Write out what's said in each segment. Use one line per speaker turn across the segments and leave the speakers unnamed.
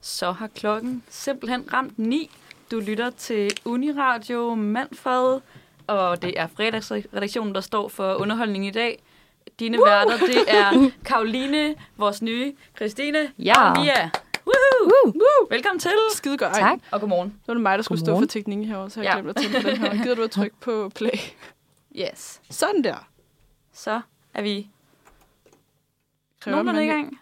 så har klokken simpelthen ramt 9. Du lytter til Uniradio Manfred, og det er fredagsredaktionen, der står for underholdning i dag. Dine Woo! værter, det er Karoline, vores nye, Christine
Ja.
og Mia. Woohoo!
Woo!
Woo! Velkommen til,
Skide godt.
Tak.
og godmorgen.
Nu er det mig, der skulle stå for
Godmorgen.
teknikken herovre, så jeg
Ja.
ja. glemte at tænde på den her. Gider du at trykke på play?
Yes,
Sådan der.
så er vi
Kræver
nogenlunde i
man-
gang.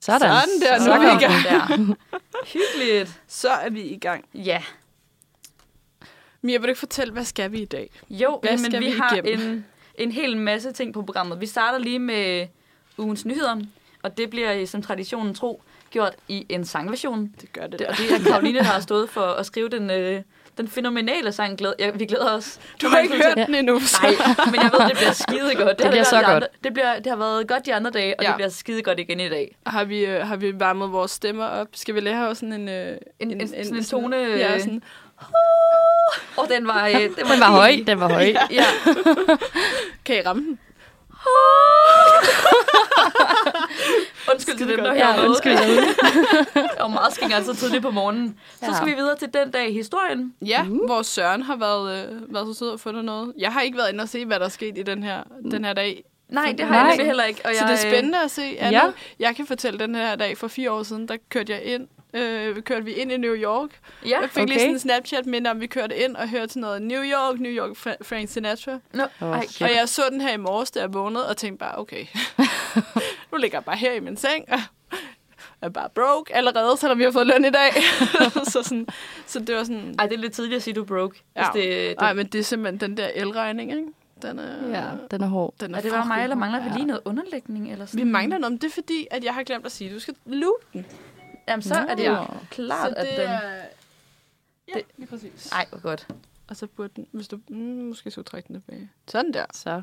Sådan.
Sådan der, nu er vi i gang.
gang. Hyggeligt.
Så er vi i gang.
Ja,
Mia, vil du ikke fortælle, hvad skal vi i dag?
Jo,
Hvad
men
skal
vi,
vi
har
igennem?
en, en hel masse ting på programmet. Vi starter lige med ugens nyheder, og det bliver øh, som traditionen tro gjort i en sangversion.
Det gør det,
Det,
der.
og det er Karoline, der har stået for at skrive den, øh, den fænomenale sang. Glæd, ja, vi glæder os.
Du har ikke hørt
Ja.
den endnu, så
Nej, men jeg ved, det bliver skide godt.
Det bliver så godt.
Andre, det, bliver, det har været godt de andre dage, og ja.
Ja.
det bliver skide godt igen i dag.
har vi, øh, har vi varmet vores stemmer op. Skal vi lære sådan en... Øh,
En- en- sådan en tone, øh,
Ja, sådan,
Og den var, øh, den var,
Den var høj,
fin.
den var høj.
Ja.
kan I ramme den?
Undskyld til dem, der
godt.
hører med.
undskyld.
Det var meget skængere så tidligt på morgenen. Så
Ja.
skal vi videre til den dag i historien.
Ja, uh. hvor Søren har været, øh, været så sød og fundet noget. Jeg har ikke været inde og se, hvad der er sket i den her, den her dag.
Nej, det har
Nej.
jeg nemlig heller ikke. Og
Så
jeg, øh,
det er spændende at se. Anna.
Ja.
Ja. Jeg kan fortælle den her dag, for fire år siden, der kørte jeg ind. Øh, kørte vi ind i New York.
øh, Ja,
Jeg fik okay.
Okay.
lige sådan en Snapchat-minde om, vi kørte ind og hørte sådan noget New York, New York, Fra- Frank Sinatra.
no.
Åh,
Ej,
shit.
Og jeg så den her i morges, da jeg vågnede, og tænkte bare, okay, nu ligger jeg bare her i min seng, og er bare broke allerede, selvom vi har fået løn i dag. så, sådan, så det var sådan...
ej, det er lidt tidligt at sige, du er broke. Ja.
Ja.
Hvis det, det,
Nej, men det er simpelthen den der elregning, ikke? Den er,
Ja, den er hård.
den
er det bare mig,
fucking
eller mangler vi
hård.
lige noget underlægning? Eller sådan?
Vi mangler noget, men det er fordi, at jeg har glemt at sige, at du skal loope den.
Jamen, så er det jo
Nå.
klart,
så
at
det
den...
er... Ja,
Det-
det... lige præcis.
Ej, hvor godt.
Og så burde den, hvis du... Mm, måske skulle trække den tilbage. Sådan der.
Så.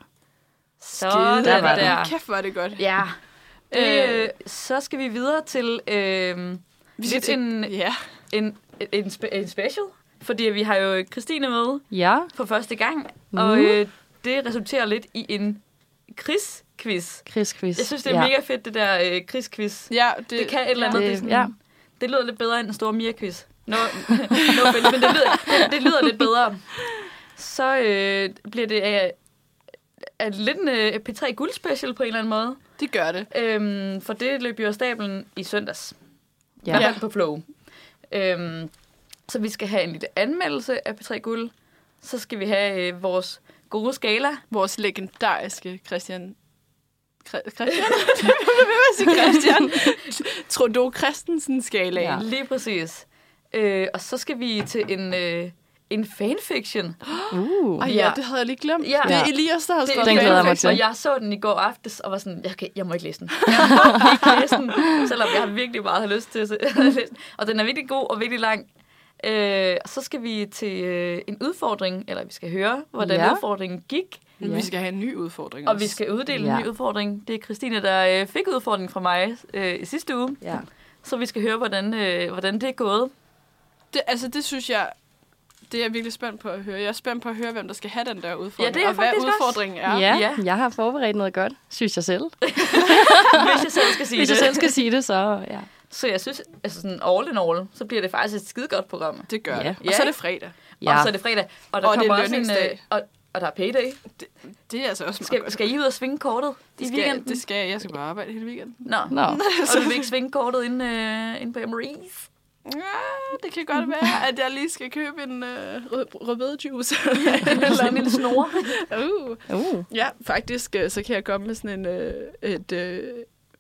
Så
der var den.
Kæft, hvor er det godt.
Ja.
Øh.
Øh, så skal vi videre til øh,
Vi
lidt en,
Ja,
en, en, spe, en special, fordi vi har jo Christine med
Ja.
for første gang, og
Uh.
øh, det resulterer lidt i en krigsquiz.
Chris quiz.
Jeg synes, det er
ja.
mega fedt, det der øh, krigsquiz.
ja det,
Det kan et eller andet.
Det-
Det, er sådan,
ja.
ja. det lyder lidt bedre end en stor Mia-quiz. No, no offense, men det lyder, det, det lyder lidt bedre. Så øh, bliver det af, af lidt en øh, P3 Guld special på en eller anden måde.
Det gør det.
Øhm, for det løb jo af stablen i søndags. Ja. I
Ja.
hvert fald på Flow. Øhm, så vi skal have en lille anmeldelse af P3 Guld. Så skal vi have øh, vores gode skala.
Vores legendariske Christian... Kri- Christian? Hvad vil jeg sige, Christian? Trudeau Christensen skala.
Ja.
Ja.
Lige præcis. Øh, og så skal vi til en, øh, en fanfiction.
Uh.
Og
Ja.
ja, det havde jeg lige glemt.
Ja.
Ja. Det er Elias, der har skrevet
Den
den.
glæder jeg mig til.
Og jeg så den i går aftes, og var sådan, jeg, kan, jeg må ikke læse den. Jeg må ikke læse den, selvom jeg virkelig meget har lyst til at se- at læse den. Og den er virkelig god og virkelig lang. Øh, og så skal vi til øh, en udfordring, eller vi skal høre, hvordan
Ja.
ja. udfordringen gik.
Men Vi skal have en ny udfordring
Og
også.
vi skal uddele
Ja.
en ny udfordring. Det er Christine, der øh, fik udfordringen fra mig øh, i sidste uge.
Ja.
Så vi skal høre, hvordan, øh, hvordan det er gået.
Det, altså, det synes jeg, det er jeg virkelig spændt på at høre. Jeg er spændt på at høre, hvem der skal have den der udfordring,
Ja, det er
og hvad
faktisk også.
udfordringen er.
Ja,
Ja.
jeg har forberedt noget godt, synes jeg selv.
Hvis jeg selv skal sige
Hvis jeg
det.
selv skal sige det, så ja.
Så jeg synes, altså sådan all in all, så bliver det faktisk et skidegodt program.
Det gør
Ja.
ja. det. Og
Ja.
så er det fredag.
Ja.
ja.
Og så er det fredag. Og der
Og det er
kommer også en...
lønningsdag.
Øh, og, og der er payday.
Det er altså også meget
Skal,
godt.
skal I ud og svinge kortet i
det
weekenden?
skal, det skal jeg. Jeg skal bare arbejde hele weekenden.
Nå.
Nå.
Og du vil ikke svinge kortet ind, øh, ind på Emery's?
Ja, det kan godt være, at jeg lige skal købe en øh, rødbedejuice.
Eller en lille snore?
uh.
Uh.
Ja, faktisk, øh, så kan jeg komme med sådan en, øh, et, øh,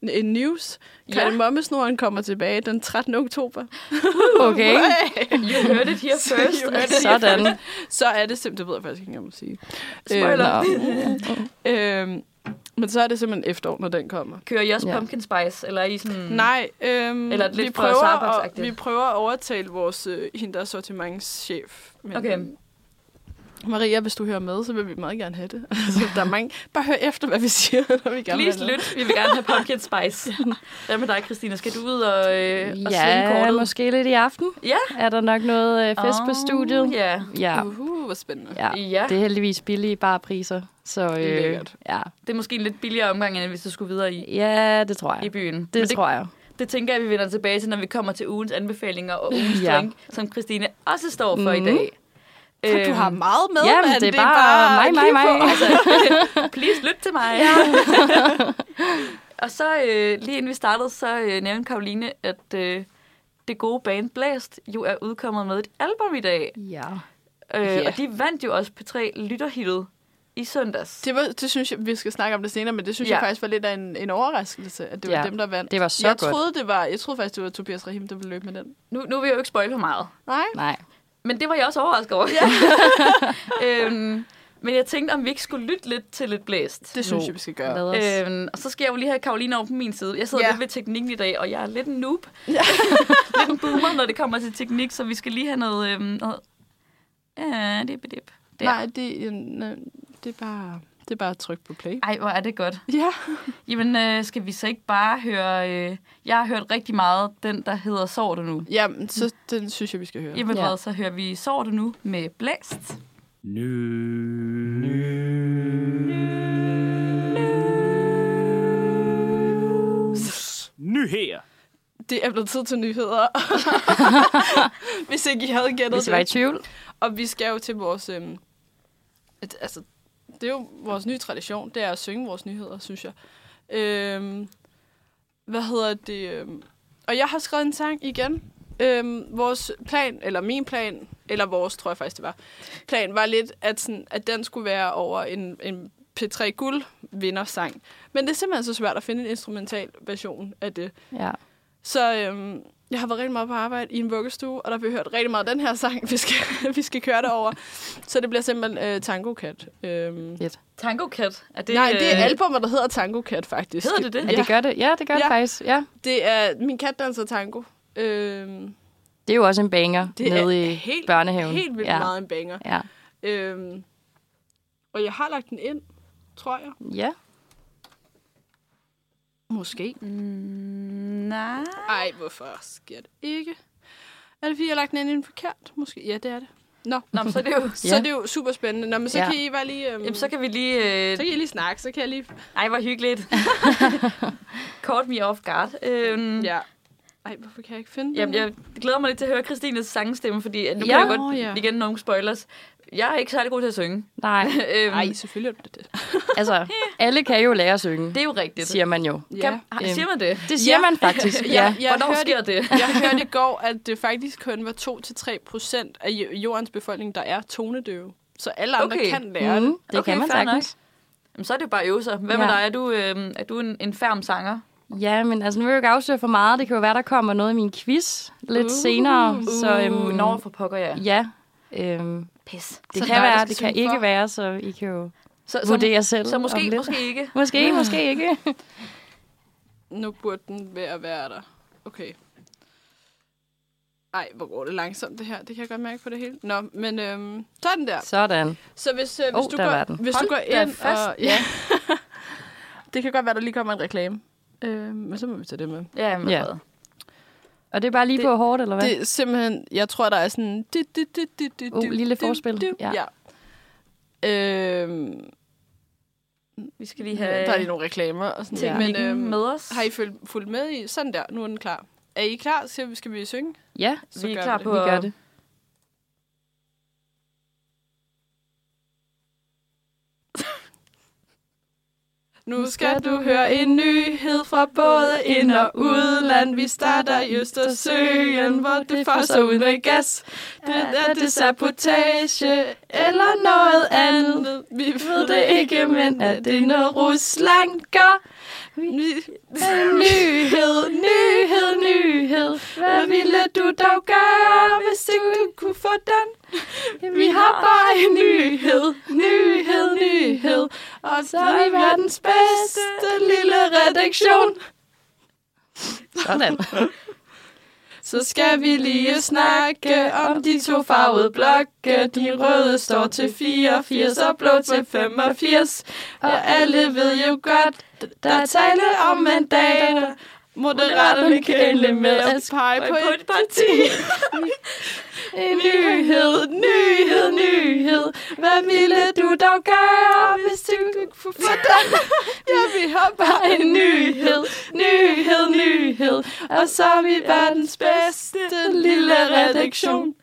en news.
Ja.
Kardemommesnoren kommer tilbage den 13. oktober.
Uh.
Okay,
You heard it here first.
You heard it
sådan.
Så er det simpelthen, det ved jeg faktisk ikke, engang, om jeg må sige.
Spoiler.
Øhm, øhm, men så er det simpelthen efterår, når den kommer.
Kører I også
Ja.
pumpkin spice? Eller er I sådan...
Mm.
Nej, øhm,
Eller lidt
vi,
for
prøver at,
Starbucks-agtigt.
vi prøver at overtale vores øh, hende, der er sortimentschef. Men,
Okay.
øhm, Maria, hvis du hører med, så vil vi meget gerne have det. Altså, der er mange... Bare hør efter, hvad vi siger, når vi gerne
Please
vil have
lyt, vi vil gerne have pumpkin spice. Hvad med dig, Christina? Skal du ud og, øh, og svinge
Ja,
kortet?
måske lidt i aften.
Ja.
Er der nok noget øh, fest på studiet?
Oh, ja.
Ja.
noget. Uh, hvor spændende.
ja.
ja.
Det er heldigvis billige barpriser, så øh,
Lækkert.
ja.
Det er måske en lidt billigere omgang, end hvis du skulle videre i,
ja, det tror jeg.
i byen. Men
Det, det tror jeg.
Det tænker jeg, vi vender tilbage til, når vi kommer til ugens anbefalinger og ugens
Ja.
ja. drink, som Christine også står for mm. i dag.
For du har
Øhm,
meget med,
Jamen,
mand.
det er bare mig, mig,
kig på.
mig.
Altså, please lyt til mig. Ja. og så øh, lige inden vi startede, så øh, nævnte Karoline, at øh, det gode band Blast jo er udkommet med et album i dag.
Ja.
Øh,
Ja.
yeah. Og de vandt jo også P3 Lytterhittet i søndags.
Det, var, det synes jeg, vi skal snakke om det senere, men det synes ja.
Ja.
jeg faktisk var lidt af en, en overraskelse, at det var
Ja.
dem, der vandt.
Det var så
jeg
godt.
Troede, det var, jeg troede faktisk, det var Tobias Rahim, der ville løbe med den.
Nu, nu vil jeg jo ikke spoil for meget.
Nej.
Nej.
Men det var jeg også overrasket over. øhm, men jeg tænkte, om vi ikke skulle lytte lidt til lidt blæst.
Det synes
Nå.
jeg, vi skal gøre. Øh,
Lad os.
Øhm, og så skal jeg jo lige have Karoline over på min side. Jeg sidder
Ja.
ja. lidt ved teknikken i dag, og jeg er lidt en noob. Ja. lidt en boomer, når det kommer til teknik, så vi skal lige have noget... Øhm, noget. Ja, dip, dip. Der.
Nej, det, øh, nej, det er bare... Det er bare at trykke på play.
Ej, hvor er det godt.
Ja.
Jamen, øh, skal vi så ikke bare høre... Øh, jeg har hørt rigtig meget den, der hedder Sår det nu.
Jamen, så den synes jeg, vi skal høre.
Jamen
Ja.
ja. hvad, så hører vi Sår det nu med Blæst.
Nyheder.
Det er blevet tid til nyheder. Hvis ikke I havde gættet
Hvis
det.
jeg var i tvivl.
Og vi skal jo til vores... Øhm, et, altså, det er jo vores nye tradition, det er at synge vores nyheder, synes jeg. Øhm, hvad hedder det? Øhm, og jeg har skrevet en sang igen. Øhm, vores plan, eller min plan, eller vores, tror jeg faktisk det var, plan var lidt, at, sådan, at den skulle være over en, en P3 Guld vindersang. Men det er simpelthen så svært at finde en instrumental version af det.
Ja.
Så øhm, jeg har været rigtig meget på arbejde i en vuggestue, og der har vi hørt rigtig meget af den her sang, vi skal, vi skal køre derover. Så det bliver simpelthen øh, Tango Cat. Øhm,
Lidt.
Tango Cat. Er det,
nej, det er
øh,
albumet, der hedder Tango Cat, faktisk.
Hedder det det?
Ja,
Ja,
det gør det. Ja, det gør ja.
Ja.
det faktisk. Ja.
det er min kat danser tango. Øhm,
Det er jo også en banger
det
nede
er
i
helt,
børnehaven.
helt vildt
ja.
meget en banger.
Ja.
Øhm, og jeg har lagt den ind, tror jeg.
ja.
Måske.
Mm, nej.
Ej, hvorfor sker det ikke? Er det, fordi jeg har lagt den ind i en forkert? Måske. Ja, det er det. Nå,
Nå, men så er det jo...
så
Ja.
det er jo super spændende. Nå, men så
Ja.
ja. kan I bare lige... Øhm,
Jamen, så kan vi lige... Øh,
Så kan I lige snakke, så kan jeg lige...
ej, hvor hyggeligt. Caught me off guard. Øhm, ja.
Ja. Ej, hvorfor kan jeg ikke finde
Jamen,
den?
jeg glæder mig lidt til at høre Christines sangstemme, fordi øh, nu ja.
Ja.
kan jeg godt
Åh, ja.
igen nogle spoilers. Jeg er ikke særlig god til at synge.
Nej,
øhm,
Ej, selvfølgelig er det det.
altså, alle kan jo lære at synge,
Det er jo rigtigt.
siger man jo.
Kan, ja. Siger man det?
Det siger
Ja.
man faktisk,
Ja.
ja.
Øhm. Jeg
Hvornår
hørte-
sker det?
Jeg hørte i går, at det faktisk kun var 2-3 procent af jo- jordens befolkning, der er tonedøve. Så alle andre
Okay.
kan lære det.
Mm, det
Okay,
kan man
fair nok.
sagtens.
Jamen, så er det jo bare øvelser. Hvad med
Ja.
dig? Er du, øh, er du en, en færm sanger?
Ja, men altså, nu vil jeg jo ikke afsløre for meget. Det kan jo være, der kommer noget i min quiz lidt uh, senere. så,
Uh.
øhm,
Når for pokker, ja.
Ja, øhm,
Pis.
det
Så
kan
der er
være,
der
det
skal
kan
synge
ikke
for.
være, så I kan jo
Så,
vurdere selv.
så
om
måske,
lidt.
måske ikke.
Måske,
Ah.
måske ikke.
Mm.
Nu burde den være at være der. Okay. Ej, hvor går det langsomt, det her. Det kan jeg godt mærke på det hele. Nå, men øhm, så er den der.
Sådan.
Så hvis, øh, hvis,
Åh,
du,
der var
går,
den.
hvis du
Hold
går
da
ind
fast.
og... Ja. det kan godt være, der lige kommer en reklame. Øh, men så må vi tage det med.
Ja, men
Ja.
ja.
Og det er bare lige
Det-
på hårdt, eller hvad?
Det er simpelthen, jeg tror, der er sådan... Du, du, du, du, du,
Uh, lille forspil.
Ja.
Ja.
ja. Øhm,
Vi skal lige have
Mm. der er lige nogle reklamer og sådan
Ja.
ting. Men
teknikken
øhm,
med os.
har I fulgt, fulgt med i? Sådan der, nu er den klar. Er I klar? Skal vi, skal vi synge?
Ja,
Så
vi er
gør
klar
vi det.
på
vi gør
at-
det.
Nu skal du høre en nyhed fra både ind- og udland. Vi starter i Østersøen, hvor det fosser ud med gas. Det er det sabotage eller noget andet. Vi ved det ikke, men er det noget Rusland gør? Vi-
Nyhed, nyhed, nyhed.
Hvad ville du dog gøre, hvis ikke du kunne få den? Vi har bare en nyhed, nyhed, nyhed. Og så er vi verdens bedste lille redaktion.
Sådan.
Så skal vi lige snakke om de to farvede blokke. De røde står til 84 og blå til 85. Og alle ved jo godt, der er tale om mandater. Moderaterne kan ende med at pege på et parti.
Nyhed, nyhed, nyhed. Hvad ville du dog gøre, hvis du kunne få
Jeg vil have bare
en nyhed, nyhed, nyhed? Og så er vi verdens bedste lille redaktion.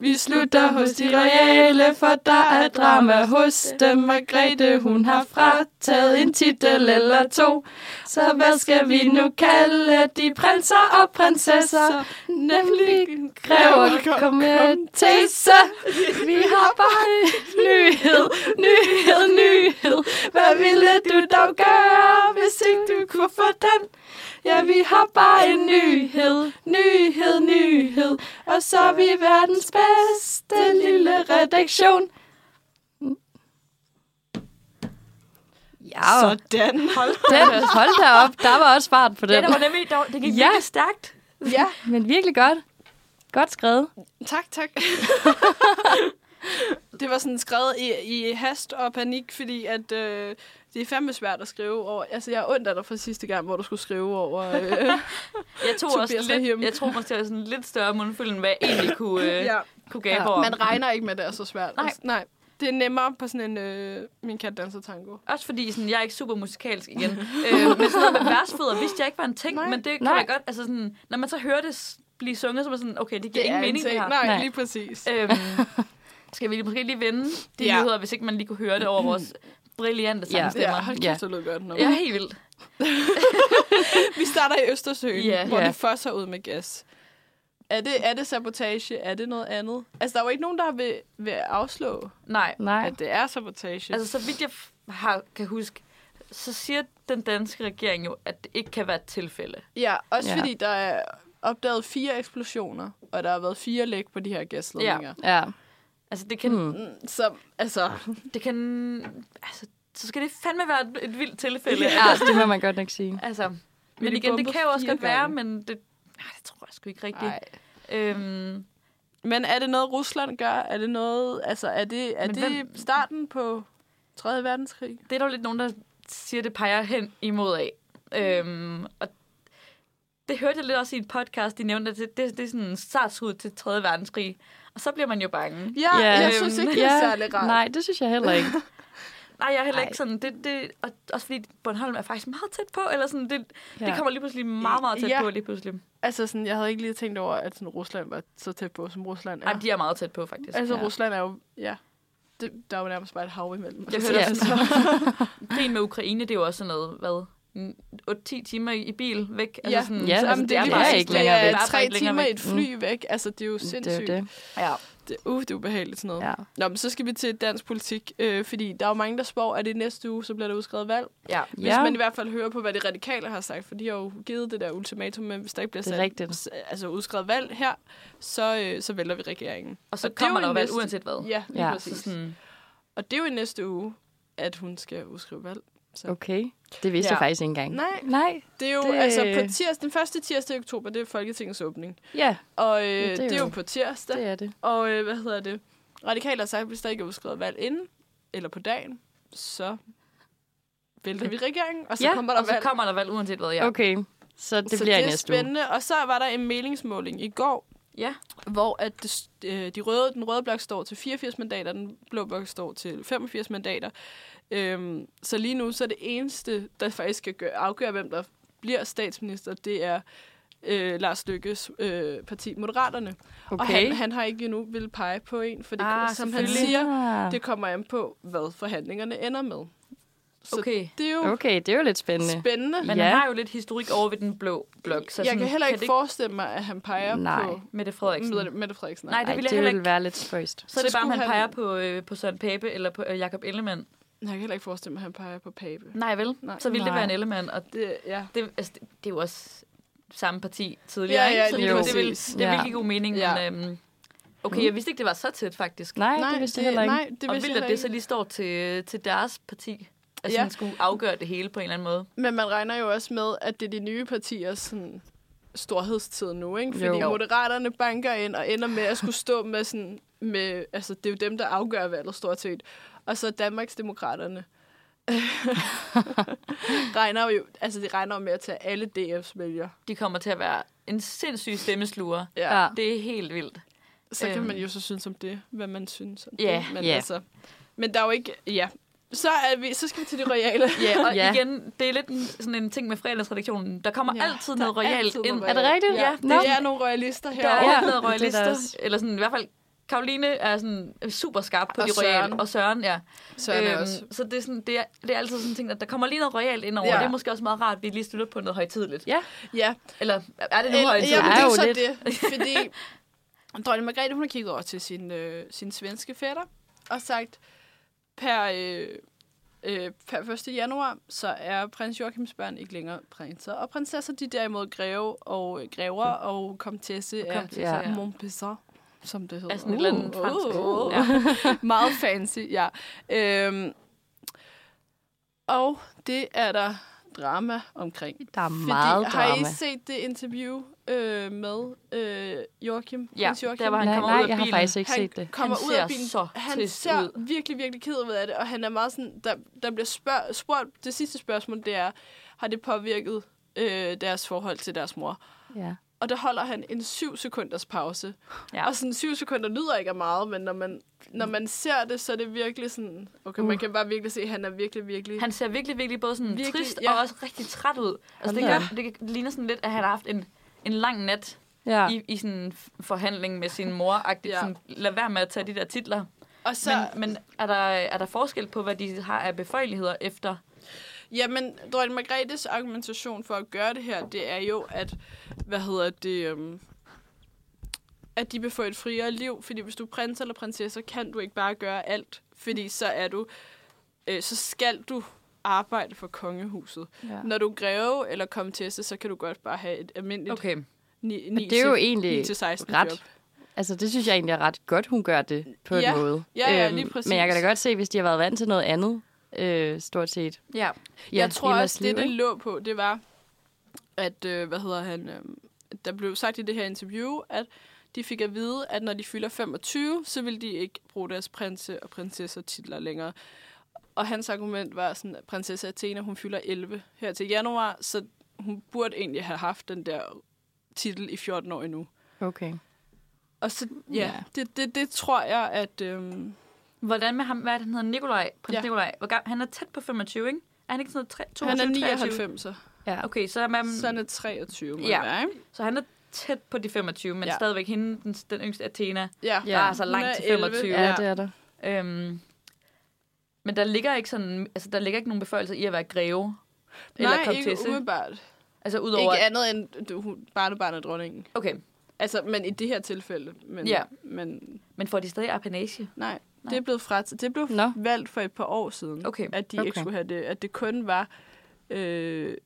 Vi slutter hos de reale, for der er drama hos dem. Margrethe, hun har frataget en titel eller to. Så hvad skal vi nu kalde de prinser og prinsesser? Nemlig
Kræver kommentese. Vi har bare nyhed, nyhed, nyhed. Hvad ville du dog gøre, hvis ikke du kunne få den? Ja, vi har bare en nyhed, nyhed, nyhed. Og så er vi verdens bedste lille redaktion. Ja,
Sådan. Hold
den, hold da op. Der var også fart på
Ja,
den.
det var nemlig, der, var- det gik
Ja.
ja. virkelig stærkt.
Ja,
Men virkelig godt. Godt skrevet.
tak, tak. det var sådan skrevet i, i hast og panik, fordi at, øh, det er fandme svært at skrive over. Altså, jeg undrer dig fra sidste gang, hvor du skulle skrive over... Øh,
Jeg tog
Tobias
også
Rahim.
lidt, jeg tror måske, jeg var sådan lidt større mundfuld, end hvad jeg egentlig kunne, øh, ja.
ja.
kunne gabe
Ja.
ja. over.
Man regner ikke med, at det er så svært.
Nej.
Altså, nej. Det er nemmere på sådan en øh, Min kat danser tango.
Også fordi sådan, jeg er ikke super musikalsk igen. øh, men sådan noget med versfødder vidste jeg ikke var en ting,
Nej.
men det kan
Nej.
jeg godt... Altså sådan, når man så hører det s- blive sunget, så er man sådan, okay, det giver ingen
en
mening,
ting.
det her.
Nej.
Nej, nej, lige præcis.
Øhm, skal vi måske lige vende de
Ja. Mm.
ja. nyheder, hvis ikke man lige kunne høre det over vores brillante
Ja.
sangstemmer?
Ja, hold kæft,
Ja.
det lød godt. Nå.
Ja, helt vildt.
Vi starter i Østersøen,
Ja.
hvor
Ja.
det fosser ud med gas. Er det, er det sabotage? Er det noget andet? Altså, der er jo ikke nogen, der vil, vil afslå,
Nej,
Nej.
at det er sabotage. Altså,
altså så vidt jeg f- har, kan huske, så siger den danske regering jo, at det ikke kan være et tilfælde.
ja, også
Ja.
fordi der er opdaget fire eksplosioner, og der har været fire læg på de her gasledninger.
Ja.
Altså det kan,
Hmm.
Mm, Så, altså,
det kan, altså, så skal det fandme være et, et vildt tilfælde.
Ja, altså, det må man godt nok sige.
Altså,
Men
men
de
igen, det
bombede
kan jo også
fire
godt være,
gange.
men det, nej, det tror jeg sgu ikke rigtigt.
nej.
Øhm,
Men er det noget, Rusland gør? Er det noget, altså, er det, er
Men
det
hvem-
starten på 3. verdenskrig?
det er der jo lidt nogen, der siger, det peger hen imod af. Øhm, og det hørte jeg lidt også i et podcast, de nævnte, at det, det, det er sådan en startskud til 3. verdenskrig. Og så bliver man jo bange.
Ja,
Ja,
Ah, jeg
øhm,
synes ikke, det er særlig rart.
Nej, det synes jeg heller ikke.
Nej, jeg er heller
Ej.
ikke sådan. Det, det, og, også fordi Bornholm er faktisk meget tæt på, eller sådan, det, ja.
Ja.
det kommer lige pludselig meget, meget tæt
Ja.
ja. på lige pludselig.
Altså, sådan, jeg havde ikke lige tænkt over, at sådan, Rusland var så tæt på, som Rusland er.
Nej, de er meget tæt på, faktisk.
altså,
ja.
Rusland er jo... Ja. Det, der er jo nærmest bare et hav imellem. Altså,
Jeg
Ja.
hørte også, sådan- krigen med Ukraine, det er jo også sådan noget, hvad? n- 8-10 timer i bil væk.
Ja.
Altså sådan,
Ja,
så,
altså,
altså,
det er
bare
ikke
sådan,
længere
det
Det
er
er
bare
tre
ikke længere
timer i
væk.
et fly væk. Altså, det er jo
Det er
sindssygt.
jo det.
Ja.
Det, uh, det er ubehageligt sådan noget. Ja.
Ja.
Nå, men så skal vi til dansk politik, øh, fordi der er jo mange, der spår, at i næste uge, så bliver der udskrevet valg.
ja.
Hvis
Ja.
man i hvert fald hører på, hvad de radikale har sagt, for de har jo givet det der ultimatum, men hvis der ikke bliver
Det er
sat,
rigtigt.
s- altså udskrevet valg her, så, øh, så vælter vi regeringen.
Og så
Og det er
kommer
jo
der jo
en
valg,
næste-
uanset hvad.
Ja, lige
Ja.
ja.
Så
præcis.
sådan,
Og det er jo i næste uge, at hun skal udskrive valg.
Okay. Det vidste ja.
Ja.
jeg faktisk ikke engang.
Nej.
Nej.
Det er jo
Det-
det... altså på tirsdag, den første tirsdag i oktober, det er Folketingets åbning.
Ja,
Og øh,
det er
det, er det er
jo-
jo på tirsdag.
det er det.
Og øh, hvad hedder det? Radikale har sagt, at hvis der ikke er udskrevet valg inden, eller på dagen, så vælter vi regeringen, og så
Ja,
ja, kommer der
og så
valg.
kommer der valg, uanset hvad. Ja.
Okay. Så det
så
bliver i
det er
næste uge.
spændende. Og så var der en meningsmåling i går,
ja.
hvor at det, øh, de røde, den røde blok står til 84 mandater, den blå blok står til 85 mandater. Øhm, så lige nu så er det eneste, der faktisk skal gøre, afgøre, hvem der bliver statsminister, det er øh, Lars Lykkes øh, parti Moderaterne. Og
Okay.
han, han har ikke endnu vil pege på en, for det,
Ah,
ah, som han
selvfølgelig.
siger,
Ah.
det kommer an på, hvad forhandlingerne ender med. Så
Okay.
det er jo okay.
Okay, det er jo lidt spændende.
spændende.
Men
Ja.
ja. han har jo lidt historik over ved den blå blok. Så
jeg
sådan,
kan heller ikke
det
forestille mig, at han peger
Nej.
på
Mette Frederiksen.
Mette- Mette Frederiksen.
Nej, det
Ej,
ville jeg
det
heller
ville
ikke.
være lidt spøjst.
Så er det
Så
bare, om
skulle
han
han-
peger på, øh, på Søren Pape eller på øh, Jakob Ellemann.
Jeg kan heller ikke forestille mig, at han peger på Pape.
Nej, vel?
Nej.
Nej. Så ville det
Nej.
være en Ellemann. Og
Det, ja.
det, altså, det, det er jo også samme parti tidligere,
Ja, ja,
ikke? Så
lige
det,
præcis.
det, vil, det
Ja.
vil give god mening.
Ja.
Ja. Men, øhm, okay, jeg vidste ikke, det var så tæt, faktisk.
Nej, nej det vidste jeg heller ikke.
Nej, det
og
vidste jeg
vildt,
heller
at det
ikke.
så lige står til, til deres parti. Altså,
Ja.
ja. skulle afgøre det hele på en eller anden måde.
Men man regner jo også med, at det er de nye partiers sådan, storhedstid nu, ikke? Fordi
Jo.
jo. moderaterne banker ind og ender med at skulle stå med sådan... Med, altså, det er jo dem, der afgør valget stort set. Og så Danmarksdemokraterne, regner jo, altså det regner jo med at tage alle DF's vælger.
De kommer til at være en sindssyg stemmesluger.
Ja.
Ja.
Det er helt vildt.
Så kan
Øhm.
man jo så synes om det, hvad man synes om
Ja,
det. Men,
ja.
altså, men der er jo ikke... Ja. Så, er vi, så skal vi til de royale.
Ja, og
Ja.
ja. igen, det er lidt en, sådan en ting med fredagsredaktionen. Der kommer
Ja,
ja, altid
der
noget
er
royalt
altid noget
ind.
royalt.
Er det rigtigt?
Ja,
Nå.
Det er nogle royalister her.
Der er
Ja,
ja, noget
det er der
royalister.
også.
Eller sådan, i hvert fald, Karoline er sådan super skarp på
Og
de
Søren.
royale. Og Søren, ja.
Søren er også...
Øhm, så det er, sådan, det, er, det er altid sådan en ting, at der kommer lige noget royalt ind over.
Ja.
Ja. Det er måske også meget rart, at vi lige slutter på noget højtidligt.
Ja.
Ja,
Eller er det nu
Eller,
højtidligt?
jamen, det
er
er
jo
jo så
lidt.
det, fordi dronning Margrethe, hun har kigget over til sin, øh, sin svenske fætter og sagt, per, øh, øh, per 1. januar, så er prins Joachims børn ikke længere prinser. Og prinsesser, de er derimod greve og øh, grever og komtesse af
Kom,
Ja.
ja.
Montpezat, som det hedder.
Er sådan et eller andet
Uh,
fransk.
uh.
Ja.
Meget fancy, ja. Øhm, og det er der drama omkring.
Der er
Fordi,
meget
har I
drama.
set det interview øh, med øh, Joachim?
Ja,
Prins Joachim?
der var han
Nej,
kommer
nej,
ud af
jeg har
bilen.
faktisk ikke
han
set det.
kommer
Han
ud af
ser
bilen.
så
han
trist
ser
ud.
virkelig, virkelig ked ud af det, og han er meget sådan, der, der bliver spørg, spurgt, det sidste spørgsmål, det er, har det påvirket øh, deres forhold til deres mor?
Ja.
Og der holder han en syv sekunders pause.
Ja.
Og sådan syv sekunder lyder ikke af meget, men når man, når man ser det, så er det virkelig sådan, okay, man kan bare virkelig se, at han er virkelig, virkelig...
Uh. Han ser virkelig, virkelig både sådan
Virkelig,
virkelig, trist
ja.
ja. og også rigtig træt ud. Altså, det,
Hold da
gør, det ligner sådan lidt, at han har haft en, en lang nat
Ja.
ja. i, i sådan en f- forhandling med sin mor. -agtigt.
Ja.
Ja. Sådan, lad være med at tage de der titler.
og så,
Men, men er, der, er der forskel på, hvad de har af beføjeligheder efter?
Jamen, dronning Margrethes argumentation for at gøre det her, det er jo, at, hvad hedder det, øhm, at de vil få et friere liv, fordi hvis du er prins eller prinsesse, kan du ikke bare gøre alt, fordi så er du, øh, så skal du arbejde for kongehuset.
ja.
Når du er greve eller komtesse, så kan du godt bare have et almindeligt okay. 9, 9
det er jo egentlig
16
ret
job.
Altså, det synes jeg egentlig er ret godt, hun gør det på
Ja.
en måde. Øhm,
Ja, ja, lige præcis.
Men jeg kan da godt se, hvis de har været vant til noget andet, øh, stort set.
Ja.
Ja,
jeg tror
i
også,
deres
det,
liv,
det
ikke?
lå på, det var, at, øh, hvad hedder han, øh, der blev sagt i det her interview, at de fik at vide, at når de fylder 25, så vil de ikke bruge deres prinse- og prinsesser-titler længere. Og hans argument var sådan, at prinsesse Athena, hun fylder 11 her til januar, så hun burde egentlig have haft den der titel i 14 år endnu.
Okay.
Og så, ja,
Ja.
Det, det, det tror jeg, at... Øhm,
Hvordan med ham, hvad er det, han hedder? Nikolaj, prins
Ja.
ja. Nikolaj. Hvor gammel, han er tæt på 25, ikke? Er han ikke sådan noget tre- 22,
han er
23?
99, så
Ja.
Okay, så er, man,
han er 23, må
Ja.
det være, ikke?
så han er tæt på de 25, men
Ja.
ja. stadigvæk hende, den, den yngste Athena,
Ja.
ja. der
altså
er så
Hun er
langt til
11.
25.
Ja, det er der.
Øhm, men der ligger ikke sådan, altså der ligger ikke nogen beføjelser i at være greve. Eller
Nej, ikke
komtesse.
umiddelbart.
Altså udover...
Ikke
at-
andet end du, hun, barnebarn af dronningen.
Okay,
Altså, men i det her tilfælde. Men,
Ja.
men
men får de stadig apanage?
nej, nej,
Nej.
det er blevet frat. Det blev
Nå.
valgt for et par år siden,
Okay,
at de ikke
Okay.
skulle have det. At det kun var øh,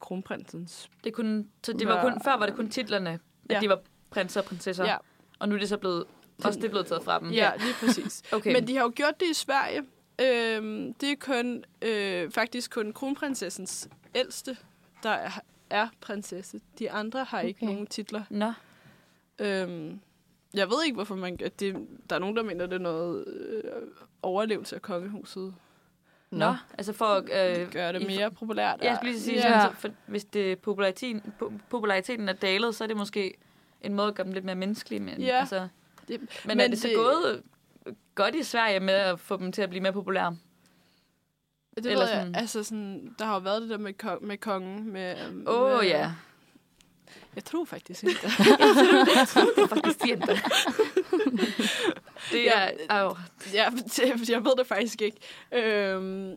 kronprinsens.
det kunne, så det var
Hver-
kun, før var det kun titlerne, at
Ja.
de var prinser og prinsesser.
Ja,
Og nu er det så blevet, også det er blevet taget fra dem.
ja, lige præcis.
Okay.
Men de har jo gjort det i Sverige. Øhm, det er kun, øh, faktisk kun kronprinsessens ældste, der er, er prinsesse. De andre har ikke
Okay.
nogen titler.
Nå,
Øhm, jeg ved ikke, hvorfor man gør det. Der er nogen, der mener, det er noget øh, overlevelse af kongehuset.
nå. Altså for at...
Øh, gør det
i-
mere populært.
Jeg skulle lige sige,
ja.
ja. sådan, så for, hvis det populariteten, po- populariteten er dalet, så er det måske en måde at gøre dem lidt mere menneskelige. Men,
Ja.
altså,
Det-
men, men er det så gået øh, godt i Sverige med at få dem til at blive mere populære?
Det
eller
ved jeg.
sådan-
Altså sådan, der har jo været det der med, kong, med kongen. Med, øhm,
Åh oh,
med,
ja,
Jeg tror faktisk ikke det.
faktisk siger det. det er... Oh,
jeg, det- jeg ved det faktisk ikke. Øhm,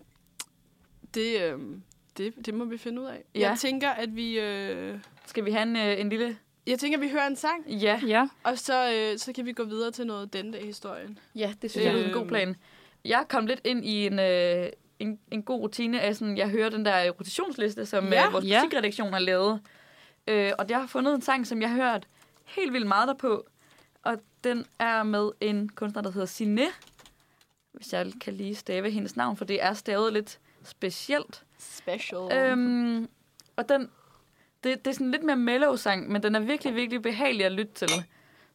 det, øhm, det, det må vi finde ud af. Ja.
Ja.
Jeg tænker, at vi... Øh,
skal vi have en, øh, en lille...
jeg tænker, at vi hører en sang,
Ja,
Ja.
og så, øh, så kan vi gå videre til noget den dag historien.
ja det synes jeg Øhm, er en god plan. Jeg kom lidt ind i en, øh, en, en god rutine af sådan, jeg hører den der øh, rotationsliste, som
Ja,
ja, øh, vores
ja.
ja. musikredaktion har lavet. Øh, og jeg har fundet en sang, som jeg har hørt helt vildt meget derpå. Og den er med en kunstner, der hedder Sine. Hvis jeg kan lige stave hendes navn, for det er stavet lidt specielt.
Special.
Øhm, og den, det, det er sådan lidt mere mellow sang, men den er virkelig, virkelig behagelig at lytte til.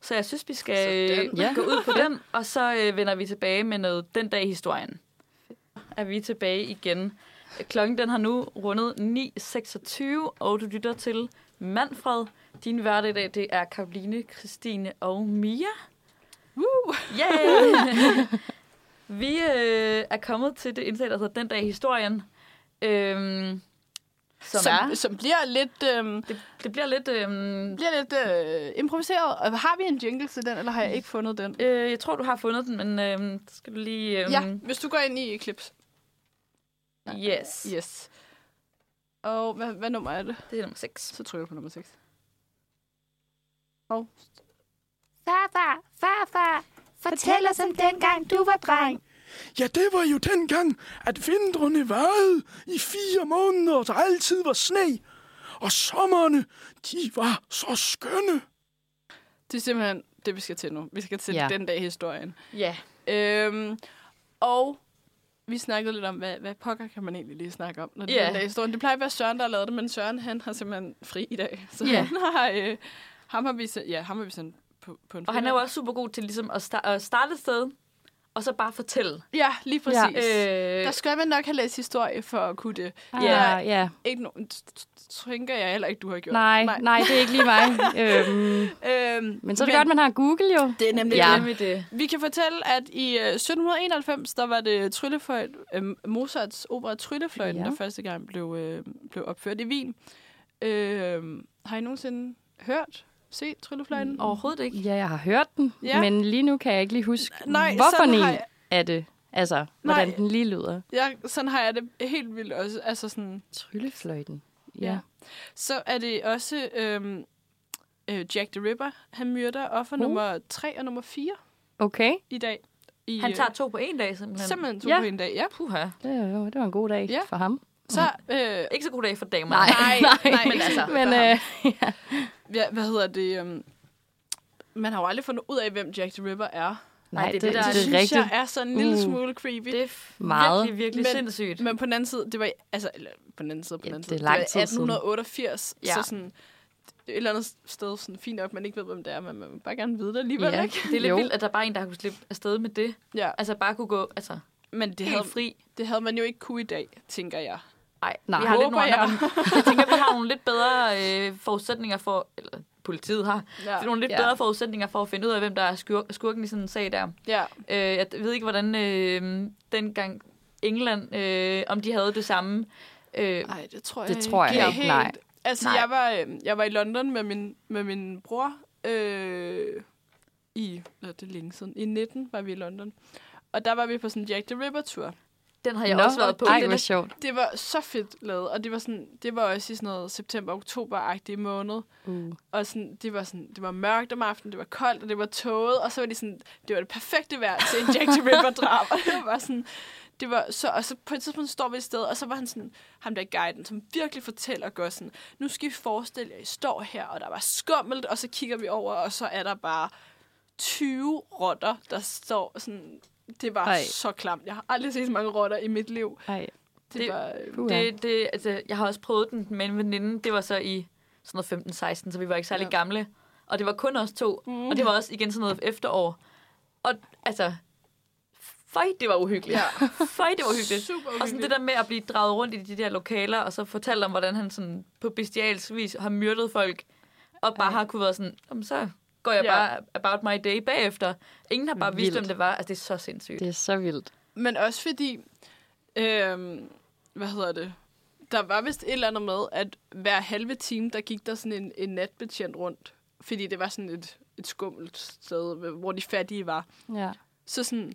Så jeg synes, vi skal
Så den.
øh,
Ja.
gå ud på den, og så øh, vender vi tilbage med noget den dag i historien. er vi tilbage igen. Klokken den har nu rundet 9.26, og du lytter til Manfred. Din hverdag i dag, det er Karoline, Christine og Mia.
Woo!
Yeah! vi øh, er kommet til det indslag, der hedder Den dag i historien. Øhm, som, som er.
som bliver lidt, øhm,
Det, det bliver lidt... Øhm,
bliver lidt øh, improviseret. Og Har vi en jingle til den, eller har jeg ikke fundet den?
øh, jeg tror, du har fundet den, men øhm, så skal du lige... Øhm,
Ja, hvis du går ind i Eclipse.
Yes. yes.
Yes. Og hvad, hvad nummer er det?
Det er nummer 6.
Så trykker jeg på nummer 6.
Farfar, farfar, fortæl os om dengang du var dreng.
Ja, det var jo dengang, at vintrene varede i fire måneder, og der altid var sne. Og sommerne, de var så skønne.
Det er simpelthen det, vi skal til nu. Vi skal til
Ja.
ja. den dag i historien.
Ja.
Øhm, og vi snakkede lidt om, hvad, hvad pokker kan man egentlig lige snakke om, når det
Ja.
er den dag i historien. Det plejer at være Søren, der har lavet det, men Søren han har simpelthen fri i dag. Så
Ja.
han har, øh, ham har vi sendt, ja, ham har vi sendt på, på en
Og han er jo
fridag.
også super god til ligesom at, sta- at starte et sted, og så bare fortælle.
Ja, lige præcis. Ja. Øh,
Øh,
der skal man nok have læst historie for at kunne det.
Ja, ja.
Ikke no- t- t- tænker jeg heller ikke, du har gjort.
Nej, nej, det er ikke lige mig. øhm,
Øhm,
men så er det godt, man har Google jo.
Det er nemlig
Ja.
ja.
Nemlig det.
Vi kan fortælle, at i øh, 1791, der var det Tryllefløjt, øh, Mozarts opera Tryllefløjten,
Ja.
ja. der første gang blev, øh, blev opført i Wien. Øh, har I nogensinde hørt, set Tryllefløjten? Mm.
Overhovedet ikke.
Ja, jeg har hørt den, ja.
Ja.
men lige nu kan jeg ikke lige huske,
Nej,
hvorfor
sådan
ni
har jeg-
er det. Altså, hvordan
Nej.
den lige lyder.
Jeg, sådan har jeg det helt vildt også. Altså sådan,
Tryllefløjten. Ja.
Ja.
ja.
så er det også øh, øh, Jack the Ripper, han myrder offer
Uh.
uh. nummer 3 og nummer 4
Okay.
i dag. I,
Han
øh,
tager to på en dag, simpelthen.
simpelthen to
Ja.
ja. på en dag, ja.
Puha.
Det var, det var en god dag ja.
Ja.
for ham.
Så, øh,
Ikke så god dag for damer.
Nej, nej,
men altså,
Men,
for ham.
øh,
ja, hvad hedder det? Um, man har jo aldrig fundet ud af, hvem Jack the Ripper er.
nej, det, det, det,
der
er
er-
det synes
rigtigt.
jeg er sådan en lille
Uh.
smule creepy.
Det er f-
Meget.
virkelig, virkelig
Men-
sindssygt.
Men på den anden side, det var, i- altså, eller på den anden side, på den
Ja,
anden
det er
side,
lang
det
tid
var i
siden.
1888,
Ja.
så sådan, et eller andet sted, sådan fint nok, man ikke ved, hvem det er, men man vil bare gerne vide det alligevel,
Ja.
ja. ikke?
Det er lidt
Jo.
vildt, at der bare er en, der har kunnet slippe afsted med det.
Ja,
Altså bare kunne gå altså,
men det
helt
havde,
fri.
det havde man jo ikke kunne i dag, tænker jeg.
Ej,
Nej.
vi har lidt
Håber
nogle andre,
jeg.
jeg tænker, vi har nogle lidt bedre øh, forudsætninger for, eller politiet har,
Ja,
ja. nogle lidt
Ja.
ja. bedre forudsætninger for at finde ud af, hvem der er skurk, skurken i sådan en sag der.
ja.
Øh, jeg ved ikke, hvordan øh, dengang England, øh, om de havde det samme. Øh,
Nej, det tror jeg
Det tror jeg
er
ikke, nej.
Altså,
Nej.
Jeg, var, øh, jeg var i London med min, med min bror øh, i, øh, det er længe siden, i 19 var vi i London. Og der var vi på sådan en Jack the Ripper-tur.
den har jeg
Nå,
også været på.
Ej,
Den
hvor
er
sjovt.
Det var så fedt lavet, og det var, sådan, det var også i sådan noget september-oktober-agtig måned.
Uh.
Og sådan, det, var sådan, det var mørkt om aftenen, det var koldt, og det var tåget, og så var det sådan, det var det perfekte vejr til en Jack the Ripper-drab. og det var sådan, det var så, og så på et tidspunkt står vi et sted, og så var han sådan, ham der i guiden, som virkelig fortæller og gør sådan, nu skal I forestille jer, I står her, og der var skummelt, og så kigger vi over, og så er der bare 20 rotter, der står sådan, det var
Ej.
Ej. så klamt. Jeg har aldrig set så mange rotter i mit liv.
Ej,
Det,
Det-
det var... øh,
puha.
Det, det, altså, jeg har også prøvet den med en veninde. Det var så i sådan noget 15-16, så vi var ikke særlig ja.
Ja.
gamle. Og det var kun os to. Mm. Og det var også igen sådan noget efterår. Og altså, føj, det var uhyggeligt. Ja. Føj, det var uhyggeligt.
Super
Og sådan det der med at blive draget rundt i de der lokaler, og så fortælle om, hvordan han sådan på bestialsk vis har myrdet folk, og bare har kunne være sådan, "Jamen, så går jeg
Ja.
bare about my day bagefter. Ingen har bare vidst,
Vildt.
hvem det var. Altså, det er så sindssygt.
det er så vildt.
Men også fordi, øhm, hvad hedder det, der var vist et eller andet med, at hver halve time, der gik der sådan en, en natbetjent rundt. Fordi det var sådan et, et skummelt sted, hvor de fattige var.
Ja.
Så sådan,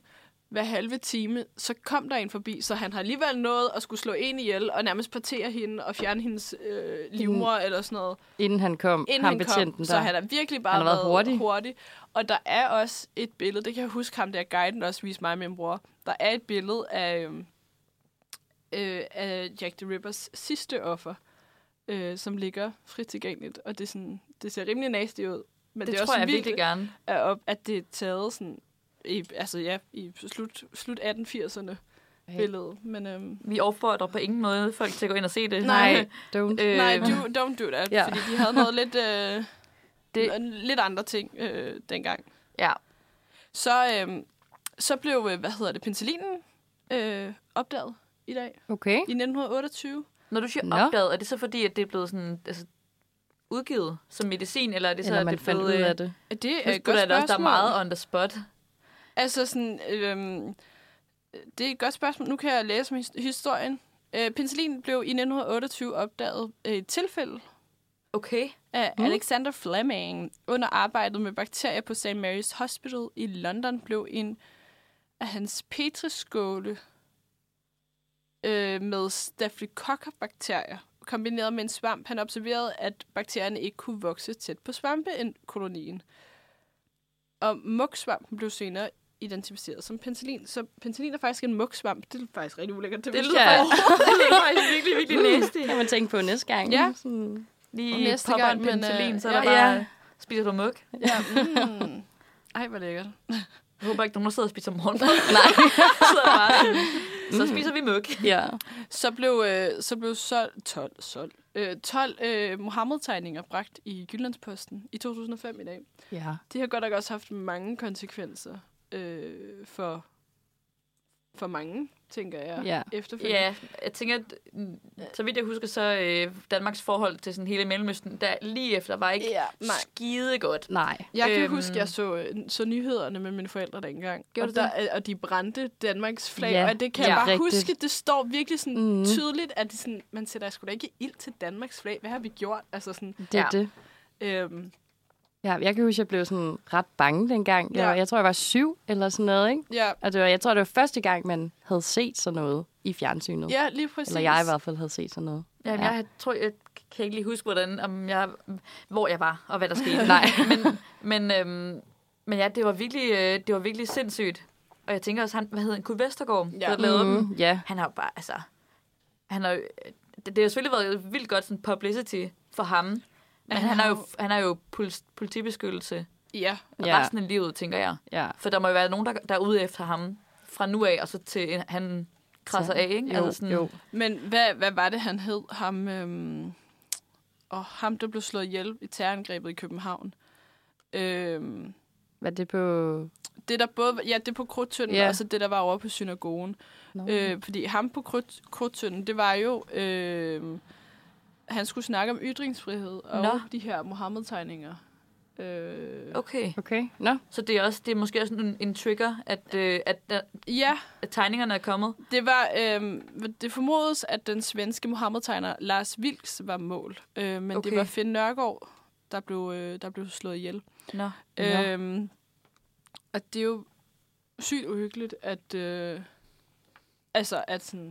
hver halve time, så kom der en forbi, så han har alligevel nået at skulle slå en ihjel, og nærmest partere hende og fjerne hendes øh, livmor eller sådan noget
Inden han kom,
inden
ham
han kom,
betjenten der.
der. så han har virkelig bare
Han har været
været
hurtig.
hurtig. Og der er også et billede, det kan jeg huske ham der guiden også viste mig og min bror. Der er et billede af, øhm, øh, af Jack the Rippers sidste offer, øh, som ligger frit tilgængeligt. Og det, er sådan, det ser rimelig nasty ud. Men det,
det
er
tror
også
jeg
vildt,
virkelig gerne.
at, op, at det er taget sådan i, altså ja, i slut, slut 1880'erne
Hey.
billede. Men øhm,
Vi opfordrer på ingen måde folk til at gå ind og se det.
Nej.
don't.
Øh,
nej, do, don't do that,
Ja.
ja. fordi de havde noget lidt, øh,
Det-
det... lidt andre ting øh, dengang.
Ja.
Så, øhm, så blev, øh, hvad hedder det, penicillinen øh, opdaget i dag,
Okay.
i 1928.
Når du siger
Nå.
Nå. opdaget, er det så fordi, at det er blevet sådan, altså, udgivet som medicin, eller er det så,
Eller
at
man
det er
fandt
blevet,
ud
øh,
af det.
Er Det
Nu
er et
skulle
godt
der da
spørgsmål.
også, der er meget on the spot.
Altså sådan, øhm, det er et godt spørgsmål. Nu kan jeg læse om his- historien. Øh, penicillin blev i 1928 opdaget øh, i et tilfælde
Okay.
af
Mm.
mm. Alexander Fleming under arbejdet med bakterier på St. Mary's Hospital i London blev en af hans petriskåle øh, med staphylococcus-bakterier kombineret med en svamp. Han observerede, at bakterierne ikke kunne vokse tæt på svampekolonien. Og mugsvampen blev senere identificeret som penicillin. Så penicillin er faktisk en mugsvamp. Det er faktisk rigtig ulækkert.
Det
vidste
lyder,
jeg
Ja.
ja. faktisk, det lyder faktisk virkelig, virkelig næstigt.
Kan man tænke på næste gang.
Ja.
Sådan.
Lige
Næste
popper
gang,
en
men, øh,
penicillin, så er
ja.
der bare,
Ja.
spiser du mug?
Ja, mm. Ej, hvor lækkert.
Jeg håber ikke, nogen der sidder og spiser morgenmad. Nej. så, er der bare sådan, så
Mm.
spiser vi mug.
Ja.
Så blev, øh, så blev sol, 12, sol, øh, 12 øh, Mohammed-tegninger bragt i Jyllandsposten i 2005 i dag.
ja.
Det har godt nok også haft mange konsekvenser øh, for, for mange, tænker jeg,
Ja.
efterfølgende.
Ja, jeg tænker, at, mm, så vidt jeg husker, så øh, Danmarks forhold til sådan hele Mellemøsten, der lige efter var ikke
ja nej.
skide godt.
Nej.
Jeg kan øhm.
Øhm.
huske, jeg så, øh, så nyhederne med mine forældre dengang.
Gjorde
og,
du det?
Der, og de brændte Danmarks flag,
Ja,
ja. og det kan
ja,
jeg bare
rigtigt.
huske. Det står virkelig sådan
Mhm.
mm. tydeligt, at det sådan, man sætter sgu da ikke ild til Danmarks flag. Hvad har vi gjort? Altså sådan,
Det er
Ja.
det.
øhm,
Ja, jeg kan huske, at jeg blev sådan ret bange dengang. Jeg,
Ja.
var, jeg tror, jeg var syv eller sådan noget, ikke?
ja,
Og det var, jeg tror, det var første gang, man havde set sådan noget i fjernsynet.
ja, lige præcis.
eller jeg i hvert fald havde set sådan noget.
Jamen,
Ja.
ja. jeg tror, jeg kan ikke lige huske, hvordan, om jeg, hvor jeg var, og hvad der skete.
Nej.
men, men, øhm, men ja, det var, virkelig, øh, det var virkelig sindssygt. Og jeg tænker også, han, hvad hedder han, Kurt Vestergaard,
Ja.
der lavede dem.
Mhm. Ja.
Han har jo bare, altså... Han har, jo- det, det har selvfølgelig været vildt godt sådan publicity for ham. Men han, han, har jo, han har jo polis, politibeskyttelse
Ja,
Ja.
ja. resten af livet, tænker jeg.
ja.
For der må jo være nogen, der, der er ude efter ham fra nu af, og så til en- han krasser af, ikke? Altså
Jo, jo.
men hvad, hvad var det, han hed? Ham, øhm, og ham, der blev slået ihjel i terrorangrebet i København. Øhm,
Var det på...
det der både, var- ja, det på Krudtønden,
Ja.
yeah. og så det, der var over på synagogen.
No.
Øh, fordi ham på Krudt, Krudtønden, det var jo, øhm, han skulle snakke om ytringsfrihed og
Nå. Oh.
de her Mohammed-tegninger. Øh,
Okay,
Okay. Nå.
så det er, også, det er måske også en, en trigger, at, øh, at, der-
Ja,
at tegningerne er kommet.
Det var øhm, det formodes, at den svenske Mohammed-tegner Lars Vilks var mål, øh, men okay.
Okay.
det var Finn Nørgaard, der blev, øh, der blev slået ihjel.
Nå.
Ja.
Øhm, og det er jo sygt uhyggeligt, at, øh, altså, at sådan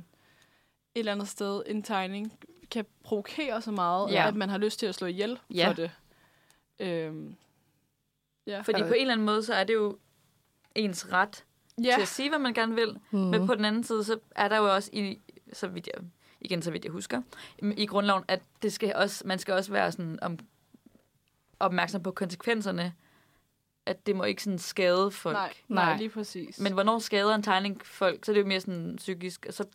et eller andet sted en tegning kan provokere så meget,
Ja.
ja. at man har lyst til at slå ihjel
Ja.
for det. Øhm, ja.
Fordi på en eller anden måde, så er det jo ens ret
ja.
til at sige, hvad man gerne vil.
Mm.
Men på den anden side, så er der jo også i, så vidt jeg, igen så vidt jeg husker, mm, i grundloven, at det skal også, man skal også være sådan om, opmærksom på konsekvenserne, at det må ikke sådan skade folk.
Nej,
Nej.
nej, lige præcis.
Men hvornår skader en tegning folk? Så er det jo mere sådan psykisk. Og så,
Jo,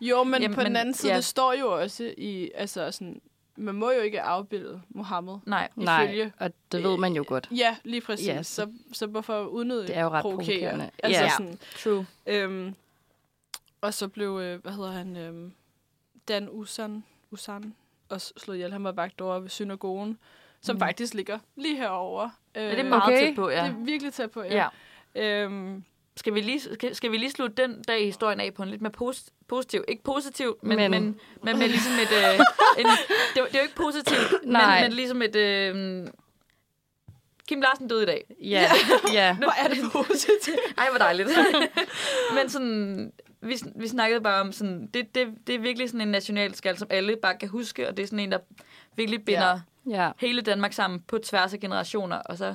men Jamen,
Jamen,
på den
men-
anden side, ja.
ja.
det står jo også i, altså sådan, man må jo ikke afbilde Mohammed.
nej.
Nej,
ifølge-
og det ved man jo godt.
Ja, lige præcis.
Ja,
Ja,
så-
så, så hvorfor unødigt
Det er jo ret provokerende.
provokerende. Altså
Ja.
sådan,
True.
øhm, og så blev, øh, hvad hedder han, øhm, Dan Usan, Usan også slået ihjel. Han var vagt over ved synagogen, som mm. faktisk ligger lige herovre. Øh,
Men det er meget
Okay.
okay. tæt på, ja.
Det er virkelig tæt på, ja.
ja.
ja. Øhm,
Skal, vi lige, skal, skal vi lige slutte den dag i historien af på en lidt mere pos, positiv, ikke positiv, men,
Men-
men. men, men med ligesom et, øh, en, det, er jo- det er jo ikke positivt,
Nej.
men, men ligesom et, øh, Kim Larsen døde i dag.
Ja. ja.
hvor er det positivt.
Ej, hvor dejligt. Men sådan, vi, sn- vi snakkede bare om, sådan, det, det, det er virkelig sådan en nationalskal, som alle bare kan huske, og det er sådan en, der virkelig binder
Ja.
ja.
Ja.
hele Danmark sammen på tværs af generationer. Og så,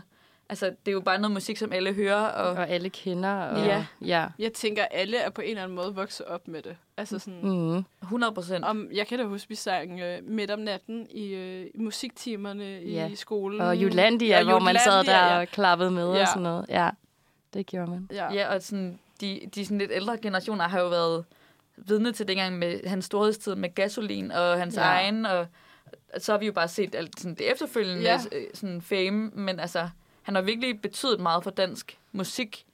altså, det er jo bare noget musik, som alle hører. Og,
Og alle kender. Og,
Ja.
ja.
Jeg tænker, alle er på en eller anden måde vokset op med det. Altså sådan,
Mm.
100 procent.
Om, jeg kan da huske, vi sang øh, midt om natten i, øh, i musiktimerne i,
Ja.
i skolen.
Og Jutlandia, ja, hvor man sad
Mm. Jutlandia,
der ja. og klappede med ja.
Ja.
og sådan noget. Ja, det gjorde man.
Ja. Ja.
Ja, og sådan, de, de sådan lidt ældre generationer har jo været vidne til dengang med hans storhedstid med gasolin og hans
Ja.
ja. egen, og så har vi jo bare set alt sådan det efterfølgende
Ja.
ja. sådan fame, men altså, han har virkelig betydet meget for dansk musik,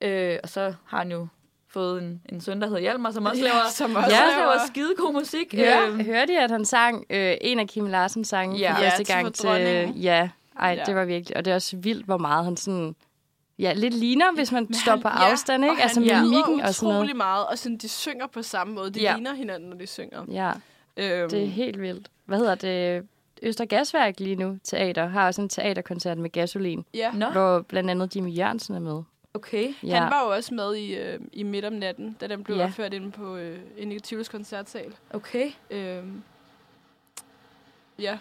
øh, og så har han jo fået en, en søn, der hedder Hjalmar, som også
Ja,
laver,
som også
ja,
laver-
laver skidegod musik.
Ja.
Øhm,
Hørte I, at han sang øh, en af Kim Larsens sange
Ja.
ja.
Ja,
første
til
gang til...
Dronningen.
Ja, ej,
Ja.
ja. det var virkelig... Og det er også vildt, hvor meget han sådan... Ja, lidt ligner, hvis man
Men
står
han-
på
ja,
afstand,
og
ikke? Altså
han
lyder
mimikken og sådan noget.
utrolig meget, og sådan, de synger på samme måde. De
Ja.
ja. ligner hinanden, når de synger.
Ja,
Øhm,
det er helt vildt. Hvad hedder det? Østergasværk lige nu, teater, har også en teaterkoncert med gasolin,
ja.
Nå,
hvor blandt andet Jimmy Jørgensen er med.
okay.
Ja.
Han var jo også med i, øh, i Midt om natten, da den blev
Ja.
ja. opført inde på øh, en Tivoli's koncertsal.
Okay.
Øhm, ja.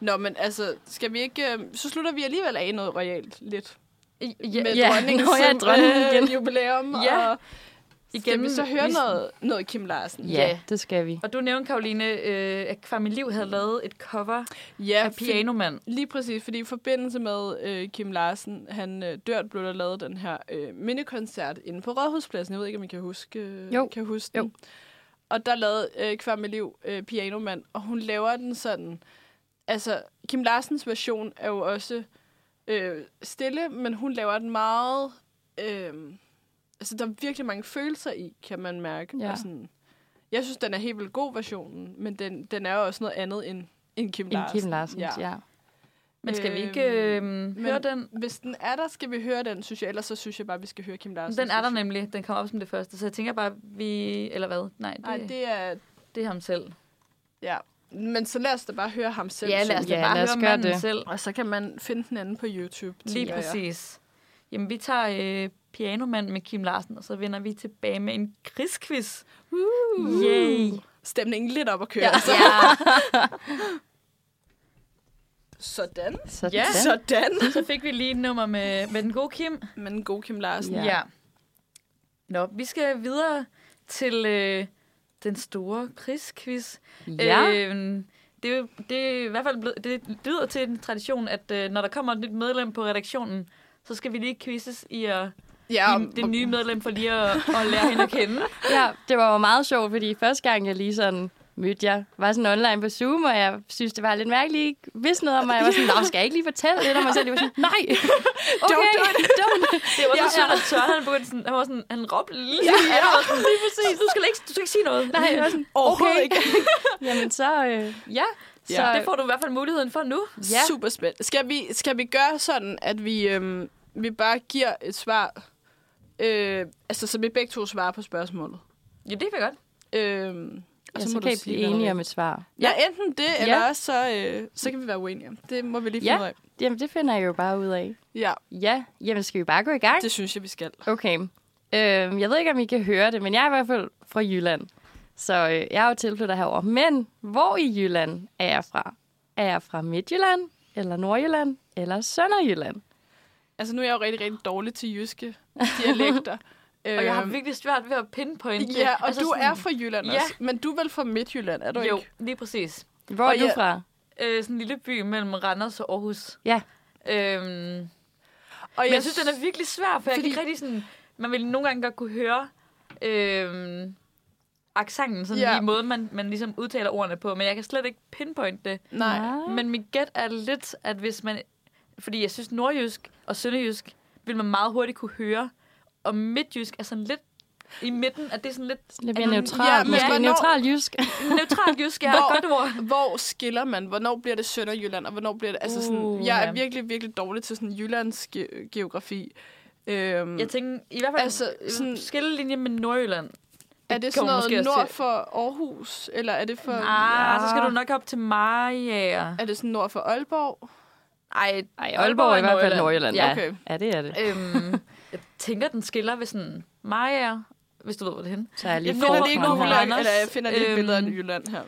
Nå, men altså, skal vi ikke... Øh, så slutter vi alligevel af i noget royalt lidt.
Ja,
med
ja.
dronningens
Nå ja,
øh,
dronningen igen.
jubilæum.
Ja.
Og skal vi så høre noget, noget Kim Larsen?
Ja, det skal vi.
Og du nævnte, Karoline, øh, at Kvarmiliv havde lavet et cover
ja
af Pianomand.
Lige præcis, fordi i forbindelse med øh, Kim Larsen, han øh, dørt, blev der lavet den her øh, mindekoncert inde på Rådhuspladsen. Jeg ved ikke, om I kan huske, øh,
Jo.
Kan huske
Jo.
den. Og der lavede øh, Kvarmeliv øh, Pianomand, og hun laver den sådan... Altså, Kim Larsens version er jo også øh, stille, men hun laver den meget... Øh, altså, der er virkelig mange følelser i, kan man mærke.
Ja.
Og sådan, jeg synes, den er helt vildt god versionen, men den, den er jo også noget andet end, end Kim
En
Larsen.
Kim Larsen, ja.
Men skal vi ikke øh, høre den?
Hvis den er der, skal vi høre den, synes jeg. Ellers så synes jeg bare, vi skal høre Kim Larsen.
Den er der nemlig. Den kommer op som det første. Så jeg tænker bare, vi... Eller hvad? Nej, det,
Nej, det er...
det er ham selv.
Ja. Men så lad os da bare høre ham selv.
Ja, lad os
synge.
da
Ja,
bare
lad os
høre
gøre
manden
det.
selv.
Og så kan man finde den anden på YouTube.
Lige
tænker
ja,
jeg.
præcis. Jamen, vi tager øh, Pianomand med Kim Larsen, og så vender vi tilbage med en krigsquiz. Uh. Yay!
Stemningen lidt op at køre.
Ja.
Ja. Altså.
ja,
Sådan.
Sådan.
Ja.
Sådan.
så fik vi lige et nummer med, med den gode Kim.
Men god Kim Larsen.
Ja.
Ja. ja. Nå, vi skal videre til øh, den store krigsquiz.
ja.
Øhm, det, er jo- det er i hvert fald blevet, det lyder til en tradition, at øh, når der kommer et nyt medlem på redaktionen, så skal vi lige quizzes i, at,
Ja,
ja, i det nye medlem for lige at, at lære hende at kende.
Ja, det var jo meget sjovt, fordi første gang, jeg lige sådan mødte jer, var sådan online på Zoom, og jeg synes, det var lidt mærkeligt, I ikke vidste noget om mig. Jeg var sådan, nå, skal jeg ikke lige fortælle lidt om mig selv? Jeg var sådan, nej, okay, don't, don't.
Det var så sjovt, at Søren han begyndte sådan, han, var sådan, han råbte lige ja, ja. Var sådan, lige præcis. Du skal ikke, du skal ikke sige noget.
Nej, jeg var sådan,
Overhovedet
okay.
ikke.
Jamen så, øh, ja. Så,
Så det får du i hvert fald muligheden for nu.
ja.
Ja. Super spændt. Skal vi, skal vi gøre sådan, at vi, øhm, vi bare giver et svar, øh, altså så vi begge to svarer på spørgsmålet?
Ja, det kan jeg godt.
Øhm,
Ja, så, kan I blive enige om et svar.
Ja, enten det, ja. eller
Ja.
også så, øh, så kan vi være uenige om. Det må vi lige finde
Ja.
ud af.
Jamen, det finder jeg jo bare ud af.
Ja,
Ja, jamen skal vi bare gå i gang?
det synes jeg, vi skal.
Okay. Øhm, jeg ved ikke, om I kan høre det, men jeg er i hvert fald fra Jylland. Så øh, jeg er jo tilflytter herover. Men hvor i Jylland er jeg fra? Er jeg fra Midtjylland, eller Nordjylland, eller Sønderjylland?
Altså, nu er jeg jo rigtig, rigtig dårlig til jyske dialekter. Øhm,
Og jeg har virkelig svært ved at pinpointe. det.
Ja, og altså, du
sådan-
er fra Jylland
Ja.
også. Men du er vel fra Midtjylland, er du
Jo,
ikke?
lige præcis.
Hvor er
Og
du
jeg-
fra?
Øh, sådan en lille by mellem Randers og Aarhus.
Ja.
Øhm,
Og
Men jeg synes, den er virkelig svær, for Fordi... jeg kan
Fordi-
ikke rigtig sådan... Man vil nogle gange godt kunne høre øhm, accenten, sådan
Ja.
ja. i måden, man, man ligesom udtaler ordene på, men jeg kan slet ikke pinpoint det.
Nej.
Ah.
Men mit gæt er lidt, at hvis man... Fordi jeg synes, nordjysk og sønderjysk vil man meget hurtigt kunne høre, og midtjysk er sådan lidt i midten, at det er sådan lidt
Lidt mere
Ja,
neutral,
men
ja, måske.
hvornår-
Neutral jysk.
neutralt jysk, jeg
Hvor-
har et godt ord.
Hvor skiller man? Hvornår bliver det Sønderjylland, og hvornår bliver det... Altså, sådan,
Uh,
jeg er
ja.
virkelig, virkelig dårlig til sådan jyllandsk ge- geografi.
Mm.
Øhm,
Jeg tænker, i hvert fald
Altså,
altså, sådan...
sådan-
skillelinje med Nordjylland.
er det sådan
kommer måske
noget
også
nord
til-
for Aarhus, eller er det for...
Ah, ja. så skal du nok op til Maja.
Er det sådan nord for Aalborg?
Ej,
Ej, Aalborg er i hvert fald Nordjylland.
Ja,
Ja,
okay.
ja det er det.
Øhm, jeg tænker, den skiller ved sådan Maja, hvis du ved, hvor det er henne.
Så er jeg lige
Jeg finder
forfra
lige
fra
nogle
her.
Nordjylland.
Jylland, eller jeg finder lige et
Øhm,
billede af Jylland her.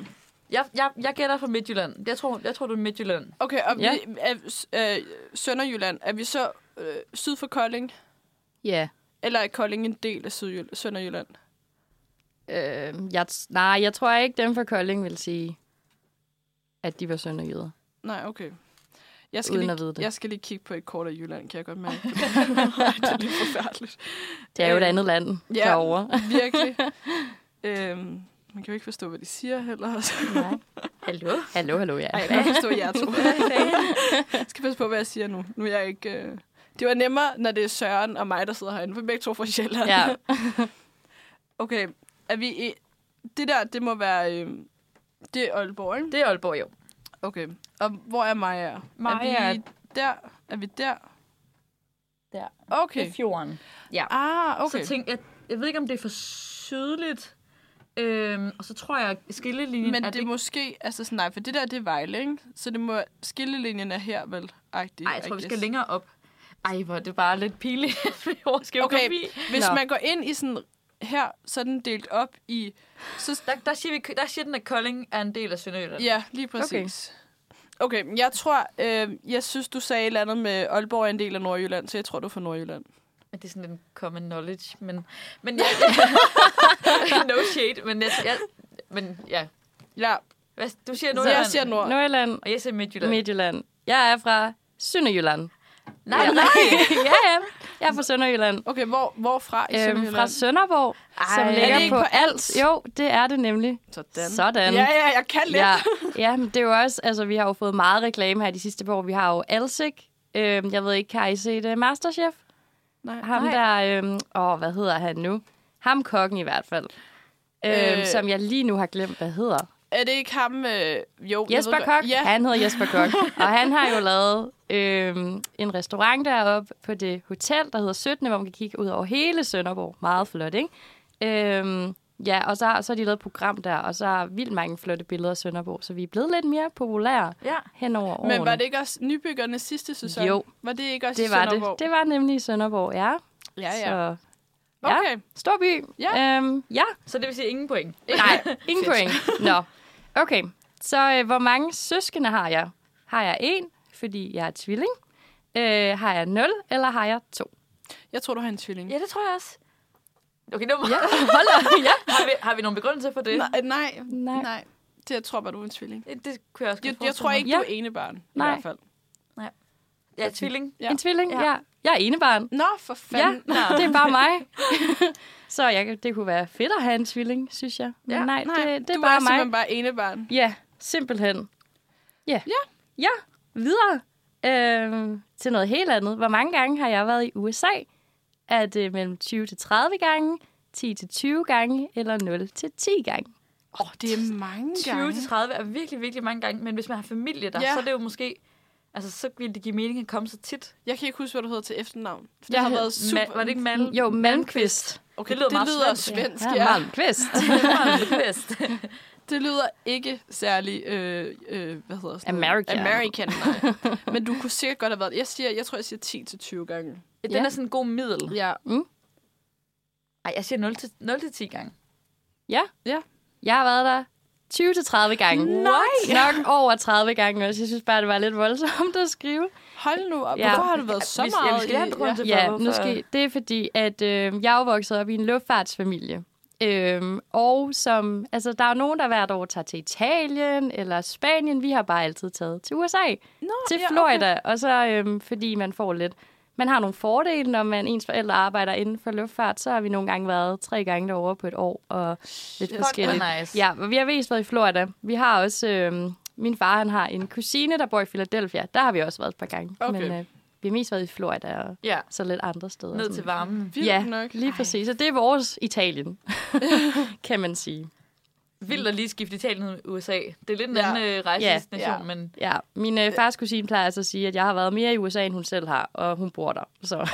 Jeg, jeg, jeg gætter fra Midtjylland. Jeg tror, jeg tror du er Midtjylland.
Okay, og
Ja.
ja. vi, er, øh, Sønderjylland, er vi så øh, syd for Kolding?
Ja.
Eller er Kolding en del af Sydjyl- Sønderjylland?
Øh, jeg, t- nej, jeg tror ikke, dem fra Kolding vil sige, at de var sønderjyder.
Nej, okay. Jeg skal,
Uden
lige,
at vide det.
jeg skal lige kigge på et kort af Jylland, kan jeg godt mærke. det er lidt forfærdeligt.
Det er jo et
Øh,
andet land
ja.
derovre.
Virkelig. øhm, man kan jo ikke forstå, hvad de siger heller. Altså.
Nej.
Hallo?
Hallo, hallo, ja.
Ej, jeg kan godt forstå jer to. jeg skal passe på, hvad jeg siger nu. Nu er jeg ikke... Øh... Det var nemmere, når det er Søren og mig, der sidder herinde, for begge to er fra Sjælland.
Ja.
Okay, er vi... e- Det der, det må være... øhm, det er Aalborg, ikke?
Det er Aalborg, jo.
Okay, og hvor er Maja?
Maja
Er vi
er-
der? Er vi der?
Der. Det
Okay.
er fjorden. Ja.
Ah, okay.
Så tænk, jeg, jeg ved ikke, om det er for sydligt. Øhm, og så tror jeg, at skillelinjen
Men
er
det er måske... Altså sådan, nej, for det der, det er Vejle, ikke? Så det må... Skillelinjen er her, vel? Agtig,
Ej, jeg tror, vi skal
guess.
længere op. Ej, hvor er det bare lidt pinligt, at vi overskriver
Okay,
geografi.
hvis
Nå.
man går ind i sådan... Her, så er den delt op i... Så,
Der, der, siger vi, der siger den, at Kolding er en del af Sønderjylland.
ja, lige præcis. Okay, men jeg tror... Øh, jeg synes, du sagde et eller andet med Aalborg er en del af Nordjylland, så jeg tror, du er fra Nordjylland.
Men Det er sådan en common knowledge, men... men jeg, no shade, men jeg, jeg, men ja.
Ja,
Hvad, du siger
så jeg
Nordjylland,
siger Nord.
Nordjylland,
og jeg siger Midtjylland. Midt.
Midtjylland. Jeg er fra Sønderjylland.
Nej, nej.
ja, ja. Jeg er fra Sønderjylland.
Okay, hvor, hvorfra i
Øhm,
Sønderjylland?
fra Sønderborg, Ej, som
Er det
ligger
ikke
på,
på
Als. Jo, det er det nemlig.
Sådan.
Sådan.
Ja, ja, jeg kan lidt.
ja, ja, men det er jo også, altså vi har jo fået meget reklame her de sidste par år. Vi har jo Alsik. Øhm, jeg ved ikke, har I set uh, Masterchef?
Nej.
Ham
Nej.
der, øhm, åh, hvad hedder han nu? Ham kokken i hvert fald. Øhm,
Øh.
Som jeg lige nu har glemt, hvad hedder.
Er det ikke ham? Øh, jo, jeg
Jesper
ved godt-
Kok.
Ja.
Han hedder Jesper Kok. og han har jo lavet øhm, en restaurant deroppe på det hotel, der hedder 17, hvor man kan kigge ud over hele Sønderborg. Meget flot, ikke? Øhm, ja, og så, har- så har de lavet et program der, og så har vildt mange flotte billeder af Sønderborg, så vi er blevet lidt mere populære
Ja.
hen over årene.
Men var det ikke også nybyggernes sidste sæson?
Jo.
Var det ikke også i
det var
Sønderborg?
det. Det var nemlig i Sønderborg, ja.
Ja, ja.
Så, ja.
Okay.
stor by.
Ja.
Øhm, ja.
Så det vil sige ingen point.
Nej, ingen point. Nå. Okay, så øh, hvor mange søskende har jeg? Har jeg en, fordi jeg er tvilling? Øh, har jeg nul, eller har jeg to?
Jeg tror, du har en tvilling.
Ja, det tror jeg også. Okay, nu ja.
Hold op, ja.
har, vi, har vi nogle begrundelser for det?
Øh, Nej, nej.
Nej.
nej. Det, jeg tror bare, du er en tvilling.
Det, det kunne jeg også
Jeg,
godt
jeg tror
forestille
ikke,
Ja.
du er ene barn.
Nej.
I hvert fald.
mig. Ja, tvilling.
Ja.
En tvilling,
Ja.
ja. Jeg er enebarn.
Nå, for
Ja,
fanden.
det er bare mig. så jeg, kan- det kunne være fedt at have en tvilling, synes jeg. Men
Ja,
ja, nej,
Nej,
det, det er
du
bare
er
mig.
simpelthen bare ene barn.
Ja, simpelthen. Ja.
Ja.
Ja, videre øh, til noget helt andet. Hvor mange gange har jeg været i USA? Er det mellem 20 til 30 gange, 10 til 20 gange eller 0 til 10 gange?
Åh, oh, det er mange
20 til 30 er virkelig, virkelig mange gange, men hvis man har familie der,
Ja.
ja. så er det jo måske... Altså, så ville det give mening at komme så tit.
Jeg kan ikke huske, hvad du hedder til efternavn. For det
Jeg
har
hed
været super...
Ma- var det ikke Mal?
Jo, Malmqvist.
Okay,
Det lyder
det
meget
lyder
svensk.
svensk,
Ja,
ja.
Malmqvist.
Det lyder ikke særlig, øh, øh, hvad hedder sådan noget?
American.
American, nej. Men du kunne sikkert godt have været... Jeg, siger, jeg tror, jeg siger 10-20 gange.
Den
Ja.
er sådan en god middel.
Ja.
Ej, jeg siger 0 til, 0 til 10 gange.
Ja.
Ja.
Jeg har været der 20 til 30 gange. Nej. Nok over 30 gange også. Jeg synes bare, det var lidt voldsomt at skrive.
Hold nu op.
Ja.
Hvorfor har du været så
Vi-
meget
ja, vi skal have en
i...
begrundelse for,
Ja,
hvorfor-
nu skal, det er fordi, at øh, jeg er jo vokset op i en luftfartsfamilie. Øhm, og som, altså, der er jo nogen, der hvert år tager til Italien eller Spanien. Vi har bare altid taget til USA,
Nå,
til
Ah, ja, okay.
Florida. Og så øhm, fordi man får lidt... Man har nogle fordele, når man ens forældre arbejder inden for luftfart. Så har vi nogle gange været tre gange derovre på et år og lidt
Fuck,
forskelligt.
hvor nice.
Ja, og vi har vist været i Florida. Vi har også... Øhm, min far, han har en kusine, der bor i Philadelphia. Der har vi også været et par gange.
Okay.
Men øh, vi har mest været i Florida og
Ja,
så lidt andre steder.
ned
Sådan.
til varmen.
Vildt
ja,
nok.
lige præcis. Og det er vores Italien, kan man sige.
Vildt at lige skifte Italien ud i USA. Det er lidt en
Ja.
anden øh, rejsenation,
Ja.
men
Ja, min øh, fars kusine plejer altså at sige, at jeg har været mere i USA, end hun selv har, og hun bor der. Så,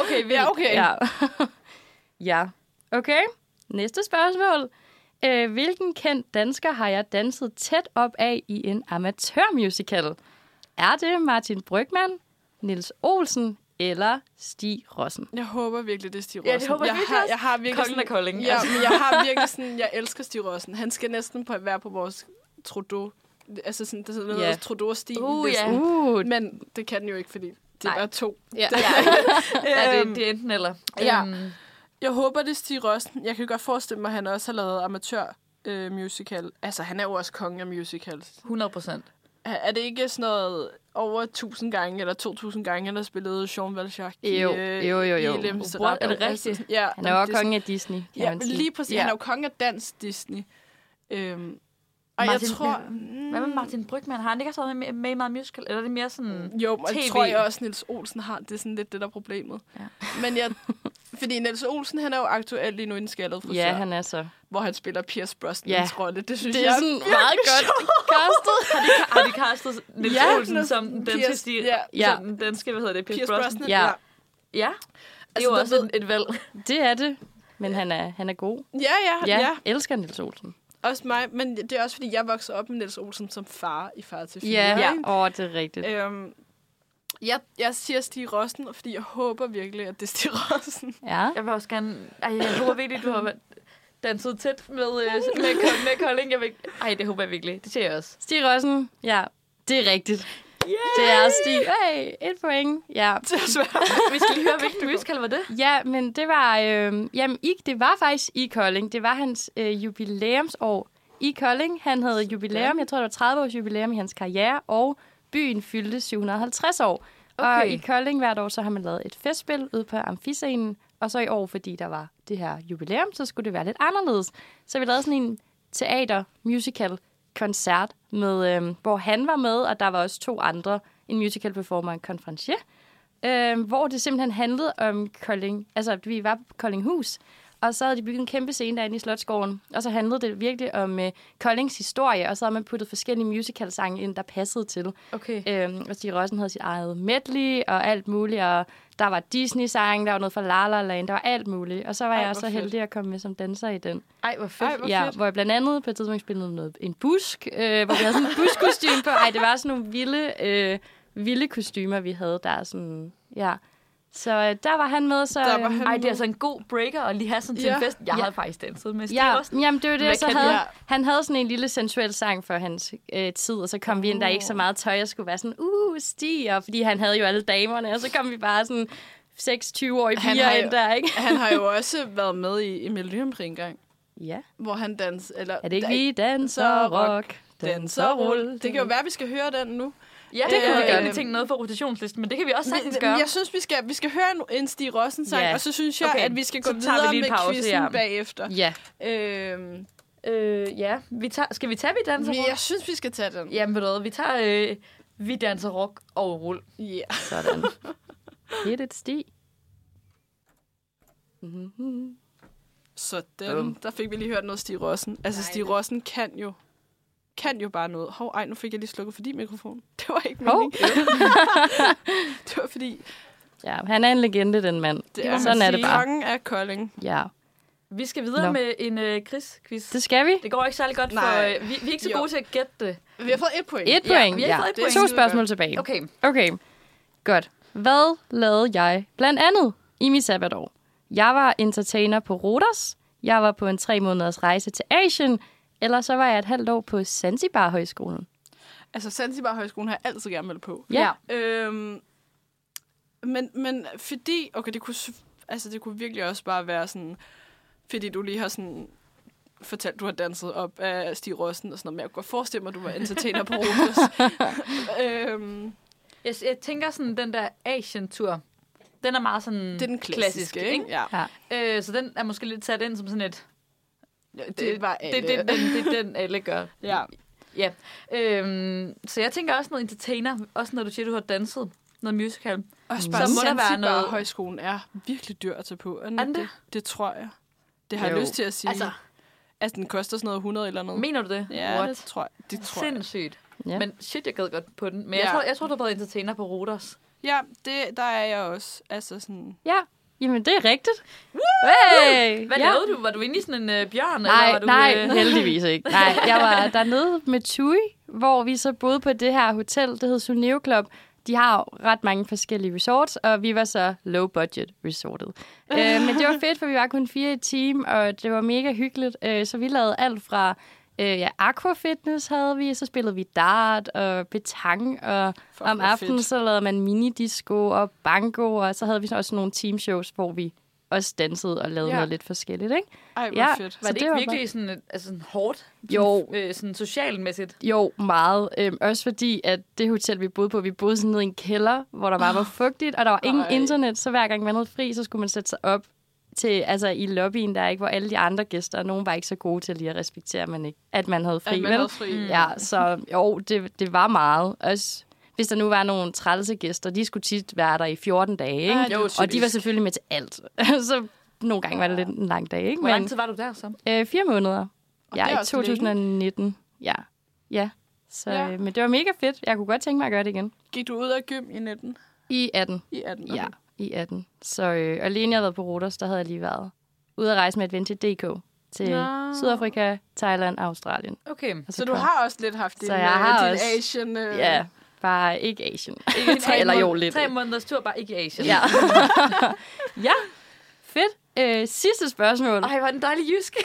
okay, vi
Ja, okay.
ja. ja. Okay, næste spørgsmål. Øh, hvilken kendt dansker har jeg danset tæt op af i en amatørmusical? Er det Martin Brygman, Nils Olsen eller Stig Rossen?
Jeg håber virkelig, det er Stig Rossen.
Ja, det håber jeg
jeg
virkelig
har,
også.
jeg har virkelig
Kongen af Kolding,
Ja,
altså.
men jeg har virkelig sådan... Jeg elsker Stig Rossen. Han skal næsten på, være på vores Trudeau. Altså sådan, det er sådan noget,
Ja.
yeah. Trudeau-stil.
Uh,
listen.
ja.
Uh,
Men det kan den jo ikke, fordi det er
Nej.
bare to.
ja. ja. Øhm, det, det er enten eller.
Ja.
Øhm,
Jeg håber, det er Stig Rossen. Jeg kan godt forestille mig, at han også har lavet amatør øh, musical. Altså, han er jo også konge af musicals.
100 procent.
Er- Er det ikke sådan noget over 1000 gange eller 2000 gange, han har spillet Jean Valjean i,
Jo,
øh,
jo, jo,
i
jo.
Les
What?
Misérables?
Er det
Altså,
rigtigt?
Ja.
han er jo
det sådan-
kongen af Disney, kan
Ja,
man sige.
lige præcis.
Ja.
Han er jo konge af dansk Disney. Øhm, Og
Martin,
jeg tror...
Hvad med Martin Brygman? Har han ikke også været med, med i meget musical? Eller er det mere sådan...
Jo, men
TV?
jeg tror jeg også, Nils Olsen har. Det er sådan lidt det, der er problemet.
Ja.
Men jeg, fordi Niels Olsen, han er jo aktuel lige nu i en skaldet frisør,
Ja,
han...
han er så.
hvor han spiller Pierce Brosnans
Ja.
rolle. Det synes
Det
jeg
er sådan meget godt kastet.
Har de, har de castet Niels
Ja,
ja, Olsen
Niels-
som den danske
Pierce-
stil?
ja.
Ja. Som den danske, hvad hedder det? Pierce,
Pierce
Pierce Brosnan?
Brosnan.
Ja.
Ja.
Det er
Altså,
jo
der
også
ved-
et, et valg.
Det er det. Men han er, han er god.
Ja, ja,
Ja,
ja,
ja.
ja.
elsker Nils Olsen.
Også mig. Men det er også, fordi jeg voksede op med Niels Olsen som far i Far til Fire.
Ja, ja.
ikke?
Åh, oh, det er rigtigt.
Øhm, jeg, jeg siger Stig Rossen, fordi jeg håber virkelig, at det er Stig Rossen.
Ja.
Jeg vil også gerne... Ej, jeg håber virkelig, du har været- danset tæt med, øh, med, Ko- med Kolding. Jeg vil... Ej, det håber jeg virkelig. Det siger jeg også.
Stig Rossen. Ja, det er rigtigt. Yay! Det er Stig. Hey, et point. Ja.
Vi skal lige høre, hvilken musical var det?
Ja, men det var... Øh, jamen, I, det var faktisk i Kolding. Det var hans øh, jubilæumsår i Kolding. Han havde jubilæum. Jeg tror, det var 30 års jubilæum i hans karriere. Og byen fyldte 750 år. Okay. Og
Okay.
i Kolding hvert år, så har man lavet et festspil ude på amfiscenen. Og så i år, fordi der var det her jubilæum, så skulle det være lidt anderledes. Så vi lavede sådan en teater-musical-koncert, med, øh, hvor han var med, og der var også to andre, en musical performer og en konferencier øh, hvor det simpelthen handlede om Kolding. Altså, vi var på Koldinghus, og så havde de bygget en kæmpe scene derinde i Slotsgården, og så handlede det virkelig om øh, Koldings historie, og så havde man puttet forskellige musicalsange ind, der passede til.
Okay.
Øhm, og Stig Rossen havde sit eget medley og alt muligt, og der var Disney-sang, der var noget fra La La Land, der var alt muligt. Og så var Ej,
Ej,
jeg
hvor
så
fedt.
heldig at komme med som danser i den.
Ej, hvor fedt.
Ej, hvor
Ja,
fedt.
hvor jeg blandt andet på et tidspunkt spillede noget, en busk, øh, hvor vi havde sådan en buskostyme på. Ej, det var sådan nogle vilde, øh, vilde kostymer, vi havde der. Sådan, ja. Så øh, der var han med, så...
Der var
øh,
han
Ej, det er altså en god breaker at lige have sådan til
Ja.
en fest. Jeg
Ja.
havde faktisk danset med Stig
Ja,
Rossen.
jamen det var det,
Hvad
og så
kan
havde,
den?
han havde sådan en lille sensuel sang for hans øh, tid, og så kom vi ind, der ikke så meget tøj, og skulle være sådan, uh, stiger, fordi han havde jo alle damerne, og så kom vi bare sådan 26-årige
Han
piger
har jo-
ind der, ikke?
Han har jo også været med i, i Melodi Grand Prix engang,
Ja,
hvor han danser... Eller,
er det ikke
der-
vi danser rock, danser rulle?
Det kan jo være, at vi skal høre den nu.
Ja, det kunne
Øh,
vi gerne tænke noget for rotationslisten, men det kan vi også sagtens
Men
gøre.
Jeg synes, vi skal, vi skal høre en, en Stig Rossen-sang,
Ja.
og så synes jeg,
Okay,
at vi skal gå
så tager vi
videre
lige en
med
pause,
quizzen
ja.
bagefter.
Ja,
Øhm,
Øh, ja, vi tager, skal vi tage Vi Danser
men
Rock?
jeg synes, vi skal tage den. Ja.
Jamen ved du hvad, vi tager øh, Vi Danser Rock og Rul.
Yeah.
Sådan. Hit et sti.
Så
Bum.
den, der fik vi lige hørt noget Stig Rossen. Altså, Stig Rossen kan jo kan jo bare noget. Hov, ej, nu fik jeg lige slukket for din mikrofon. Det var ikke
Hov.
meningen. det var fordi,
Ja, han er en legende, den mand.
det
Det
er,
Sådan er det bare.
Kongen af Kolding.
Ja,
Vi skal videre
Nå.
med en øh, Chris-quiz.
det skal vi.
Det går ikke særlig godt,
Nej.
for øh, vi, vi er ikke så
Jo.
gode til at gætte det.
Vi har fået et point.
Et point,
vi har
ja.
fået et
Det er
point.
To
Skide
spørgsmål
godt.
tilbage.
Okay,
Okay, godt. Hvad lavede jeg blandt andet i mit sabbatår? Jeg var entertainer på Rodos, jeg var på en tre måneders rejse til Asien, eller så var jeg et halvt år på Zanzibar Højskolen.
Altså, Zanzibar Højskolen har jeg altid gerne meldt på.
Ja. ja.
Øhm, men, men fordi... Okay, det kunne, s- altså, det kunne virkelig også bare være sådan... Fordi du lige har sådan fortalt, du har danset op af Stig Rossen og sådan noget, men jeg kunne godt forestille mig, at du var entertainer på Rodos. øhm,
jeg, jeg tænker sådan, den der Asian-tur, den er meget sådan
det er den klassiske, klassiske ikke? Ja.
ikke? Øh, så den er måske lidt sat ind som sådan et... øh,
Det var alle.
det, det, det, det, det, den alle gør.
Ja.
Ja, øhm, så jeg tænker også noget entertainer, også når du siger, du har danset noget musical.
Og så
bare
må der være
noget-
noget... højskolen er virkelig dyr at tage på. Er den
Er den
ikke
det?
det? Det tror jeg. Det har
Jo.
jeg lyst til at sige.
Altså-
Altså, altså den koster sådan noget 100 eller noget.
Mener du det?
ja,
What?
det tror jeg. Det tror jeg.
Sindssygt.
Ja.
Ja. Men shit, jeg gad godt på den. Men ja. jeg,
Ja.
tror, jeg tror, du har været entertainer på Rodos.
Ja, det, der er jeg også. Altså sådan...
ja. Jamen, det er rigtigt. Hey!
Hvad
ja.
ja. lavede du? Var du inde i sådan en øh, bjørn?
Nej,
eller var du,
nej,
øh,
heldigvis ikke. Nej, jeg var dernede med Tui, hvor vi så boede på det her hotel, det hed Suneo Club. De har jo ret mange forskellige resorts, og vi var så low budget resortet. øh, men det var fedt, for vi var kun fire i et team, og det var mega hyggeligt. Øh, så vi lavede alt fra øh, ja, aquafitness havde vi, så spillede vi dart og petang, og
Fuck,
om
hvor fedt.
aftenen så lavede man minidisco og bango, og så havde vi så også nogle teamshows, hvor vi også dansede og lavede ja.
Ja.
noget lidt forskelligt, ikke?
Ej, hvor
Ja.
ja. fedt.
Var
Så
det,
det
ikke
var
virkelig sådan, et- altså sådan hårdt? Sådan,
Jo.
Øh, sådan socialmæssigt?
Jo, meget. Øhm, også fordi, at det hotel, vi boede på, vi boede sådan nede i en kælder, hvor der bare var fugtigt, og der var ingen
Ah. Ej.
internet, så hver gang man havde fri, så skulle man sætte sig op til, altså, i lobbyen der, ikke, hvor alle de andre gæster, nogen var ikke så gode til lige at respektere, man ikke, at man havde fri.
At man
vel?
havde fri. Mm.
Ja, så jo, det, det var meget. Også hvis der nu var nogle trælse gæster, de skulle tit være der i 14 dage, ikke?
Ja, Ah, det er jo
og de var
typisk.
selvfølgelig med til alt. så nogle gange var det lidt en lang dag, ikke?
Hvor lang tid var du der så?
øh, fire måneder.
Og det
Ja,
er
i
også
2019. Ja. Ja. Så,
Ja.
ja. Men det var mega fedt. Jeg kunne godt tænke mig at gøre det igen.
Gik du ud af gym i 19?
I 18.
I 18?
Okay. Ja, i 18. Så, øh, og alene jeg havde været på Rodos, der havde jeg lige været ude at rejse med Adventure DK til
Nå.
no. Sydafrika, Thailand og Australien.
Okay.
Og
Så du
kom-
har også lidt haft din,
Så jeg har
øh, din
også-
Asian... Øh,
Ja, bare ikke Asien. Ikke tre, eller jo lidt.
Tre måneders tur, bare ikke i Asien.
Ja. ja, fedt. Øh, sidste spørgsmål.
Ej, hvor er den dejlig jysk.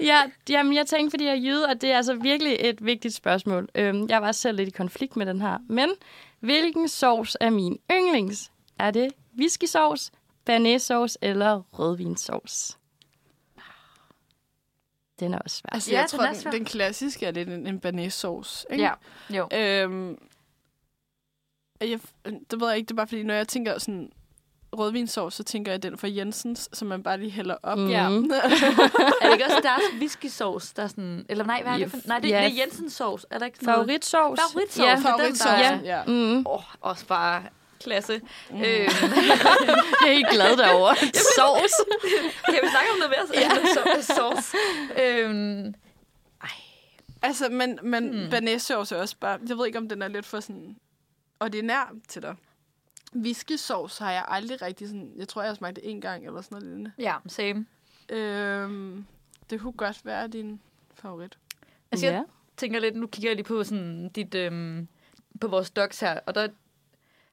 Ja, jamen, jeg tænkte, fordi jeg er jyde, og det er altså virkelig et vigtigt spørgsmål. Øhm, jeg var selv lidt i konflikt med den her. Men hvilken sovs er min yndlings? Er det whiskysovs, banæsovs eller rødvinsovs? Den er også svær.
Altså,
Ja,
ja, jeg
den
tror,
er svær.
den, den klassiske er lidt en, en banæssauce, ikke?
ja, jo.
Øhm, jeg, det ved jeg ikke, det er bare fordi, når jeg tænker sådan rødvinsauce, så tænker jeg den fra Jensens, som man bare lige hælder op.
Mm.
Mm.
Ja. er det ikke også deres whiskysauce, der er sådan... Eller nej, hvad er det for... Nej, det,
Ja.
det er Jensens sovs. Er der ikke sådan noget?
Favoritsovs?
Favoritsovs.
Ja.
den, der-
Favoritsaucen, ja. ja.
Åh,
Mm,
oh, også bare klasse. Mm. Øh,
jeg er helt glad derovre. Sovs.
kan vi snakke om noget mere? Ja. Sovs. Øhm,
Altså, men, men mm. banæssauce er også bare... Jeg ved ikke, om den er lidt for sådan ordinær til dig. Whiskysauce har jeg aldrig rigtig sådan... Jeg tror, jeg har smagt det en gang eller sådan noget lignende.
ja, same.
Øhm, det kunne godt være din favorit.
Altså, jeg tænker lidt, nu kigger jeg lige på sådan dit, øhm, på vores docs her, og der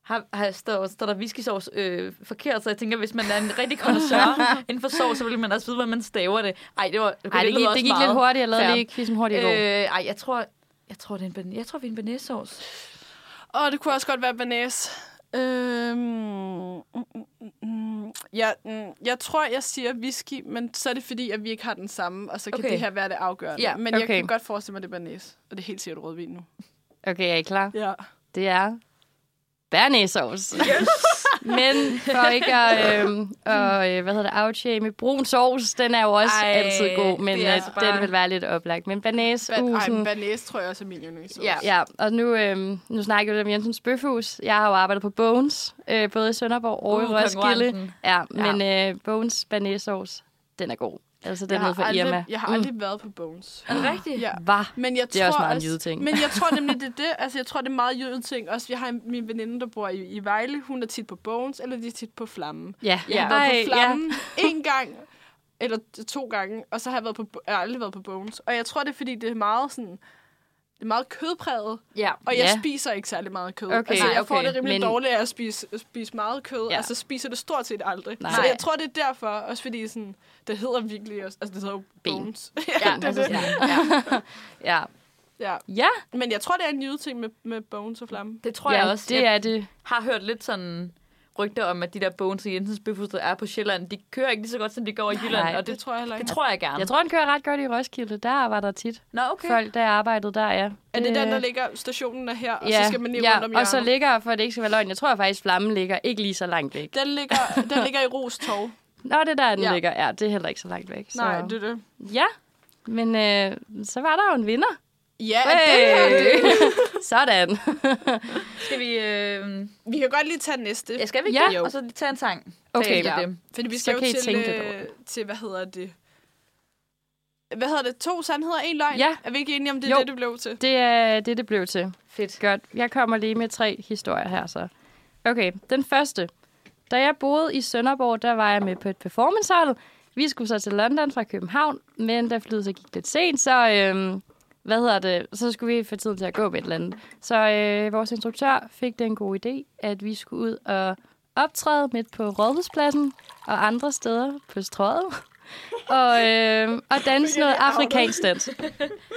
har, har står, står der whiskysovs øh, forkert, så jeg tænker, hvis man er en rigtig connoisseur inden for sovs, så vil man også vide, hvordan man staver det. Ej, det var okay,
Ej, det, gik,
lyder også
det gik
meget
lidt hurtigt. Jeg lavede
fair.
lige quizzen hurtigt i går.
Øh, ej, jeg tror, jeg tror, det er en, ben- jeg tror, vi er en benæssovs.
Og det kunne også godt være banæs. Øhm, mm, mm, mm. jeg, mm, jeg tror, jeg siger whisky, men så er det fordi, at vi ikke har den samme, og så kan
Okay.
okay. det her være det afgørende.
Ja,
men jeg
okay.
kan godt forestille mig, at det er banæs. Og det er helt sikkert rødvin nu.
Okay, er I klar?
Ja.
Det er bernæsovs. Yes! Men for ikke at, øh, og, øh, hvad hedder det, outshame brun sovs, den er jo også Ej,
Ej,
altid god, men
det
øh,
er altså
den
bare-
vil være lidt oplagt. Men banæs,
Ban- Ej, men
usen,
banæs tror jeg også er min yndlingssauce.
Ja.
Ja, og nu, øh, nu snakker vi om Jensens Bøfhus. Jeg har jo arbejdet på Bones, øh, både i Sønderborg og i
Uh,
Roskilde.
konkurrenten.
Ja, men øh, Bones banæsovs, den er god. Altså, den
Jeg
er nede
har,
fra Irma.
aldrig, jeg har aldrig været på Bones.
Er det
Ah.
rigtigt?
Ja.
Hvad?
Men jeg
Det er
tror
også meget en jydeting.
Men jeg tror nemlig, det er det. Altså, jeg tror, det er meget jydeting. Også, jeg har en- min veninde, der bor i, i Vejle. Hun er tit på Bones, eller de er tit på Flammen.
Ja,
Jeg har
Ej,
været på Flammen en gang, eller to gange, og så har jeg, været på, jeg har aldrig været på Bones. Og jeg tror, det er, fordi det er meget sådan... Det er meget kødpræget,
Ja.
og jeg
Ja.
spiser ikke særlig meget kød.
Okay,
altså, jeg får
okay,
det rimelig
men-
men... dårligt af at spise, spise meget kød,
Ja.
ja. og så spiser det stort set aldrig.
Nej.
Så jeg tror, det er derfor, også fordi sådan, det hedder virkelig også, altså det hedder jo
Ben.
Bones.
Ja, altså,
det.
ja, ja. ja.
ja.
ja.
Men jeg tror, det er en jydeting med, med Bones og Flamme.
Det tror
ja,
jeg også.
det
jeg
er det.
har hørt lidt sådan rygter om, at de der Bones og Jensens Bøfhus, der er på Sjælland, de kører ikke lige så godt, som de går i Jylland,
Nej,
og det,
Det tror jeg heller
det
ikke.
tror jeg gerne.
Jeg tror, den kører ret godt i Roskilde. Der var der tit
Nå, okay.
okay. folk, der arbejdede der, ja. Øh,
Er det den, der ligger stationen er her, og så skal man lige
ja,
rundt om
og så
hjørnet?
ligger, for at det ikke skal være løgn, jeg tror faktisk, flammen ligger ikke lige så langt væk.
Den ligger, den ligger i Rostov.
Nå, det er der, den ja.
Ja.
ligger. Ja, det er heller ikke så langt væk. Så.
Nej, det er det.
Ja, men øh, så var der jo en vinder.
Ja, hey. det, her, det.
Sådan.
Skal vi... Øh...
Vi kan godt lige tage næste.
Ja, skal vi ikke
Ja.
det? Og så lige tage en sang.
Okay.
bagefter
Ja.
det.
Fordi vi
Så
skal jo
kan I
til,
tænke lidt
øh, til, hvad hedder det? Hvad hedder det? To sandheder, en løgn?
Ja.
Er vi ikke enige om, det er
Jo.
det, det blev til?
Det er det, det blev til.
Fedt.
Godt. Jeg kommer lige med tre historier her så. Okay, den første. Da jeg boede i Sønderborg, der var jeg med på et performancehold. Vi skulle så til London fra København, men da flyet så gik lidt sent, så, øh, hvad hedder det, så skulle vi få tid til at gå med et eller andet. Så øh, vores instruktør fik den gode idé, at vi skulle ud og optræde midt på Rådhuspladsen og andre steder på strøget. og, øh, og danse noget afrikansk dans.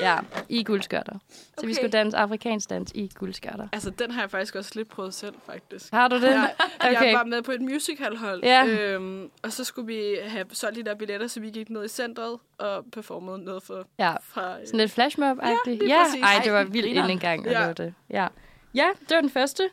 Ja, i guldskørter. Så okay. vi
Okay.
skulle danse afrikansk dans i guldskørter.
Altså, den har jeg faktisk også lidt prøvet selv, faktisk.
Har du det?
Jeg,
Okay.
jeg var med på et musicalhold,
Ja.
øhm, og så skulle vi have solgt de der billetter, så vi gik ned i centret og performede noget for,
Ja,
fra... øh,
sådan lidt flashmob-agtigt.
Ja, lige
Ja,
præcis.
ej, det var
Ej,
vildt
grineren.
inden engang at
Ja.
ja. det. Ja. ja, det var den første.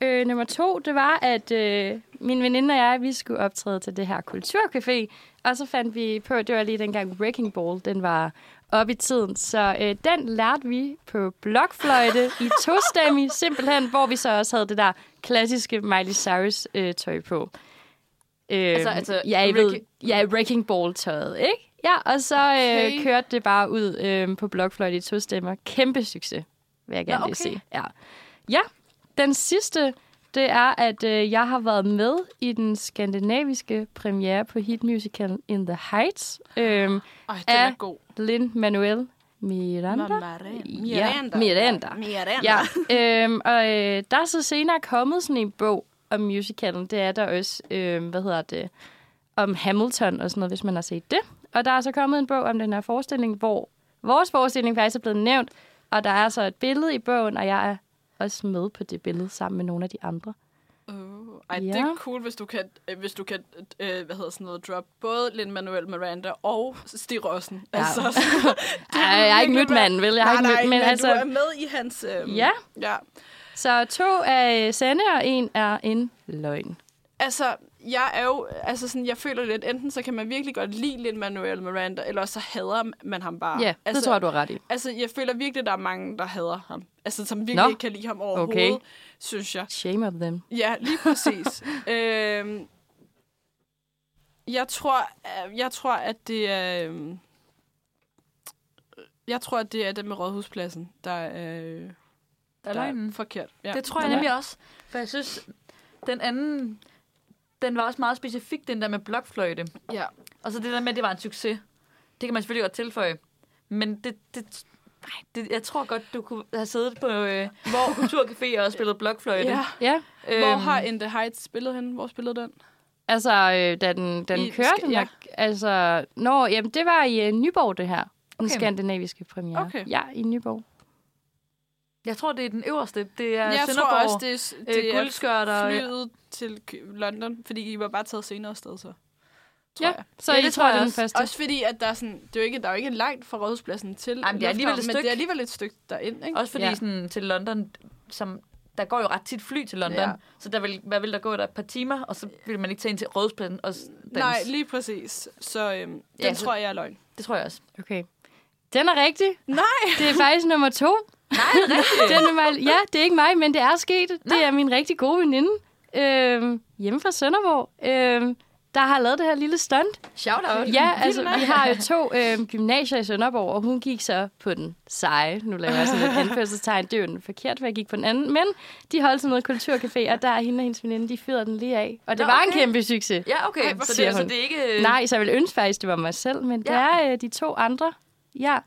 Øh, nummer to, det var, at øh, min veninde og jeg, vi skulle optræde til det her kulturcafé. Og så fandt vi på, det var lige dengang Wrecking Ball, den var op i tiden. Så øh, den lærte vi på blokfløjte i tostemmig, simpelthen, hvor vi så også havde det der klassiske Miley Cyrus-tøj øh, tøj på. Øh, altså, altså, ja, I ved, ja, Wrecking Ball-tøjet, ikke? Ja, og så øh,
Okay.
okay. kørte det bare ud øh, på blokfløjte i tostemmer. Kæmpe succes, vil jeg gerne
Nå,
lige
okay.
se. Ja. ja, den sidste, det er, at øh, jeg har været med i den skandinaviske premiere på hitmusicalen In The Heights. Øh,
Ej, den er
Af-
god.
Lin-Manuel Miranda. Ja,
Miranda.
Miranda.
Miranda.
Ja, øhm, og øh, der er så senere kommet sådan en bog om musicalen. Det er der også, øhm, hvad hedder det, om Hamilton og sådan noget, hvis man har set det. Og der er så kommet en bog om den her forestilling, hvor vores forestilling faktisk er blevet nævnt. Og der er så et billede i bogen, og jeg er også med på det billede sammen med nogle af de andre.
Uh, ej,
Ja.
det er cool, hvis du kan, øh, hvis du kan øh, hvad hedder sådan noget, drop både Lin-Manuel Miranda og Stig Rossen.
Ja.
Altså,
Ej, jeg har ikke mødt manden, vel? Jeg har ikke
nej, nej,
mødt,
men,
men
altså... du er
altså...
med i hans... Øh,
Ja,
ja.
så to er øh, sande, og en er en løgn.
Altså, jeg er jo, altså sådan, jeg føler lidt, enten så kan man virkelig godt lide Lin-Manuel Miranda, eller også så hader man ham bare.
Ja,
altså,
det tror jeg, du har ret i.
Altså, jeg føler virkelig, der er mange, der hader ham. Altså, som virkelig
Nå.
ikke kan lide ham overhovedet, okay. synes jeg.
Shame of them.
Ja, lige præcis. øhm, jeg tror, øh, jeg tror, at det er... øhm, Jeg tror, at det er den med Rådhuspladsen, der er, øh,
Der er
der
løgnen.
er forkert. Ja.
Det tror jeg
Ja.
nemlig også. For jeg synes, den anden, den var også meget specifik, den der med blokfløjte.
Ja.
Og så det der med, at det var en succes. Det kan man selvfølgelig godt tilføje. Men det, det, nej, det, jeg tror godt, du kunne have siddet på øh, hvor kulturcafé og spillet blokfløjte.
ja.
Ja,
Øhm,
Hvor har In The Heights spillet henne? Hvor spillede den?
Altså, øh, da den, da den
I-
kørte,
skal-
den
ja.
var, altså, nå, jamen, det var i øh, Nyborg, det her. Den
Okay.
skandinaviske premiere.
Okay.
Ja, i Nyborg.
Jeg tror, det er den øverste. Det er
jeg
Sønderborg.
tror også, det, er s-
øh,
det er
guldskørter.
flyet til Kø- London, fordi I var bare taget senere afsted, så. Tror
Ja.
jeg.
Så
Ja,
ja,
det
jeg
tror
tror, det
jeg
er den
også.
første.
Også fordi, at der er, sådan, det er jo ikke, der er jo ikke langt fra Rådhuspladsen til
Ej, men det er alligevel et
lufthavnen, men
stykke.
det er alligevel et stykke derind, ikke?
Også fordi ja.
Ja.
sådan, til London, som, der går jo ret tit fly til London. Ja.
Ja.
Så der vil, hvad vil der gå der? Et par timer, og så vil man ikke tage ind til Rådhuspladsen og s- danse.
Nej, lige præcis. Så øhm, den
Ja, så-
tror jeg er løgn.
Det tror jeg også.
Okay. Den er rigtig.
Nej!
Det er faktisk nummer to.
Nej, det er rigtigt.
Den er mig, ja, det er ikke mig, men det er sket. Det er min rigtig gode veninde øhm, hjemme fra Sønderborg, øhm, der har lavet det her lille stunt.
Shout out.
Ja, altså, vi har jo to øhm, gymnasier i Sønderborg, og hun gik så på den seje. Nu laver jeg sådan et anførselstegn. Det er jo den forkerte, for jeg gik på den anden. Men de holdt sådan noget kulturcafé, og der er hende og hendes veninde, de fyrede den lige af. Og det
Nå,
Nå, var
okay.
en kæmpe succes. Ja.
Ja, okay.
Ej, hvor
så,
siger
det, så
hun.
det er ikke...
Nej, så jeg ville ønske faktisk, det var mig selv, men ja. det
Ja.
er øh, de to andre. Ja.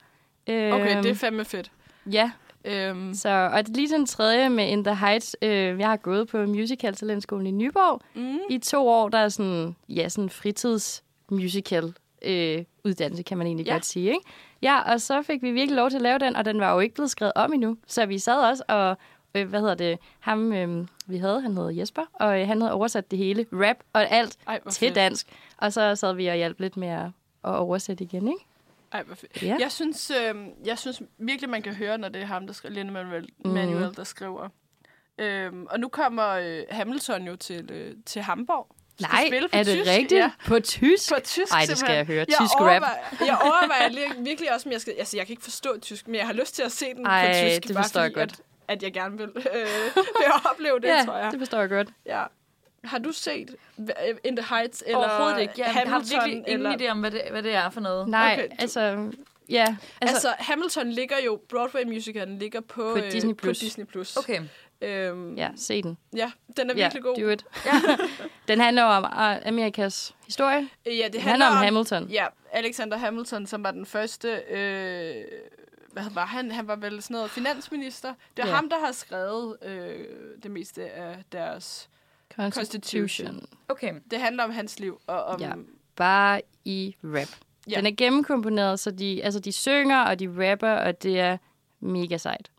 Øhm,
Okay, det er fandme fedt.
Ja,
Øhm,
Mm. så, og det er lige den tredje med In The Heights. Øh, jeg har gået på musical talentskolen i Nyborg
mm,
i to år. Der er sådan, ja, sådan fritidsmusical øh, uddannelse, kan man egentlig
Ja.
ja. godt sige. Ikke? Ja, og så fik vi virkelig lov til at lave den, og den var jo ikke blevet skrevet om endnu. Så vi sad også og, øh, hvad hedder det, ham øh, vi havde, han hed Jesper, og øh, han havde oversat det hele, rap og alt,
ej, hvor
til
fedt.
dansk. Og så sad vi og hjalp lidt med at, at oversætte igen, ikke?
Ej, hvor fedt.
Ja.
Jeg, synes, øhm, jeg synes virkelig, man kan høre, når det er ham, der skriver, Lin Manuel, mm. Manuel der skriver. Øhm, og nu kommer øh, Hamilton jo til, øh, til Hamburg. Skal spille på
er det
tysk?
rigtigt?
Ja.
På tysk?
På tysk,
Ej, det skal jeg
simpelthen.
høre. Tysk rap.
overvejer- Jeg overvejer li- virkelig også, om jeg skal... Altså, jeg kan ikke forstå tysk, men jeg har lyst til at se den
Ej,
på tysk.
det
bare
forstår jeg
fordi,
godt.
At, at jeg gerne vil, øh, vil opleve det,
ja,
tror jeg.
det forstår jeg godt.
Ja. Har du set hva- In the Heights eller
Overhovedet ikke. Jeg
Hamilton?
har virkelig ingen
eller...
idé om, hvad det, hvad det er for noget.
Nej,
Okay,
okay,
du-
altså... Ja, altså,
Altså,
altså
altså, Hamilton ligger jo, Broadway musicalen ligger på, øh,
På Disney+.
på Disney Plus.
Okay.
Øhm, ja.
ja, se den.
ja, den er
Ja,
virkelig god.
do it. den handler om uh, Amerikas historie. Det
Øh, Ja, det
handler, handler om, Hamilton.
Ja, Alexander Hamilton, som var den første... Øh, hvad var han? Han var vel sådan noget finansminister. Det er
Ja.
ham, der har skrevet øh, det meste af deres...
Constitution.
Okay.
Det handler om hans liv og om...
Ja. Bare i rap.
Ja.
Ja. Den er gennemkomponeret, så de, altså, de synger, og de rapper, og det er mega sejt.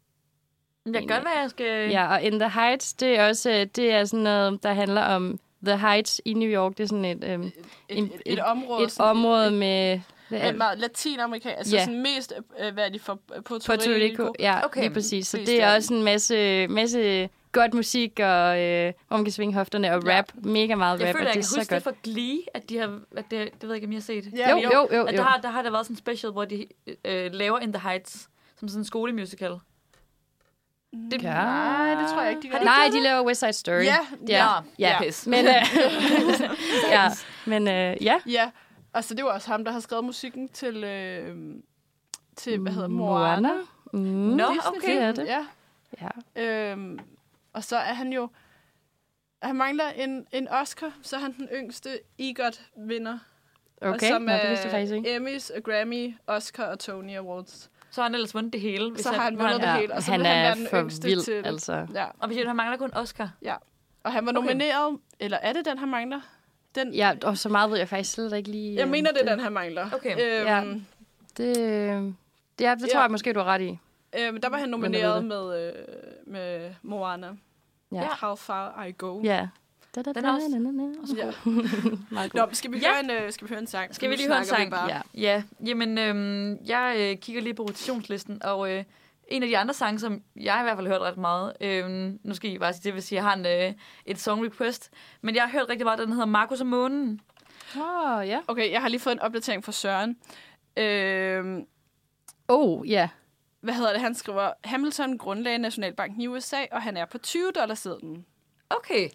Jeg gør, hvad jeg skal...
Ja, og In The Heights, det er også øh, det er sådan noget, der handler om The Heights i New York. Det er sådan et, øhm, et,
Et, et, et,
et-
område.
et
sådan-
område med...
Men meget latinamerikansk, altså
Ja.
sådan mest, øh, hvad er de for, øh, Puerto,
Puerto Rico. Ja,
Okay,
okay. lige præcis. Så
mest
det
af
er
den.
også en masse, masse godt musik, og øh, hvor man kan svinge hofterne og
Ja.
rap. Mega meget
Jeg
rap,
føler, jeg
og det er
kan
så
huske det
godt.
fra Glee, at de har, at det, det ved jeg ikke, om I har set.
Ja,
Jo,
jo.
jo, jo.
At
jo.
der, har, der har der været sådan en special, hvor de øh, laver In The Heights, som sådan en skolemusical. Det,
Ja.
Nej, det tror jeg ikke, de gør.
Nej, de laver West Side Story.
Ja,
ja.
ja, ja, pis.
Men, øh, ja. Men øh, ja,
Ja, altså det var også ham, der har skrevet musikken til, øh, til hvad hedder Moana.
Moana. Mm.
Nå,
Disney-film.
okay.
Det er det.
Ja.
Ja.
Øhm, og så er han jo... Han mangler en, en Oscar, så er han den yngste EGOT-vinder.
Okay,
som øh,
Nå, det vidste jeg faktisk ikke.
Emmys, Grammy, Oscar og Tony Awards.
Så har han ellers vundet det hele. Hvis
Så har han
nu
vundet det hele, og så
han
vil han
er
være den
for
yngste
vild,
til-
altså.
Ja.
Og hvis han mangler kun Oscar.
Og han var
Okay.
nomineret, eller er det den, han mangler? Den,
Ja, og så meget ved jeg faktisk slet ikke lige.
Jeg
øh,
mener, det er den, han mangler.
Okay.
Ja.
Øhm,
Det, øh, ja, det tror
Ja.
jeg måske, du har ret i.
ja. øhm, der var han
Men jeg ved
nomineret med, øh, med Moana.
Ja.
How far I go.
Ja. Da, da,
Den
da,
er også-
da, da, da.
Ja.
Meget god.
Nå, skal vi,
Ja.
høre en, øh, skal vi høre en sang?
Skal vi
Nu
lige høre en
snakker vi
sang?
bare.
Ja.
Ja, jamen, øhm, jeg øh, kigger lige på rotationslisten, og øh, en af de andre sange, som jeg i hvert fald har hørt ret meget, øh, nu skal I bare sige det, hvis jeg har en, øh, et song request, men jeg har hørt rigtig meget, den hedder Markus og Månen.
Åh, ja.
Okay, jeg har lige fået en opdatering fra Søren. Øhm,
Oh, ja.
hvad hedder det? Han skriver, Hamilton grundlagde Nationalbanken i USA, og han er på 20 dollars siden.
Okay.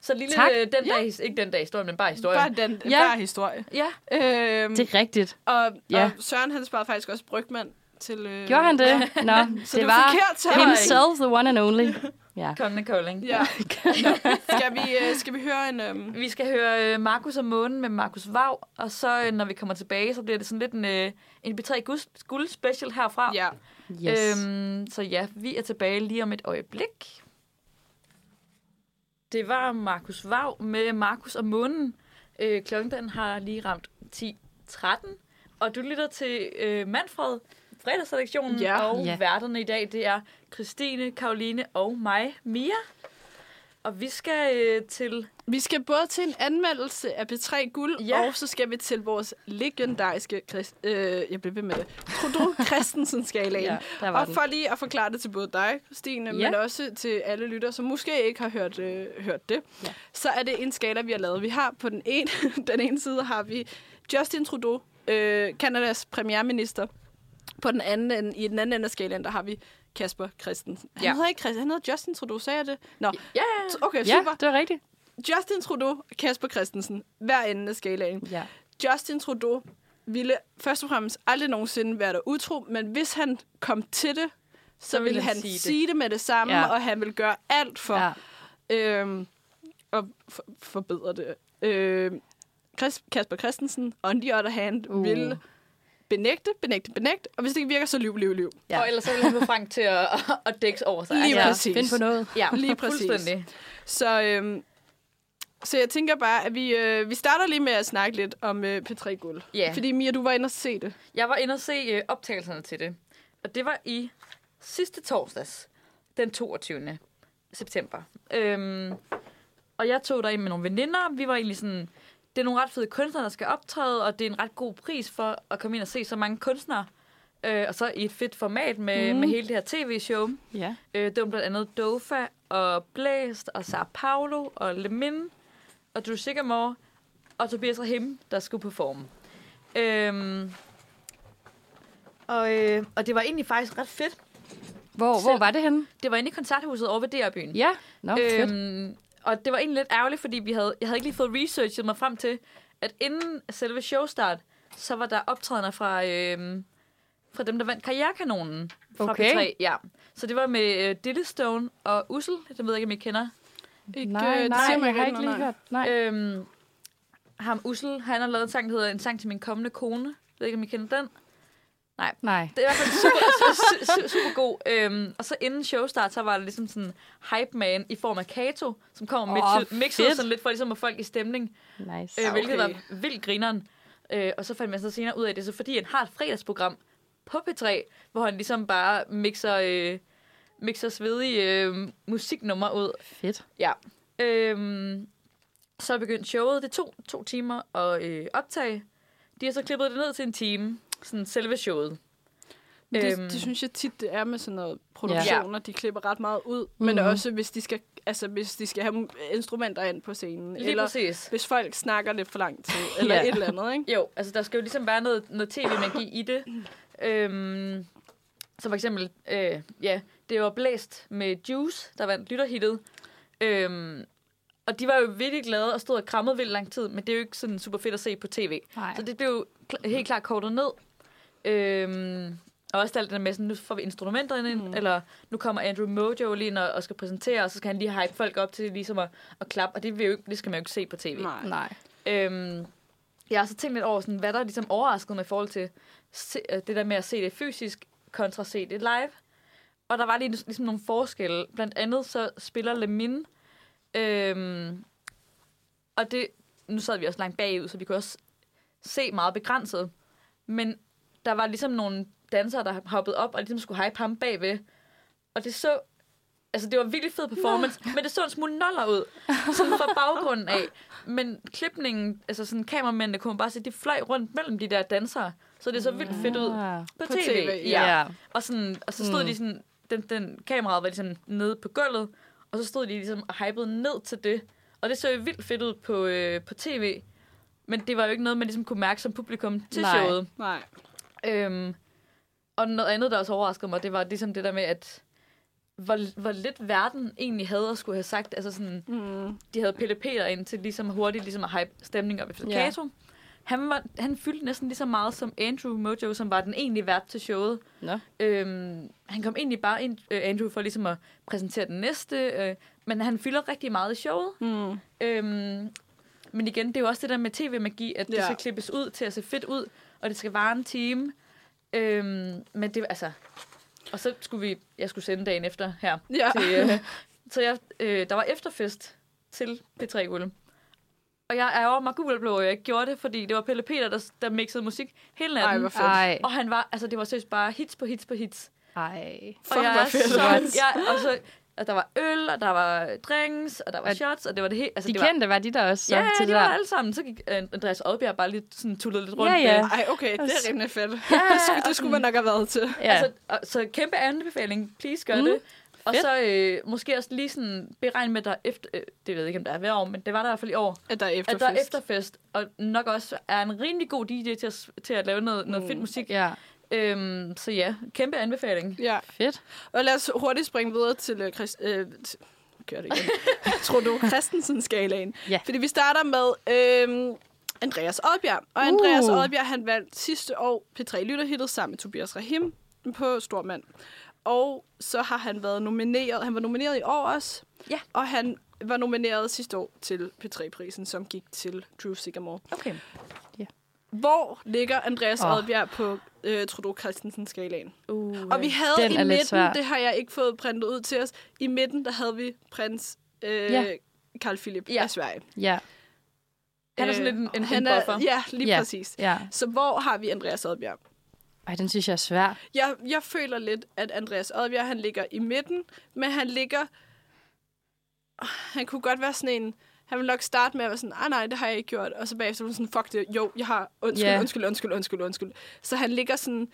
Så lille,
Tak.
øh, den ja. dag, ikke den dag historien, men bare historien.
Bare den
Ja.
ja. bare historie.
Ja,
Øhm,
Det er rigtigt.
og,
ja.
og Søren, han sparede faktisk også Brygman til... Øh,
Gjorde han det? Nå,
Så
det
det var
var
forkert, så
himself, the one and only. Ja.
kommende calling.
Ja. skal, vi, øh, skal vi høre en... Øhm,
Vi skal høre øh, Markus og Månen med Markus Vav, og så øh, når vi kommer tilbage, så bliver det sådan lidt en, øh, en B3 Gus- Guld special herfra.
ja.
Yes.
Øhm, så ja, vi er tilbage lige om et øjeblik. Det var Markus Vav med Markus og Månen. Øh, klokken den har lige ramt 10.13, og du lytter til øh, Manfred, fredagsredaktionen,
Ja.
og
Ja.
værterne i dag, det er Christine, Karoline og mig, Mia. Og vi skal øh, til...
Vi skal både til en anmeldelse af B3 Guld,
Ja.
ja. og så skal vi til vores legendariske... Christ, øh, jeg blev ved med det. Trudeau Christensen-skalaen.
Ja,
Ja.
der var
Og
den.
for lige at forklare det til både dig, Stine, ja. men
Ja.
også til alle lytter, som måske ikke har hørt, øh, hørt det,
Ja.
ja. så er det en skala, vi har lavet. Vi har på den ene, den ene side har vi Justin Trudeau, øh, Kanadas premierminister. På den anden ende, i den anden ende af skalaen, der har vi Kasper Christensen. Han
Ja.
hedder ikke Christensen, han hedder Justin Trudeau, sagde jeg det? Nå,
Ja,
okay,
Ja,
Øhm, super.
det var rigtigt.
Justin Trudeau og Kasper Christensen, hver ende af skalaen.
Ja.
Justin Trudeau ville først og fremmest aldrig nogensinde være der utro, men hvis han kom til det, så, så ville,
ville han
han sige
sige
det,
det.
sige det med det samme,
Ja.
ja. og han ville gøre alt for
Ja.
ja. øhm, at for, forbedre det. Øhm, Chris, Kasper Christensen, on the other hand,
Uh.
uh. ville benægte, benægte, benægte, og hvis det ikke virker, så lyv, lyv, lyv.
Ja.
ja. Og ellers så vil han få Frank til at, at dække over sig.
Lige
ja.
præcis.
Find på noget.
Ja,
lige præcis.
fuldstændig.
Så, øhm, så jeg tænker bare, at vi, øh, vi starter lige med at snakke lidt om øh, P3 Guld.
Ja.
Fordi Mia, du var inde og se det.
Jeg var inde og se øh, optagelserne til det, og det var i sidste torsdags, den 22. september. Øhm, og jeg tog derind med nogle veninder. Vi var egentlig sådan, det er nogle ret fede kunstnere, der skal optræde, og det er en ret god pris for at komme ind og se så mange kunstnere. Øh, og så i et fedt format med, mm. med hele det her tv-show.
Ja.
Øh, det var blandt andet Dofa og Blæst og Sao Paulo og Lemin og Drew Sigamore og Tobias Rahim, der skulle performe. Øhm, og, øh, og det var egentlig faktisk ret fedt.
Hvor, hvor
Selv-
var det henne?
Det var inde i koncerthuset over ved DR-byen.
Ja. Nå, fedt.
Øhm, og det var egentlig lidt ærgerligt, fordi vi havde, jeg havde ikke lige fået researchet mig frem til, at inden selve showstart, så var der optrædener fra, øhm, fra dem, der vandt karrierekanonen fra
Okay.
P3. Ja. Så det var med øh, Dillestone og Ussel, det ved jeg ikke, om I kender.
Ikke,
Nej,
øh, det
nej,
siger mig
jeg har
rigtig
ikke
noget,
lige
nej.
hørt. Øh, Nej.
Øhm, ham Ussel, han har lavet en sang, der hedder En sang til min kommende kone. Jeg ved ikke, om I kender den.
Nej.
Det er i hvert fald super, super, super, super god. Øhm, og så inden showstart, så var der ligesom sådan en hype man i form af Kato, som kommer med
Åh,
oh, mixet
fedt.
sådan lidt for ligesom at få folk i stemning.
Nice.
Øh,
Ja,
hvilket
okay.
var vildt grineren. Øh, og så fandt man så senere ud af at det, er så fordi han har et fredagsprogram på P3, hvor han ligesom bare mixer, øh, mixer svedige øh, musiknumre ud.
Fedt.
Ja. Øhm, så begyndte showet. Det tog to timer at øh, optage. De har så klippet det ned til en time. Sådan selve showet.
Det,
Øhm.
det synes jeg tit, det er med sådan noget produktioner. De klipper ret meget ud. Mm. Men
Mhm.
også, hvis de, skal, altså, hvis de skal have instrumenter ind på scenen.
Lige
eller
præcis.
hvis folk snakker lidt for lang tid. Eller
Ja.
et eller andet, ikke?
Jo, altså der skal jo ligesom være noget, noget tv-magi i det. Øhm, så for eksempel, øh, ja, det var Blæst med Juice, der vandt lytterhittet. Øhm, og de var jo virkelig glade og stod og krammede vildt lang tid, men det er jo ikke sådan super fedt at se på tv.
Nej.
Så det blev jo kl- helt klart kortet ned. Øhm, og også alt det der med, sådan, nu får vi instrumenterne ind, mm. eller nu kommer Andrew Mojo lige ind og, og skal præsentere, og så skal han lige hype folk op til ligesom at, at klappe, og det, vil jo ikke, det skal man jo ikke se på tv.
Nej.
Nej.
Øhm, jeg har så tænkt lidt over, sådan, hvad der ligesom overraskede mig i forhold til se, øh, det der med at se det fysisk kontra se det live. Og der var lige, ligesom nogle forskelle. Blandt andet så spiller Lemin, øhm, og det, nu sad vi også langt bagud, så vi kunne også se meget begrænset. Men der var ligesom nogle dansere, der hoppede op og ligesom skulle hype ham bagved. Og det så Altså, det var en virkelig fed performance, men det så en smule noller ud, sådan fra baggrunden af. Men klipningen, altså sådan kameramændene, kunne man bare se, de fløj rundt mellem de der dansere. Så det så vildt fedt ud Ah, på,
På
tv.
TV,
ja.
Ja.
Og, sådan, og så stod mm. de sådan, den, den kameraet var ligesom nede på gulvet, og så stod de ligesom og hypede ned til det. Og det så jo vildt fedt ud på, øh, på tv, men det var jo ikke noget, man ligesom kunne mærke som publikum til
Nej.
showet.
Nej.
Øhm, og noget andet, der også overraskede mig, det var ligesom det der med, at hvor, hvor lidt verden egentlig havde at skulle have sagt. Altså sådan,
Mm.
de havde Pelle Peter ind til ligesom hurtigt ligesom at hype stemning op efter
Ja.
yeah. Kato. Han, var, han fyldte næsten lige så meget som Andrew Mojo, som var den egentlige vært til showet.
Nå.
Øhm, han kom egentlig bare ind, øh, Andrew, for ligesom at præsentere den næste, øh, men han fylder rigtig meget i showet.
Mm.
Øhm, men igen, det er jo også det der med tv-magi, at det
Ja.
ja. skal klippes ud til at se fedt ud, og det skal vare en time. Øhm, men det altså... Og så skulle vi... Jeg skulle sende dagen efter her.
Ja.
Til, øh, så jeg, øh, der var efterfest til P3 Guld. Og jeg er over mig gul og blå, og jeg ikke gjorde det, fordi det var Pelle Peter, der, der mixede musik hele
Ej,
natten.
hvor fedt.
Ej.
og han var, altså det var seriøst bare hits på hits på hits.
Ej.
Fuck,
og jeg
hvor
er
fedt.
så, jeg, og så, og der var øl, og der var drinks, og der var
Og
shots, og det var det hele. Altså,
De
det var,
kendte var de der også så
ja,
til
de
det
var
der.
alle sammen. Så gik øh, Andreas Oddbjerg bare lidt sådan tullet lidt rundt.
Ja, ja.
med-
Ej, okay, det er rimelig fedt.
ja.
det skulle man nok have været til.
Ja.
Altså, og, så kæmpe anbefaling. Please gør
Mm.
mm. det. Og
Fedt.
så øh, måske også lige sådan beregne med, at der er efter... Øh, det ved jeg ikke, om der er hver år, men det var der i hvert fald i år.
At der er
At der er
efterfest.
efterfest, og nok også er en rimelig god DJ til at, s- til at lave noget, noget
Mm.
fedt musik.
ja.
Øhm, så ja, kæmpe anbefaling.
Ja.
Fedt.
Og lad os hurtigt springe videre til øh, Christ, øh, t- gør det igen. Tror du Christensen-skalaen?
Ja.
Fordi vi starter med øh, Andreas Oddbjerg. Og Andreas
Uh.
Oddbjerg, han vandt sidste år P3 Lytterhittet sammen med Tobias Rahim på Stormand. Og så har han været nomineret. Han var nomineret i år også.
Ja.
Og han var nomineret sidste år til P3-prisen, som gik til Drew Sigamore.
Okay.
Hvor ligger Andreas
Åh.
oh. Oddbjerg på øh, Trudeau Christensen-skalaen?
Uh,
Og vi havde
Den
i
er lidt
midten,
svær.
det har jeg ikke fået printet ud til os, i midten, der havde vi prins øh,
Ja.
Carl Philip
Ja.
af Sverige.
Ja.
Han er sådan
Øh,
lidt en- en- en
han er-
buffer.
Ja, lige
Ja.
ja. præcis.
Ja.
Så hvor har vi Andreas Oddbjerg?
Ej, den synes jeg er svær.
Jeg, jeg føler lidt, at Andreas Oddbjerg, han ligger i midten, men han ligger... Han kunne godt være sådan en... Han vil nok starte med at være sådan, "Ah, nej, nej, det har jeg ikke gjort. Og så bagefter var han sådan, fuck det, jo, jeg har... Undskyld,
Ja.
yeah. undskyld, undskyld, undskyld, undskyld. Så han ligger sådan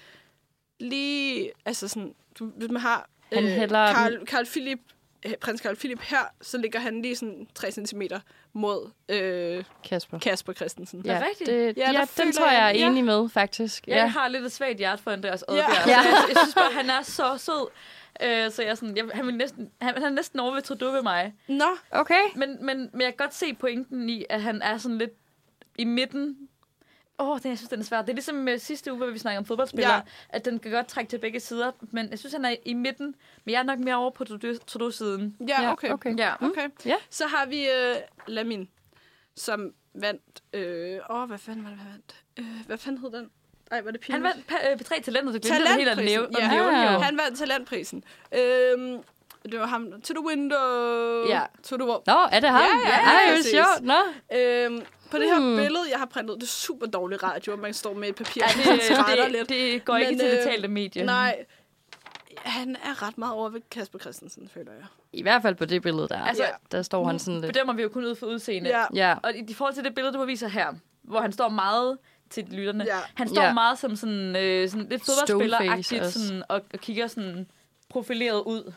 lige... Altså sådan, du, hvis man har...
Han hælder-
Carl, Carl Philip, øh, prins Carl Philip her, så ligger han lige sådan 3 cm mod øh,
Kasper.
Kasper Christensen.
er rigtigt.
det,
Ja,
ja,
der
ja den
føler
tror jeg er
jeg- ja.
enig med, faktisk.
Jeg
Ja.
har lidt et svagt hjerte for Andreas
Ja.
Oddbjerg. Ja.
Ja.
Ja. Jeg, jeg synes bare, han er så sød. Øh, så jeg er sådan, jeg, han, vil næsten, han, han er næsten over ved Trudeau ved mig.
Nå,
Okay.
Men, men, men jeg kan godt se pointen i, at han er sådan lidt i midten. Åh, oh, jeg synes, den er svær. Det er ligesom med sidste uge, hvor vi snakkede om fodboldspillere,
Ja.
ja. at den kan godt trække til begge sider, men jeg synes, han er i midten. Men jeg er nok mere over på Trudeau- Trudeau-siden.
ja, okay.
okay.
Mm, Ja.
Okay.
Ja.
Så har vi øh, Lamin, som vandt... Øh, åh, hvad fanden var det, han vandt? Øh, hvad fanden hed den? Ej, var det pinligt?
Han vandt pa- øh, tre talenter, det glemte jeg helt at nævne. Ja.
Talentprisen.
nævne, jo.
Han vandt talentprisen. Øhm, det var ham. To the window.
Ja.
To the wall.
Nå, er det ham?
Ja, ja, ja,
Ej, hvor
præcis.
sjovt. Nå.
Øhm, på det her
Mm.
Hmm.
billede, jeg har printet, det er super dårlig radio, at man står med et papir,
Ja,
og man
det,
trætter
det,
lidt.
det går ikke
Men,
til
øh,
det talte medie.
Nej, han er ret meget over ved Kasper Christensen, føler jeg.
I hvert fald på det billede der.
Altså,
Altså, der står han sådan lidt.
Bedømmer vi jo kun ud for udseende.
Ja.
Ja.
Og i i forhold til det billede, du viser her, hvor han står meget til lytterne.
Ja.
Han står
Ja.
ja. meget som sådan, øh, sådan lidt fodboldspiller-agtigt
Stoneface
sådan, og, og kigger sådan profileret ud.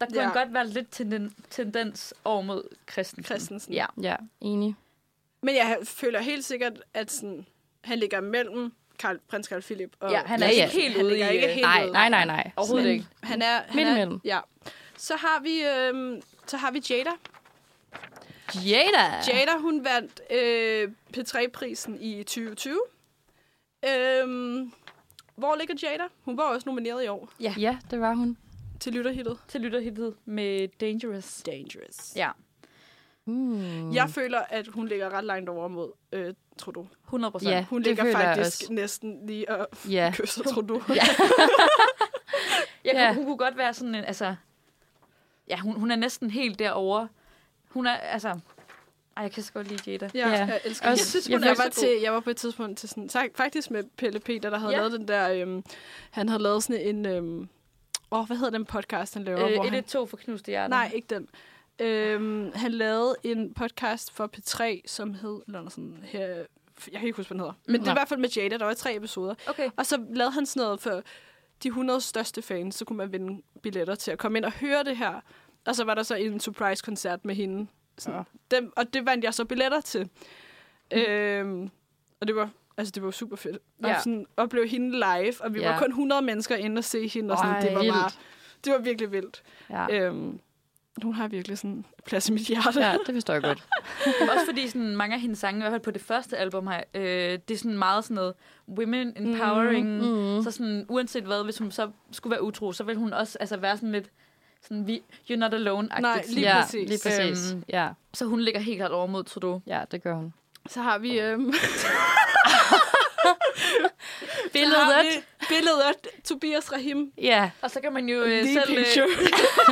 Der kunne
Ja.
ja. han godt være lidt tenden, tendens over mod Christensen.
Christensen.
Ja.
Ja, enig.
Men jeg føler helt sikkert, at sådan, han ligger mellem Karl, prins Karl Philip. Og
ja, han er
Ja,
ja,
ja.
ja. ikke helt
Han
ude i...
ligger ikke
øh,
helt
Nej,
ude.
nej, nej, nej.
Overhovedet
Sådan.
ikke.
Han er... Han
Midt
er-
imellem.
Ja. Så har vi... Øhm, så har vi Jada.
Jada!
Jada, hun vandt øh, P3-prisen i 2020. Øhm, hvor ligger Jada? Hun var også nomineret i år
Ja, det var hun.
til lytterhittet.
Til lytterhittet med Dangerous.
Dangerous.
Ja,
Hmm.
Jeg føler, at hun ligger ret langt over mod øh, Trudeau.
100 procent.
Ja.
Ja.
Hun
Det
ligger
føler jeg
faktisk
også.
næsten lige og
Ja.
kysser Trudeau.
Jeg,
Ja.
ja. Hun kunne godt være sådan en... Altså, ja, hun, hun er næsten helt derovre. Hun er, altså... Ej, jeg kan så godt lide Jada.
Ja,
Ja.
ja. jeg
Også-
elsker også, Jeg synes,
jeg
hun
føler
jeg,
sig
var
god.
til, jeg var på et tidspunkt til sådan, tak, faktisk med Pelle Peter, der havde
Ja.
lavet den der, øhm, han havde lavet sådan en, øhm, åh, hvad hedder den podcast, han laver? hvor
Øh,
han,
1-2 for knuste hjerter.
nej, ikke den. Øhm, han lavede en podcast for P3, som hed, eller noget sådan her, jeg kan ikke huske, hvad den hedder. Men det var
Nej.
i hvert fald med Jada, der var tre episoder.
Okay.
Og så lavede han sådan noget for de 100 største fans, så kunne man vinde billetter til at komme ind og høre det her. Og så var der så en surprise-koncert med hende. Sådan, ja. dem, og det vandt jeg så billetter til. Mm. Øhm, og det var, altså, det var super fedt. Og
Ja.
sådan, opleve hende live, og vi
Ja.
var kun 100 mennesker inde og se hende. Og sådan,
Ej,
det, var
vildt.
bare, det var virkelig vildt.
Ja.
Ja. Øhm, hun har virkelig sådan plads i mit hjerte.
ja,
Ja.
det forstår jeg godt.
Men også fordi sådan, mange af hendes sange, i hvert fald på det første album her, øh, det er sådan meget sådan noget women empowering. Mm,
Mm.
mm. Så sådan, uanset hvad, hvis hun så skulle være utro, så ville hun også altså, være sådan lidt sådan, vi, you're not alone-agtigt.
Nej, lige
ja,
præcis.
lige præcis.
Øhm,
Ja,
Så hun ligger helt klart over mod Trudeau.
ja, det gør hun.
Så har vi... Øhm,
Billedet.
så har vi Billedet af Tobias Rahim.
Ja,
Og så kan man jo øh,
Lige
selv... øh,
picture.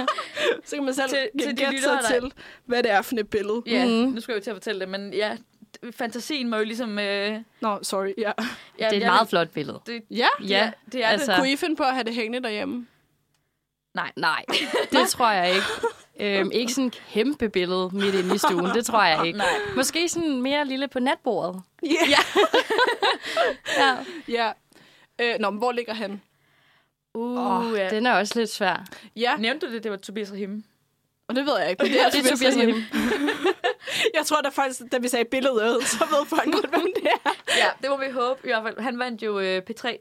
så kan man selv
Til-
til,
til de
gætte sig
lyttere, der-
til, hvad det er for et billede.
Ja,
Mhm.
mm. nu skal jeg jo til at fortælle det, men ja, d- fantasien må jo ligesom... Øh, ja,
Nå, sorry. Ja.
det er et meget flot billede.
Det,
ja.
det, ja, det er altså,
altså,
det.
Kunne I finde på at have det hængende derhjemme?
Nej, det tror jeg ikke. Øhm, ikke sådan et kæmpe billede midt inde i stuen, det tror jeg ikke.
Nej.
Måske sådan mere lille på natbordet.
Yeah.
Ja.
Ja. Øh, nå, men hvor ligger han?
Uh,
Oh,
ja.
Den er også lidt svær.
Ja,
Nævnte du det, det var Tobias Rahim?
og det ved jeg ikke. Men det er,
Det er Tobias
Rahim.
Rahim.
Jeg tror da faktisk, da vi sagde billedet, så ved folk godt, hvem det er.
Ja, det må vi håbe. I hvert fald, han vandt jo øh, P3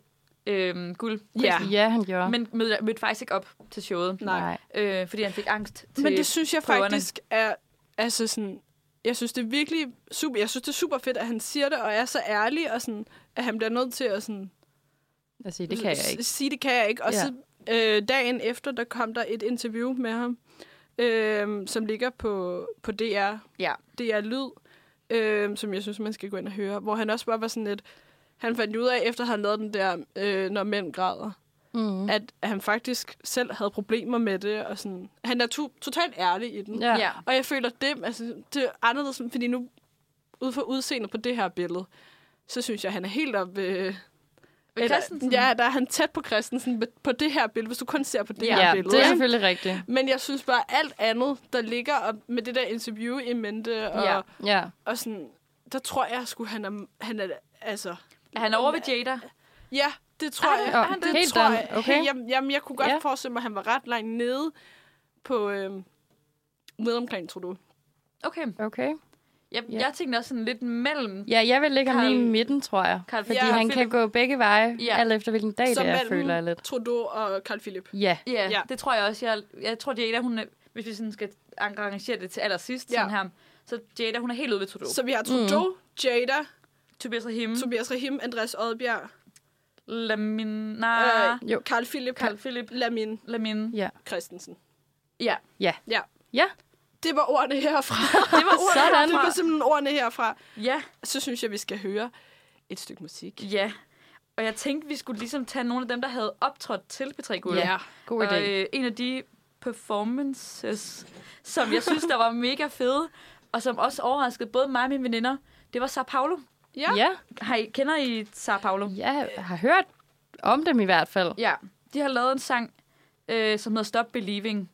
øh, guld,
Ja.
Ja, han gjorde.
men mødte, mødte faktisk ikke op til showet,
Nej.
øh, fordi han fik angst til
Men det synes jeg
prøverne.
faktisk er... Altså sådan, jeg synes, det er virkelig super, jeg synes, det er super fedt, at han siger det, og er så ærlig, og sådan, at han bliver nødt til at sådan,
Altså, det kan jeg
s-
ikke.
Sige, det kan jeg ikke. Og
Ja.
så øh, dagen efter, der kom der et interview med ham, øh, som ligger på, på DR.
Ja.
DR Lyd, øh, som jeg synes, man skal gå ind og høre. Hvor han også bare var sådan lidt... Han fandt ud af, efter han lavede den der, øh, når mænd græder,
Mm.
at han faktisk selv havde problemer med det. Og sådan. Han er to- totalt ærlig i den.
Ja.
ja.
Og jeg føler dem, altså det er anderledes, fordi nu ud fra udseendet på det her billede, så synes jeg, han er helt op ved...
Ved
Eller-
Christensen?
Ja, der er han tæt på Christensen på- på det her billede, hvis du kun ser på det
Ja,
Ja,
her billede.
det er
ikke?
selvfølgelig rigtigt.
Men jeg synes bare, alt andet, der ligger op med det der interview i mente, og,
Ja.
Ja.
og sådan, der tror jeg sgu, han er, han er altså...
Er han over ved Jada?
Ja, det tror
Er han-
jeg.
er han
det
helt
tror
done?
jeg.
Okay.
Hey, jamen, jamen, jeg kunne godt
Ja.
ja. forestille mig, at han var ret langt nede på... Øhm, nede omkring, tror du.
Okay.
Okay.
Jeg,
Ja.
ja. jeg tænkte også sådan lidt mellem.
Ja, jeg vil lægge ham lige i
Carl-
midten, tror jeg.
Carl-
Fordi
Ja,
han kan
Philip.
gå begge veje,
Ja.
alt efter hvilken dag
Så
det er,
mellem-
føler jeg lidt.
Trudeau og Carl Philip.
Ja,
Ja,
Ja.
ja, det tror jeg også. Jeg, jeg tror, Jada, hun er, hvis vi sådan skal arrangere det til allersidst,
Ja.
ja. sådan her, så Jada, hun er helt ude ved Trudeau. Så,
Så vi har Trudeau, mm. Jada,
Tobias
Mm.
Rahim,
Tobias Rahim, Andreas Odbjerg,
Lamina, øh,
Ah. jo.
øh, Carl Philip,
Carl Philip,
Lamin
Lamin.
ja.
Christensen.
Ja,
Ja.
Ja,
Det var ordene herfra.
det var ordet
Sådan.
Det var
herfra.
simpelthen ordene herfra.
Ja,
Så synes jeg, vi skal høre et stykke musik.
ja. Og jeg tænkte, vi skulle ligesom tage nogle af dem, der havde optrådt til P3 Guld.
Ja. god idé.
Og øh, en af de performances, som jeg synes, der var mega fede, og som også overraskede både mig og mine veninder, det var Sao Paulo.
ja.
Ja,
Har I, kender I Sao Paulo?
jeg har hørt om dem i hvert fald.
Ja, de har lavet en sang, øh, som hedder Stop Believing.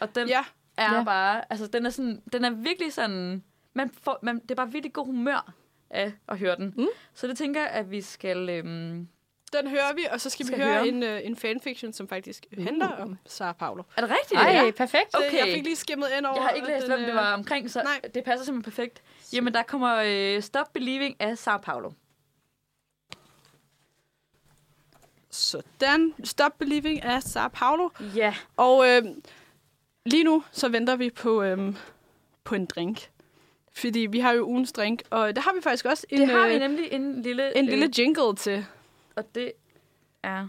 Og den ja.
Ja.
er
Ja.
ja. bare, altså den er sådan, den er virkelig sådan, man får, man, det er bare virkelig god humør. af at høre den.
Mm.
Så det tænker jeg, at vi skal... Øhm,
Den hører vi, og så skal,
Skal
vi høre
høre.
en, øh, en fanfiction, som faktisk
Uh.
handler om Sara Paolo.
er det rigtigt?
Ej, perfekt.
Så
Okay.
Jeg fik lige skimmet ind over...
Jeg har ikke læst,
den,
hvem det
øh,
var omkring, så
nej.
Nej. det passer simpelthen perfekt. Jamen, der kommer øh, Stop Believing af Sao Paulo.
Sådan. Stop Believing af Sara Paolo.
Ja.
Og øh, lige nu, så venter vi på, øh, på en drink. Fordi vi har jo ugens drink, og der har vi faktisk også en,
Det har vi
øh,
nemlig en lille... øh,
en lille jingle til.
Og det er...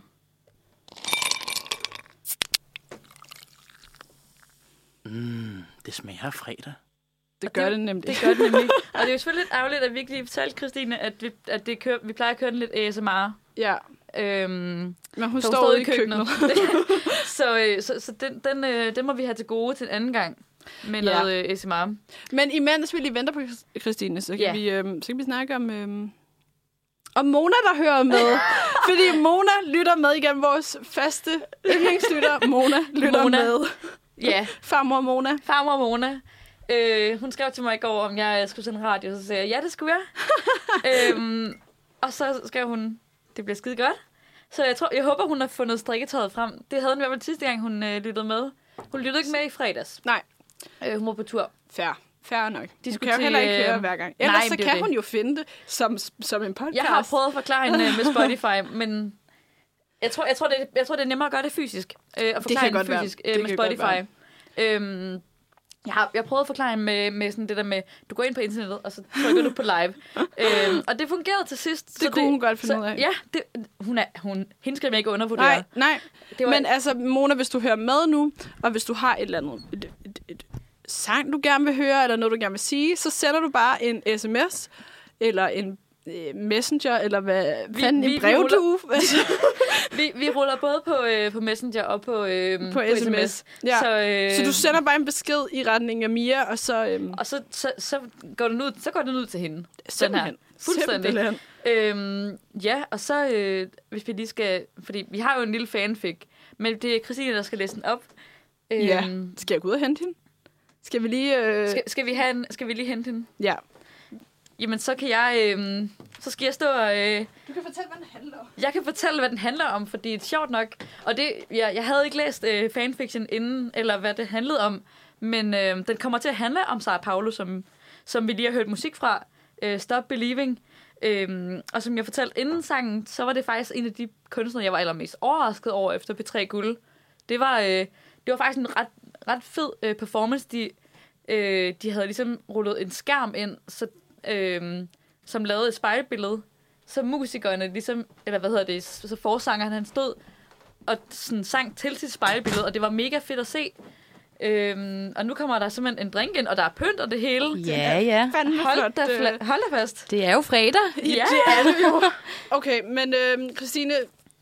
Mm, det smager af fredag.
Det
Og
gør
det-
det nemlig.
Det gør det nemlig. og det er jo selvfølgelig lidt ærgerligt, at vi ikke lige fortalte Christine, at vi, at det kører, vi plejer at køre den lidt ASMR.
Ja,
Øhm,
men hun
så
står, står ude i køkkenet.
så øh, så, så den, den, øh, den må vi have til gode til en anden gang med
Ja.
noget øh, ASMR.
Men imens vi lige venter på Chris- Christine, så kan,
Ja.
vi, øhm, så kan vi snakke om, øhm, om Mona, der hører med. Fordi Mona lytter med igen. Vores faste yndlingslytter, Mona, lytter Mona.
Mona.
med.
Ja,
Farmor Mona.
farmor Mona. Øh, hun skrev til mig i går, om jeg øh, skulle sende radio, så sagde jeg, ja, det skulle jeg. øhm, og så skrev hun, det bliver skide godt. Så jeg, tror, jeg håber, hun har fundet strikketøjet frem. Det havde hun i hvert fald sidste gang, hun øh, lyttede med. Hun lyttede ikke med i fredags.
Nej.
Øh, hun var på tur.
Fair. Fair nok. De
skulle
skulle kan jo
til,
heller ikke
øhm,
høre hver gang. Ellers
nej,
så
det er
kan
det.
hun jo finde det som, som en podcast.
Jeg har prøvet at forklare hende øh, med Spotify, men jeg tror, jeg, tror, det, jeg tror, det er nemmere at gøre det fysisk. Øh, at forklare hende
godt være.
fysisk
Det
øh, med
kan godt være.
Spotify. Øhm, jeg har jeg prøvede at forklare hende med, med sådan det der med, du går ind på internettet, og så trykker du på live. øhm, og det fungerede til sidst.
Det kunne hun godt finde
så,
ud af.
Ja, det, hun er, hun, hende skal man ikke undervurdere.
Nej, nej.
det var,
Men altså, Mona, hvis du hører med nu, og hvis du har et eller andet et, et, et sang, du gerne vil høre, eller noget, du gerne vil sige, så sender du bare en sms, eller en øh, messenger, eller hvad vi,
Vi-
fanden,
vi
en brevdue altså,
vi, vi ruller både på, øh, på Messenger og på, øh,
på, sms. Ja. Så,
Så, øh,
øh, så du sender bare en besked i retning af Mia, og så øhm,
og så, så, så, går den ud, så går den ud til hende.
simpelthen.
Fuldstændig.
Simpelthen.
Øhm, ja, og så, øh, hvis vi lige skal... Fordi vi har jo en lille fanfic, men det er Christine, der skal læse den op. Øhm,
Ja. Skal jeg gå ud og hente hende? Skal vi lige... Øh,
Skal, skal, vi have en, skal vi lige hente hende?
Ja.
Jamen, så kan jeg... Øh, så skal jeg stå og... Øh,
Du kan fortælle, hvad den handler om.
jeg kan fortælle, hvad den handler om, fordi det er sjovt nok. Og det, jeg, jeg havde ikke læst øh, fanfiction inden, eller hvad det handlede om, men øh, den kommer til at handle om Sara Paulo, som, som vi lige har hørt musik fra, øh, Stop Believing. Øhm, og som jeg fortalte inden sangen, så var det faktisk en af de kunstnere, jeg var allermest overrasket over efter P3 Guld. Det var, øh, det var faktisk en ret, ret fed øh, performance. De, øh, de havde ligesom rullet en skærm ind, så, øh, som lavede et spejlbillede så musikerne ligesom, eller hvad hedder det, så forsangeren han stod og sådan sang til sit spejlbillede, og det var mega fedt at se. Øhm, og nu kommer der simpelthen en drink ind, og der er pynt og det hele.
Ja, ja.
Fanden, hvor
Hold
flot.
da,
øh,
fla- hold da fast.
Det er jo fredag.
Ja,
Okay, men øh, Christine,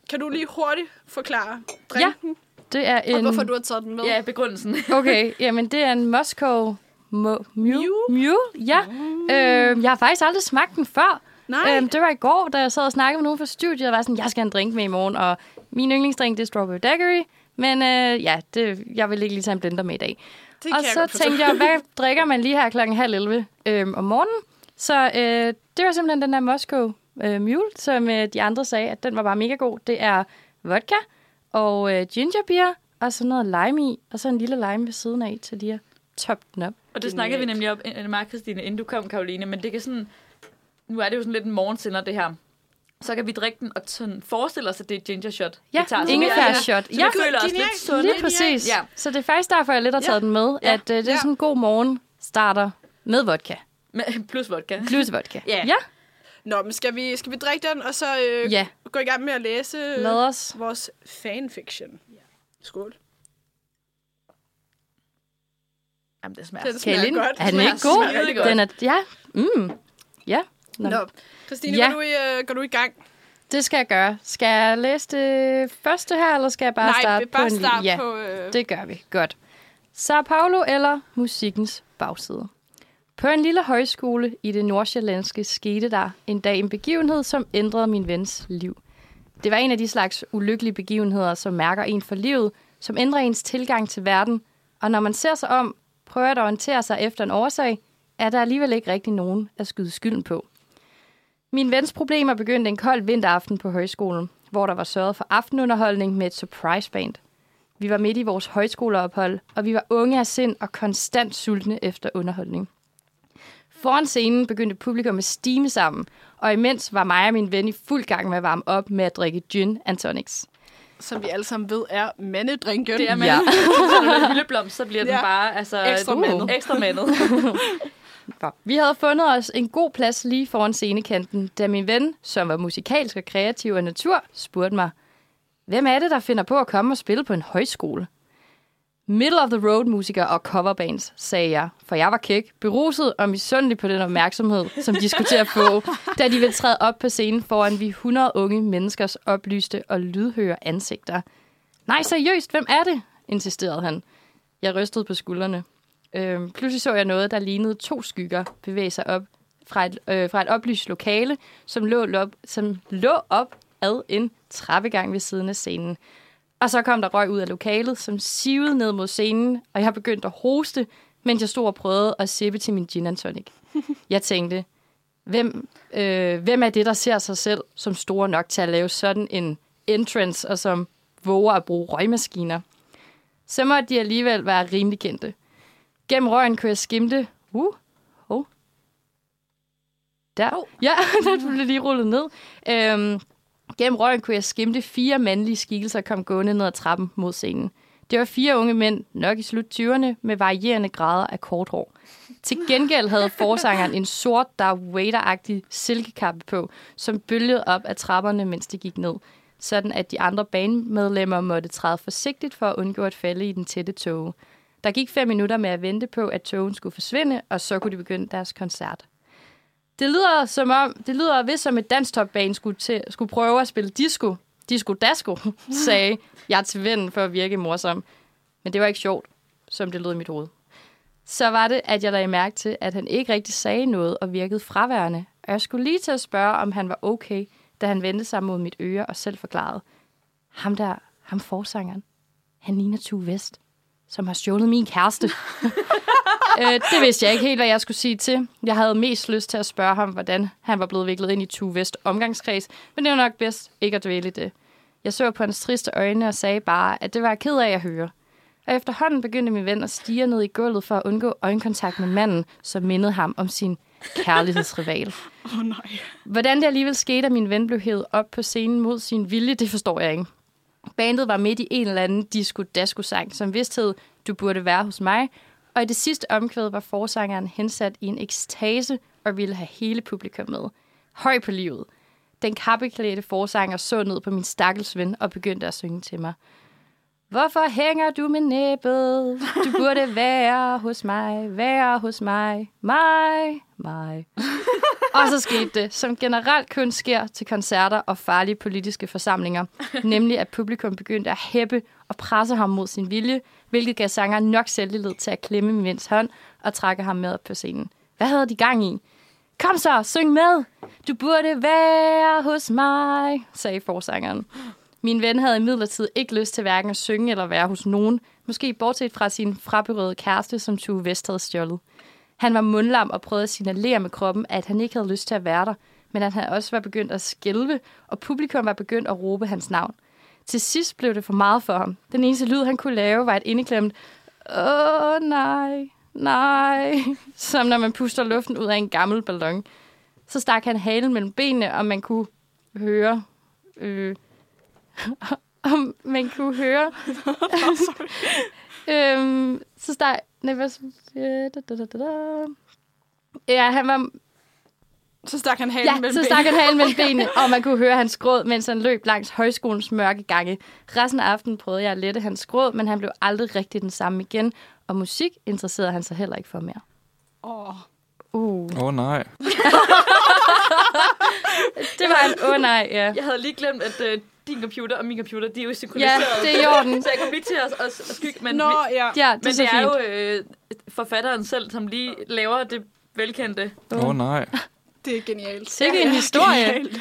kan du lige hurtigt forklare
Ja.
drinken?
Det er en...
Og hvorfor du har taget den med?
ja begrundelsen.
Okay, jamen det er en Moscow Mo- Mule.
Mule?
Mule, ja.
Mm.
Øhm, jeg har faktisk aldrig smagt den før.
Nej.
Øhm, det var i går, da jeg sad og snakkede med nogen fra studiet, og var sådan, jeg skal have en drink med i morgen, og min yndlingsdrink, det er Strawberry Daiquiri, men øh, ja, det, jeg vil ikke lige tage en blender med i dag.
det
og så tænkte jeg, hvad drikker man lige her klokken halv 11 øhm, om morgenen? Så øh, det var simpelthen den der Moscow øh, Mule, som øh, de andre sagde, at den var bare mega god. Det er vodka og øh, ginger beer, og så noget lime i, og så en lille lime ved siden af til lige at toppe den op.
Og det snakkede vi nemlig om, øh, mig og Christine, inden du kom, Karoline, men det kan sådan, nu er det jo sådan lidt en morgensender, det her. Så kan vi drikke den og sådan forestille os, at det er et ginger shot.
Ja,
vi tager, så vi-
ingefær
ja,
shot.
Så
Ja,
vi føler os
genialt.
lidt sunde.
lige præcis.
Ja.
Ja. Så det er faktisk derfor, jeg lidt har taget den med,
Ja.
at øh, det er
Ja.
sådan en god morgen starter med vodka.
Men- Plus vodka.
Plus vodka.
Ja.
Ja,
Nå, men skal vi, skal vi drikke den, og så øh,
Ja.
gå i gang med at læse øh,
lad os.
vores fanfiction? Ja. Skål.
Jamen, det smager
Den smager
Kaelin,
godt.
er den
smager
ikke god?
skide rigtig godt.
Den er, ja, mm, ja. Nå.
Nå, Christine, ja.
Ja.
går, du i, øh, går du i gang?
Det skal jeg gøre. Skal jeg læse det første her, eller skal jeg bare
Nej,
starte
vi bare
på en
start
ja,
på... Øh,
det gør vi. Godt. Sao Paulo eller musikkens bagside. På en lille højskole i det nordsjællandske skete der en dag en begivenhed, som ændrede min vens liv. Det var en af de slags ulykkelige begivenheder, som mærker en for livet, som ændrer ens tilgang til verden, og når man ser sig om, prøver at orientere sig efter en årsag, er der alligevel ikke rigtig nogen at skyde skylden på. Min vens problemer begyndte en kold vinteraften på højskolen, hvor der var sørget for aftenunderholdning med et surprise band. Vi var midt i vores højskoleophold, og vi var unge af sind og konstant sultne efter underholdning. Foran scenen begyndte publikum at stime sammen, og imens var mig og min ven i fuld gang med at varme op med at drikke gin and tonics.
Som vi alle sammen ved, er mandedrinken.
Det er man.
Ja.
Ja. så når det er lilleblomst, så bliver den
Ja.
bare altså,
Ekstra
uh,
mandet.
Ekstra mandet.
Nå. Vi havde fundet os en god plads lige foran scenekanten, da min ven, som var musikalsk og kreativ af natur, spurgte mig, hvem er det, der finder på at komme og spille på en højskole? Middle of the road musikere og coverbands, sagde jeg, for jeg var kæk, beruset og misundelig på den opmærksomhed, som de skulle til at få, da de ville træde op på scenen foran vi 100 unge menneskers oplyste og lydhøre ansigter. Nej, seriøst, hvem er det? insisterede han. Jeg rystede på skuldrene. Øhm, pludselig så jeg noget, der lignede to skygger bevæge sig op fra et, øh, fra et oplyst lokale, som lå, lop, som lå op ad en trappegang ved siden af scenen. Og så kom der røg ud af lokalet, som sivede ned mod scenen, og jeg begyndte at hoste, mens jeg stod og prøvede at sippe til min gin and tonic. Jeg tænkte, hvem, øh, hvem er det, der ser sig selv som store nok til at lave sådan en entrance, og som våger at bruge røgmaskiner? Så måtte de alligevel være rimelig kendte. Gennem røgen kunne jeg skimte. Uh, oh. Der. Oh. Ja, den blev lige rullet ned. Øhm, gennem røgen kunne jeg skimte fire mandlige skikkelser kom gående ned ad trappen mod scenen. Det var fire unge mænd, nok i slut 20'erne, med varierende grader af kort hår. Til gengæld havde forsangeren en sort Darth Vader-agtig silkekappe på, som bølgede op af trapperne, mens de gik ned. Sådan at de andre banemedlemmer måtte træde forsigtigt for at undgå at falde i den tætte tåge. Der gik fem minutter med at vente på, at togen skulle forsvinde, og så kunne de begynde deres koncert. Det lyder, som om, det lyder vist som et danstopbane skulle, til, skulle prøve at spille disco. Disco Dasko, sagde jeg til vennen for at virke morsom. Men det var ikke sjovt, som det lød i mit hoved. Så var det, at jeg lagde mærke til, at han ikke rigtig sagde noget og virkede fraværende. Og jeg skulle lige til at spørge, om han var okay, da han vendte sig mod mit øre og selv forklarede. Ham der, ham forsangeren, han ligner Tue Vest som har stjålet min kæreste. øh, det vidste jeg ikke helt, hvad jeg skulle sige til. Jeg havde mest lyst til at spørge ham, hvordan han var blevet viklet ind i Tue Vest omgangskreds, men det var nok bedst ikke at dvæle i det. Jeg så på hans triste øjne og sagde bare, at det var jeg ked af at høre. Og efterhånden begyndte min ven at stige ned i gulvet for at undgå øjenkontakt med manden, som mindede ham om sin kærlighedsrival.
Åh oh, nej.
Hvordan det alligevel skete, at min ven blev hævet op på scenen mod sin vilje, det forstår jeg ikke. Bandet var midt i en eller anden disco-dasko-sang, som vist hed Du burde være hos mig, og i det sidste omkvæd var forsangeren hensat i en ekstase og ville have hele publikum med. Høj på livet. Den kappeklædte forsanger så ned på min stakkels ven og begyndte at synge til mig. Hvorfor hænger du med næbet? Du burde være hos mig, være hos mig, mig, mig. Og så skete det, som generelt kun sker til koncerter og farlige politiske forsamlinger. Nemlig, at publikum begyndte at hæppe og presse ham mod sin vilje, hvilket gav sangeren nok selvtillid til at klemme min vens hånd og trække ham med op på scenen. Hvad havde de gang i? Kom så, syng med! Du burde være hos mig, sagde forsangeren. Min ven havde imidlertid ikke lyst til hverken at synge eller være hos nogen, måske bortset fra sin fraberøvede kæreste, som Tue Vest havde stjålet. Han var mundlam og prøvede at signalere med kroppen, at han ikke havde lyst til at være der, men at han også var begyndt at skælve, og publikum var begyndt at råbe hans navn. Til sidst blev det for meget for ham. Den eneste lyd, han kunne lave, var et indeklemt Åh nej, nej, som når man puster luften ud af en gammel ballon. Så stak han halen mellem benene, og man kunne høre... Øh, om man kunne høre... øhm, så stak... Nej, hvad... øh, da, da, da, da, da. Ja, han var,
Så stak han halen
ja,
mellem
så
benene.
stak han halen mellem benene, og man kunne høre hans gråd, mens han løb langs højskolens mørke gange. Resten af aftenen prøvede jeg at lette hans gråd, men han blev aldrig rigtig den samme igen, og musik interesserede han sig heller ikke for mere.
Åh.
Uh.
Åh oh, nej.
Det var en åh oh, nej, ja.
Jeg havde lige glemt, at øh, din computer og min computer, de er jo
Ja,
synkroniseret.
det er i orden.
Så jeg kom lige til at, at, at skygge, men,
Nå,
vi,
ja.
Ja, det
men
er så
det er
fint.
jo øh, forfatteren selv, som lige laver det velkendte.
Åh oh, nej.
Det er genialt.
Sikke en historie.
Det,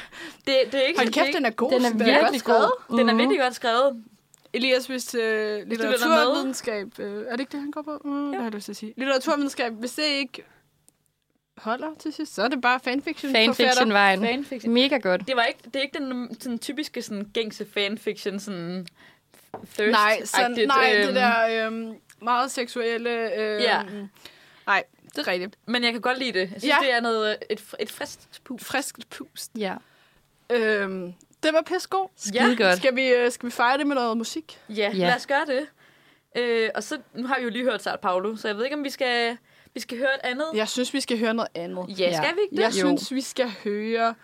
det er ikke
Hold kæft, den er god.
Den er virkelig god.
Den er virkelig godt skrevet.
Elias, hvis øh,
lytter med.
litteraturvidenskab... Øh, er det ikke det, han går på? Mm, ja. Det har jeg lyst til at sige. Litteraturvidenskab, hvis det ikke holder til sidst, så er det bare fanfiction. forfatter.
Fanfiction-vejen.
Fanfiction.
Mega godt.
Det, var ikke, det er ikke den sådan, typiske sådan, gængse fanfiction, sådan thirst
Nej,
øhm.
sådan, nej det der øhm, meget seksuelle... Øhm,
Ja.
Nej, det er rigtigt.
Men jeg kan godt lide det. Jeg synes,
Ja.
ja. det er noget, øh, et, fr- et frisk pus.
Friskt pust.
Ja,
Øhm, det var pissegod.
skide godt.
Skal vi, øh, skal vi fejre det med noget musik?
Ja, ja, lad os gøre det. Øh, og så, nu har vi jo lige hørt Sart Paulo, så jeg ved ikke, om vi skal, vi skal høre et andet.
Jeg synes, vi skal høre noget andet.
Ja, ja. skal vi ikke det?
Jeg
Jo.
synes, vi skal høre...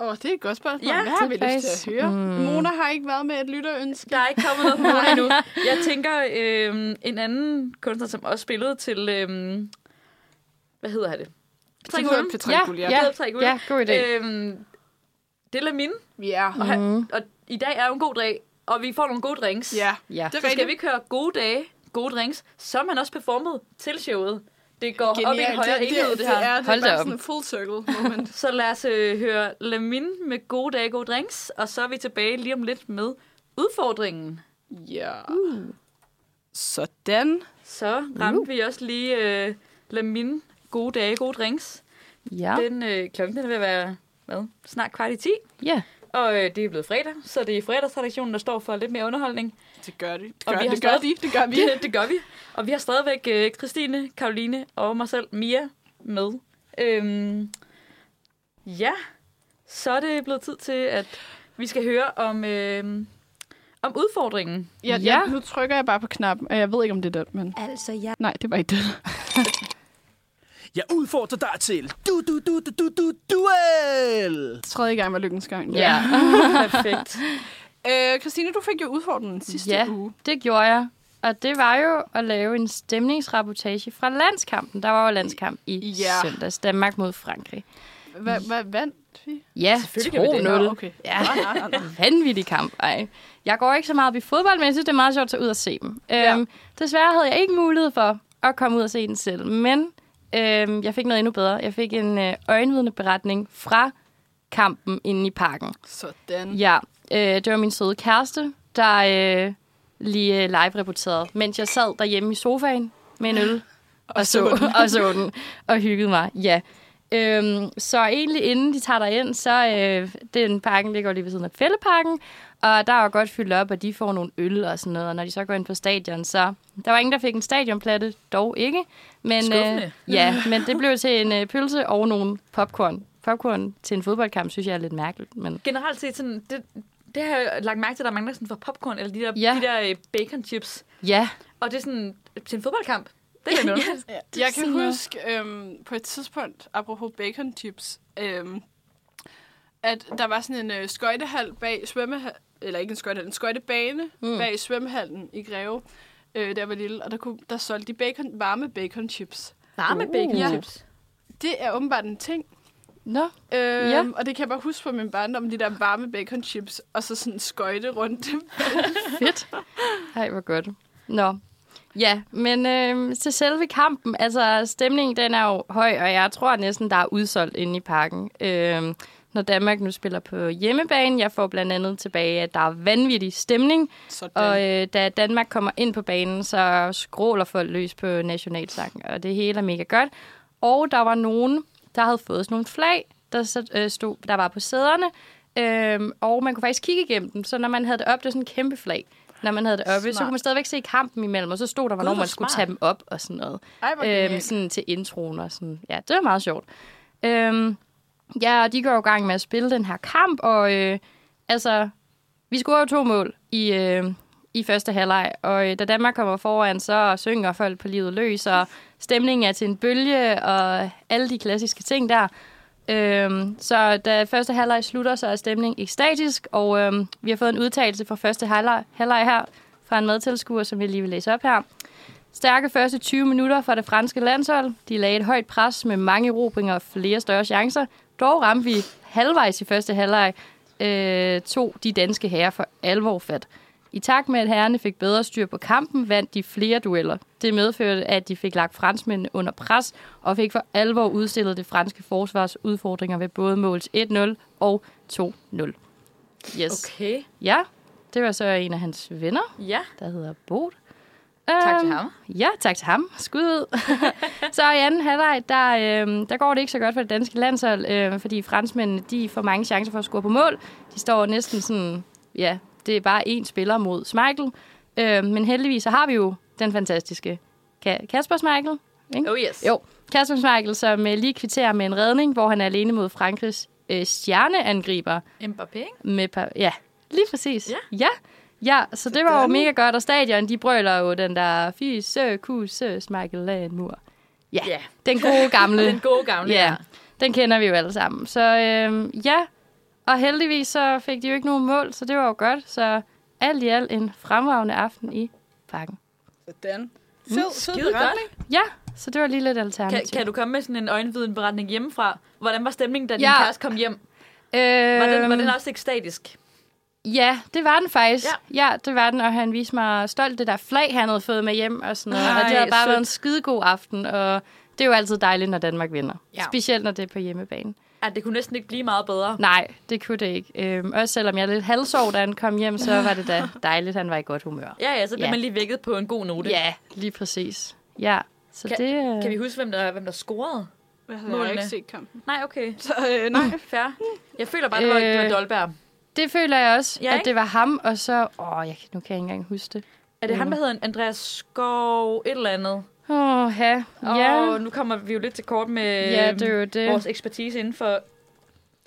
Åh, oh, det er et godt spørgsmål.
Ja,
Ja, Hvad har vi
det er
lyst til
faktisk-
at høre?
Mm.
Mm. Mona har ikke været med et lytterønske.
Der er ikke kommet noget fra mig endnu. Jeg tænker, øh, en anden kunstner, som også spillede til... Øh, hvad hedder han det? Patrick Hulm.
Patrick Gullier.
Ja, Patrick Hulm.
Ja, god idé.
Øh, det er Lamine,
Vi er her.
og, han, og i dag er jo en god dag, og vi får nogle gode drinks.
Ja,
Ja.
det er
Så skal vi
rigtigt.
ikke høre gode dage, gode drinks, som han også performede til showet. Det går op i en
Genialt.
højere
det,
enhed, det, her.
Det er, det
Hold
er
da
bare
op.
sådan en full circle moment.
Så lad os øh, høre Lamin med gode dage, gode drinks, og så er vi tilbage lige om lidt med udfordringen.
ja. Uh. Sådan.
Så ramte vi også lige øh, Lamin gode dage, gode drinks.
Ja.
Ja. Den øh, klokken den vil være hvad, snart kvart i 10,
ja.
og øh, det er blevet fredag, så det er fredagsredaktionen, der står for lidt mere underholdning.
Det gør de. Det
Og
gør,
vi har
det gør
stadig-
de. Det gør vi.
Det, det gør vi. Og vi har stadigvæk øh, Christine, Karoline og mig selv, Mia, med. Øhm, ja, så er det blevet tid til, at vi skal høre om, øh, om udfordringen.
Ja, ja.
Ja.
nu trykker jeg bare på knappen. og Jeg ved ikke, om det er den, men...
Altså, ja.
Nej, det var ikke den.
Jeg udfordrer dig til du du du du du du duel.
Tredje gang var lykkens gang.
Ja.
Perfekt.
Øh, Christine, du fik jo udfordringen sidste
ja,
uge.
det gjorde jeg. Og det var jo at lave en stemningsrapportage fra landskampen. Der var jo landskamp i
Ja.
søndags. Danmark mod Frankrig.
Hvad hva, vandt vi?
Ja,
Selvfølgelig gjorde vi det.
2-0.
Nå, okay.
Ja,
Nej, nej, nej.
vanvittig kamp. Ej. Jeg går ikke så meget op i fodbold, men jeg synes, det er meget sjovt at tage ud og se dem.
Ja.
Ja. Øhm, desværre havde jeg ikke mulighed for at komme ud og se den selv, men øhm, jeg fik noget endnu bedre. Jeg fik en øh, øjenvidende beretning fra kampen inde i parken.
Sådan.
Ja, øh, det var min søde kæreste, der øh, lige øh, live-rapporterede, mens jeg sad derhjemme i sofaen med en øl og, og,
så
så, og så den og hyggede mig. Ja. Øhm, så egentlig inden de tager dig ind, så øh, den parken ligger jo lige ved siden af fældeparken, og der er jo godt fyldt op, og de får nogle øl og sådan noget, og når de så går ind på stadion, så der var ingen, der fik en stadionplatte, dog ikke. Men, øh,
Skuffende.
ja, men det blev til en øh, pølse og nogle popcorn. Popcorn til en fodboldkamp, synes jeg er lidt mærkeligt, men
Generelt set, sådan, det, det har jeg lagt mærke til, at der mangler sådan for popcorn, eller de der,
Ja.
ja. de der øh, bacon chips.
ja,
Og det er sådan til en fodboldkamp. Det er lidt underligt.
Ja. Jeg kan
Sådan noget.
huske øhm, på et tidspunkt, apropos bacon tips, øhm, at der var sådan en øh, skøjtehal bag svømmehal, eller ikke en skøjtehal, en skøjtebane mm. bag svømmehallen i Greve, øh, der var lille, og der, kunne, der solgte de bacon, varme bacon chips.
Varme bacon chips.
Det er åbenbart en ting,
Nå,
øhm,
Ja.
ja. og det kan jeg bare huske fra min barndom, de der varme bacon chips, og så sådan skøjte rundt dem.
fedt. Ej, hvor godt. Nå. Ja, men øh, til selve kampen, altså stemningen den er jo høj, og jeg tror næsten, der er udsolgt inde i parken. Øh, når Danmark nu spiller på hjemmebane, jeg får blandt andet tilbage, at der er vanvittig stemning,
Sådan.
og øh, da Danmark kommer ind på banen, så skråler folk løs på nationalsangen, og det hele er mega godt. Og der var nogen, der havde fået sådan nogle flag, der, så- øh, stod, der var på sæderne, øhm, og man kunne faktisk kigge igennem dem, så når man havde det op, det var sådan en kæmpe flag. Når man havde det oppe, smart. så
Smart.
kunne man stadigvæk se kampen imellem, og så stod der, hvornår
hvor
man skulle
smart.
tage dem op og sådan noget
Ej, hvor
øhm,
genialt.
sådan til introen og sådan. Ja, det var meget sjovt. Øhm, ja, og de går jo i gang med at spille den her kamp, og øh, altså, vi scorer jo to mål i, øh, i første halvleg, og øh, da Danmark kommer foran, så synger folk på livet løs, og stemningen er til en bølge, og alle de klassiske ting der. Øhm, så da første halvleg slutter, så er stemningen ekstatisk, og øhm, vi har fået en udtalelse fra første halvleg, halvleg her, fra en medtilskuer, som jeg lige vil læse op her. Stærke første 20 minutter fra det franske landshold. De lagde et højt pres med mange erobringer og flere større chancer. Dog ramte vi halvvejs i første halvleg øh, to de danske herrer for alvor fat. I takt med, at herrerne fik bedre styr på kampen, vandt de flere dueller. Det medførte, at de fik lagt franskmændene under pres, og fik for alvor udstillet det franske forsvars udfordringer ved både måls 1-0 og 2-0. Yes. Okay.
Okay,
Ja, det var så en af hans venner
ja.
der hedder Bot.
Tak til
Øhm,
ham.
Ja, tak til ham. Skud ud. så i anden halvleg, der, øh, der går det ikke så godt for det danske landshold, øh, fordi franskmændene de får mange chancer for at score på mål. De står næsten sådan, ja, det er bare én spiller mod Schmeichel. Øh, men heldigvis så har vi jo den fantastiske Ka- Kasper Schmeichel. Ikke?
Oh yes.
Jo, Kasper Schmeichel, som øh, lige kvitterer med en redning, hvor han er alene mod Frankrigs øh, stjerneangriber.
Mbappé, ikke?
Med par, ja, lige præcis.
Ja.
Ja, ja så det var jo mega godt, og stadion, de brøler jo den der fise, kuse, smækkel lag en mur. Ja,
Ja.
den gode gamle.
Den gode gamle.
ja, den kender vi jo alle sammen. Så øh, ja, og heldigvis så fik de jo ikke nogen mål, så det var jo godt. Så alt i alt en fremragende aften i parken.
Sådan. Fed, fed
Skide godt.
beretning.
Ja, så det var lige lidt
Kan,
alternativt.
kan du komme med sådan en øjenvidenberetning hjemmefra? Hvordan var stemningen, da din
Ja.
kæreste kom hjem?
Øh,
Var den, var den også ekstatisk?
Ja, det var den faktisk. Ja. ja, det var den, og han viste mig stolt det der flag, han havde fået med hjem og sådan noget. Ej, og det
Ej,
havde bare
sødt.
været en skidegod aften, og det er jo altid dejligt, når Danmark vinder.
Ja.
Ja. Specielt når det er på hjemmebane.
At det kunne næsten ikke blive meget bedre.
Nej, det kunne det ikke. Øhm, også selvom jeg er lidt halvsov, da han kom hjem, så var det da dejligt, han var i godt humør.
Ja, ja, så blev
Ja.
man lige vækket på en god note.
Ja, lige præcis. Ja, så
Kan,
det... øh,
kan vi huske, hvem der, hvem der scorede?
Hvad havde jeg
Målene.
ikke set kampen?
Nej, okay.
Så øh, nej.
Fair. Jeg føler bare, det var, det var
Øh.
Dolberg.
Det føler jeg også,
Ja,
ja, at
ikke?
det var ham, og så... Åh, jeg, kan- nu kan jeg ikke engang huske det.
Er det ham, der hedder Andreas Skov et eller andet?
Åh, ja.
Og
Ja,
nu kommer vi jo lidt til kort med
ja, det er jo
øh,
det.
vores ekspertise inden for...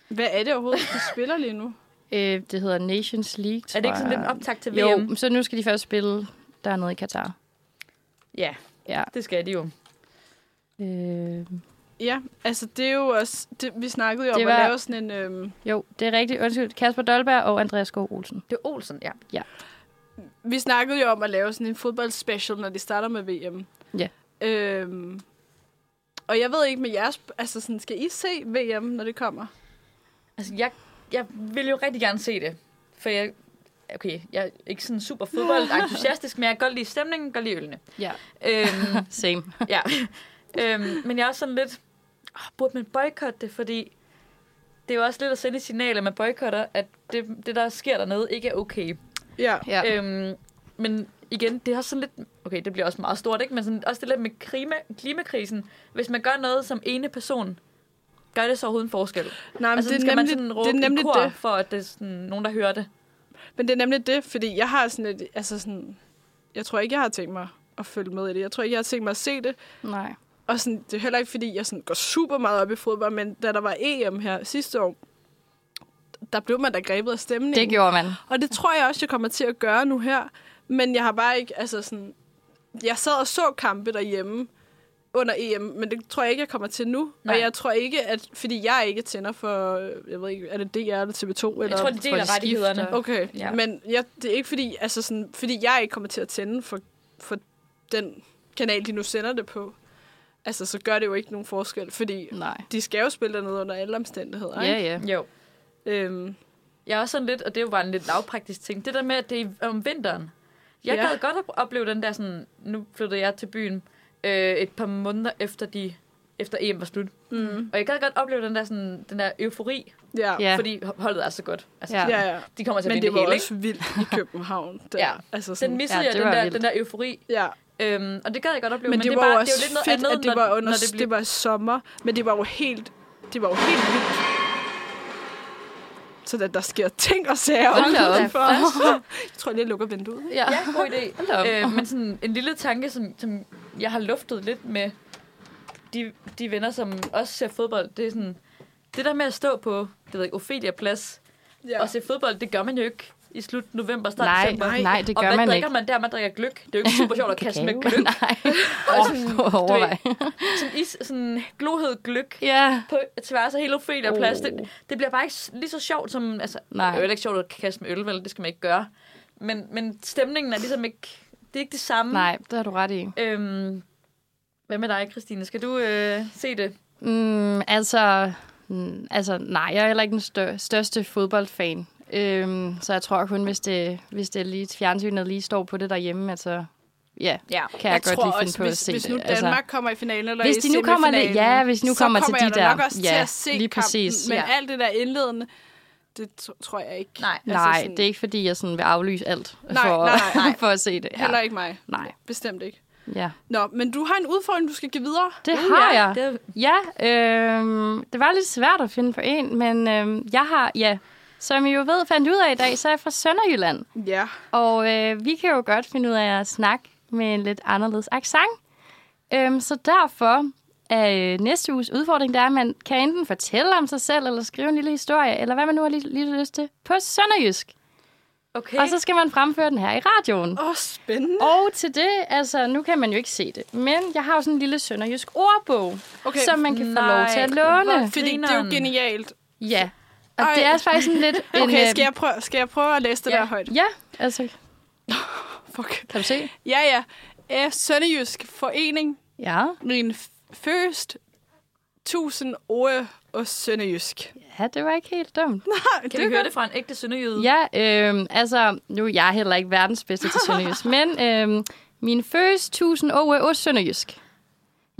Hvad er det overhovedet, de spiller lige nu?
Øh, det hedder Nations League, tror
Er det ikke sådan
jeg.
lidt en optag til VM?
Jo, så nu skal de først spille dernede i Katar.
Ja,
Ja.
det skal de jo.
Øh,
Ja, altså det er jo også... Det, vi snakkede jo
Det
om
var-
at lave sådan en... Øhm,
jo, det er rigtigt. Undskyld, Kasper Dolberg og Andreas Skov Olsen.
Det er Olsen, ja.
vi snakkede jo om at lave sådan en fodboldspecial, når de starter med VM.
Ja.
Øhm, og jeg ved ikke med jeres... Altså sådan, skal I se VM, når det kommer?
Altså, jeg, jeg vil jo rigtig gerne se det. For jeg, okay, jeg er ikke sådan super fodboldentusiastisk, men jeg kan godt lide stemningen, godt lide ølene.
Ja.
Øhm,
Same.
ja. øhm, men jeg er også sådan lidt, oh, burde man boykotte det? Fordi det er jo også lidt at sende et signal, at man boykotter, at det, det der sker dernede, ikke er okay.
Ja.
Ja. Øh,
Øhm, men igen, det er også sådan lidt... Okay, det bliver også meget stort, ikke? Men sådan, også det lidt med klima, klimakrisen. Hvis man gør noget som ene person, gør det så overhovedet en forskel? Jamen,
Nej, men
altså,
altså, det,
skal
er
man sådan
nemlig, det
råbe
er nemlig
i kor,
det.
for at det er sådan, nogen, der hører det?
Men det er nemlig det, fordi jeg har sådan et, altså sådan, jeg tror ikke, jeg har tænkt mig at følge med i det. Jeg tror ikke, jeg har tænkt mig at se det.
Nej.
Og sådan, det er heller ikke, fordi jeg sådan går super meget op i fodbold, men da der var EM her sidste år, der blev man da grebet af stemningen.
Det gjorde man.
Og det tror jeg også, jeg kommer til at gøre nu her. Men jeg har bare ikke, altså sådan... Jeg sad og så kampe derhjemme under EM, men det tror jeg ikke, jeg kommer til nu. Nej.
Nej.
Og jeg tror ikke, at... Fordi jeg ikke tænder for... øh, Jeg ved ikke, er det DR eller TV2? Eller?
Jeg tror, de deler
skifter.
rettighederne.
Okay,
Ja.
ja. men jeg, det er ikke fordi... Altså sådan, fordi jeg ikke kommer til at tænde for, for den kanal, de nu sender det på. Altså, så gør det jo ikke nogen forskel, fordi
Nej.
de skal jo spille dernede under alle omstændigheder,
Ja,
ikke?
ja.
Jo.
Øhm,
Jeg er også sådan lidt, og det er jo bare en lidt lavpraktisk ting, det der med, at det er om vinteren. Jeg
Ja.
ja. gad godt at opleve den der sådan, nu flyttede jeg til byen øh, et par måneder efter, de, efter EM var slut.
mm,
Og jeg gad godt opleve den der, sådan, den der eufori,
ja.
Ja.
ja. fordi holdet er så godt. Altså,
Ja.
ja, ja.
De kommer til at
Men
vinde
det var
hele,
også vildt i København. Der.
Ja.
ja. Altså
Den
sådan,
missede
Ja,
ja, jeg,
det
den
var
der,
vildt.
den der eufori.
ja.
Øhm, og det gad jeg godt opleve.
Men, men det,
er
var
bare,
jo
det
også
er jo lidt noget
fedt,
andet,
at det var,
når,
under,
når det blev...
det var sommer. Men det var jo helt, det var jo helt vildt. Så der, der sker ting og sager
Hold da op.
udenfor. Jeg tror lige, jeg lukker vinduet.
Ja.
Ja, god idé.
Hold da op.
øh, men sådan en lille tanke, som, som jeg har luftet lidt med de, de venner, som også ser fodbold, det er sådan... Det der med at stå på, det ved jeg ikke, Ophelia Plads ja. og se fodbold, det gør man jo ikke i slut november, start
Nej,
december.
nej, nej, det
og
gør
hvad
man
drikker
ikke.
man der? Man drikker gløk. Det er jo ikke super sjovt at kaste med gløk.
Nej.
Og sådan,
Åh,
du ved,
overvej.
sådan, is, sådan glohed gløk.
Ja.
på tværs af hele Ophelia Plads.
Oh.
Det, det bliver bare ikke s- lige så sjovt som... Altså, Nej.
Nej.
Det er jo heller ikke sjovt at kaste med øl, vel? Det skal man ikke gøre. Men, men stemningen er ligesom ikke... Det er ikke det samme.
Nej, det har du ret i.
Øhm, hvad med dig, Christine? Skal du øh, se det?
Mm, altså, mm, altså, nej, jeg er heller ikke den stør- største fodboldfan. Øhm, så jeg tror kun, hvis det, hvis det er lige fjernsynet lige står på det derhjemme, altså, ja,
Ja.
kan jeg, jeg godt lige finde på at
hvis,
se
hvis
det.
nu Danmark altså, kommer i finalen eller
Hvis
i
de nu kommer lidt-
semifinalen,
ja, hvis de nu
så
kommer til
kommer jeg
de
da
der-
nok også
ja,
til at se
lige præcis.
kampen. Men
Ja.
alt det der indledende, det tr- tror jeg ikke.
Nej.
Altså
Nej, det er ikke fordi, jeg sådan vil aflyse alt
Nej,
for,
nej, nej, nej.
for at se det.
Ja. Heller ikke mig.
Nej.
Bestemt ikke.
Ja.
Nå, men du har en udfordring, du skal give videre.
Det har jeg.
Mm, Det, er-
Ja, øh, det var lidt svært at finde på en, men øh, jeg har, ja, som I jo ved, fandt ud af i dag, så er jeg fra Sønderjylland.
Ja.
Og øh, vi kan jo godt finde ud af at snakke med en lidt anderledes accent. Øhm, så derfor er øh, næste uges udfordring, der er, at man kan enten fortælle om sig selv, eller skrive en lille historie, eller hvad man nu har lige, lige lyst til, på sønderjysk.
okay.
Okay. Og så skal man fremføre den her i radioen.
Åh, oh, spændende.
Og til det, altså, nu kan man jo ikke se det, men jeg har jo sådan en lille sønderjysk ordbog, okay.
Okay.
som man kan få
nej,
lov til at
hvor
låne.
Fordi det er jo
Grineren. genialt.
genialt.
Ja, og
Ej.
det er faktisk sådan lidt en...
Okay,
øh,
skal jeg prøve, skal jeg prøve at læse det
ja,
der højt?
Ja, altså,
Fuck.
kan du se?
Ja, ja. Er Sønderjysk Forening
Ja,
min f- first tusind ord og sønderjysk.
ja det var ikke helt dumt.
Kan vi høre det fra en ægte sønderjyde?
Ja, øh, altså, nu er jeg heller ikke verdens bedste til sønderjysk, men øh, min første 1000 år er også sønderjysk.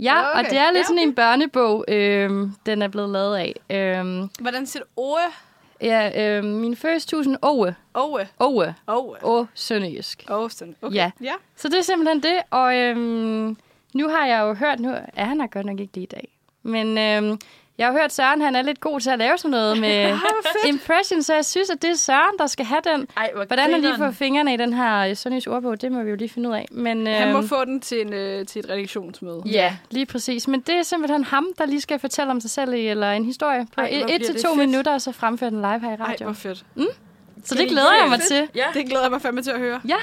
Ja, okay. og
Okay,
det er lidt
ja.
ja. sådan en børnebog, øh, den er blevet lavet af. Øh,
Hvordan siger du ord?
ja, øh, min første 1000 år
Åh,
år
åh,
og sønderjysk.
åh, sådan. Okay.
Ja.
ja.
Så det er simpelthen det, og øhm, nu har jeg jo hørt, nu er han er godt nok ikke lige i dag, men øhm, jeg har hørt Søren, han er lidt god til at lave sådan noget med impression, så jeg synes, at det er Søren, der skal have den.
Ej, hvor
Hvordan han lige
grineren.
får fingrene i den her sundheds ordbog, det må vi jo lige finde ud af. Men,
Han må
øhm,
få den til, en, øh, til et redaktionsmøde.
Ja, lige præcis. Men det er simpelthen ham, der lige skal fortælle om sig selv i- eller en historie på
Ej, hvor
et,
bliver
et til
det
to
fedt.
minutter, og så fremføre den live her i
Ej,
radioen.
hvor fedt.
så det glæder jeg mig
Fedt.
til.
Ja.
Det glæder jeg mig fandme til at høre.
Ja,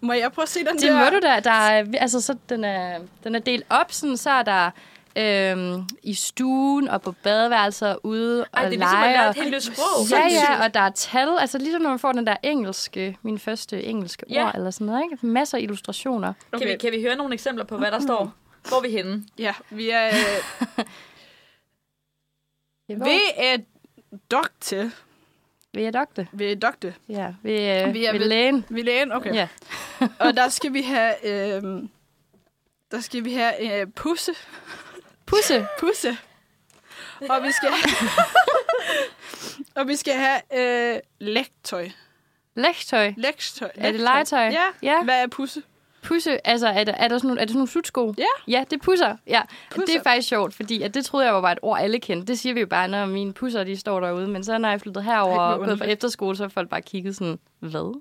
Må jeg prøve at se den
det
der?
må du da. Der er, altså, så den, er, den er delt op, sådan, så er der øhm, i stuen og på badeværelser ude
Ej,
og
det er ligesom at lære
leger.
et helt nyt sprog.
Ja, ja, og der er tal. Altså ligesom når man får den der engelske, min første engelske
Ja.
ord eller sådan noget, ikke? Masser af illustrationer.
Okay. Kan, vi, kan vi høre nogle eksempler på, hvad der
Mm.
står? Hvor er vi henne?
Ja, vi er... Øh, vi er dokte.
Ved jeg dokte?
Vi er dokte.
Ja, ved, øh,
Vi er
ved
ved-
lægen.
Vi er lægen, okay.
Ja.
Og der skal vi have... Øh, der skal vi have øh, pusse.
Pusse.
Pusse. Og vi skal... og vi skal have øh, lægtøj.
Lægtøj.
Lægtøj.
Er det legetøj?
Ja.
ja.
Hvad er pusse?
Pusse, altså er der, er der sådan nogle, er det sådan nogle sutsko?
Ja.
Ja, det er pusser. Ja.
Pusser.
Det er faktisk sjovt, fordi at det troede jeg var bare et ord, alle kendte. Det siger vi jo bare, når mine pusser de står derude. Men så når jeg flyttede herover
Ej, hvor
og gået på
underligt.
efterskole, så har folk bare kigget sådan, hvad?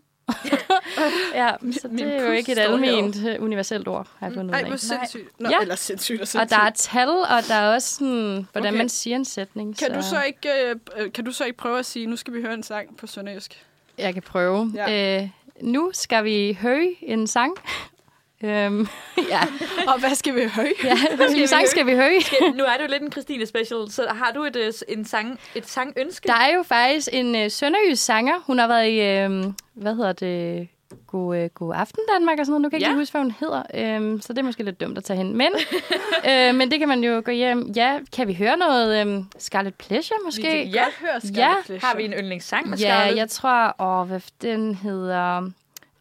ja, så
min
det er jo
pus
ikke et
står Mm.
alment øh, universelt ord, har jeg fundet ud
Ej,
af.
hvor sindssygt. Nå,
Ja.
ja. eller sindssygt og
Og
sindssygt.
der er tal, og der er også sådan, hvordan
Okay.
man siger en sætning.
Kan du, så ikke, øh, øh, kan du så ikke prøve at sige, nu skal vi høre en sang på sønderjysk?
Jeg kan prøve. Ja.
Ja.
Øh, nu skal vi høre en sang. øhm, ja,
Og hvad skal vi høre?
ja. hvilken sang
høre?
skal vi høre?
Skal, nu er det jo lidt en Christine special, så har du et, øh, en sang, et sangønske?
Der er jo faktisk en øh, sønderjysk sanger. Hun har været i, øh, hvad hedder det, God, øh, God Aften Danmark og sådan noget. Nu kan jeg ikke
Ja.
lige huske, hvad hun hedder. Øhm, så det er måske lidt dumt at tage hen. Men, øh, men det kan man jo gå hjem. Ja, kan vi høre noget øh, Scarlet Pleasure måske?
Vi kan Ja.
Godt høre, skal
Ja.
Har vi en yndlingssang med
ja,
Scarlett?
jeg tror, åh, hvad den hedder...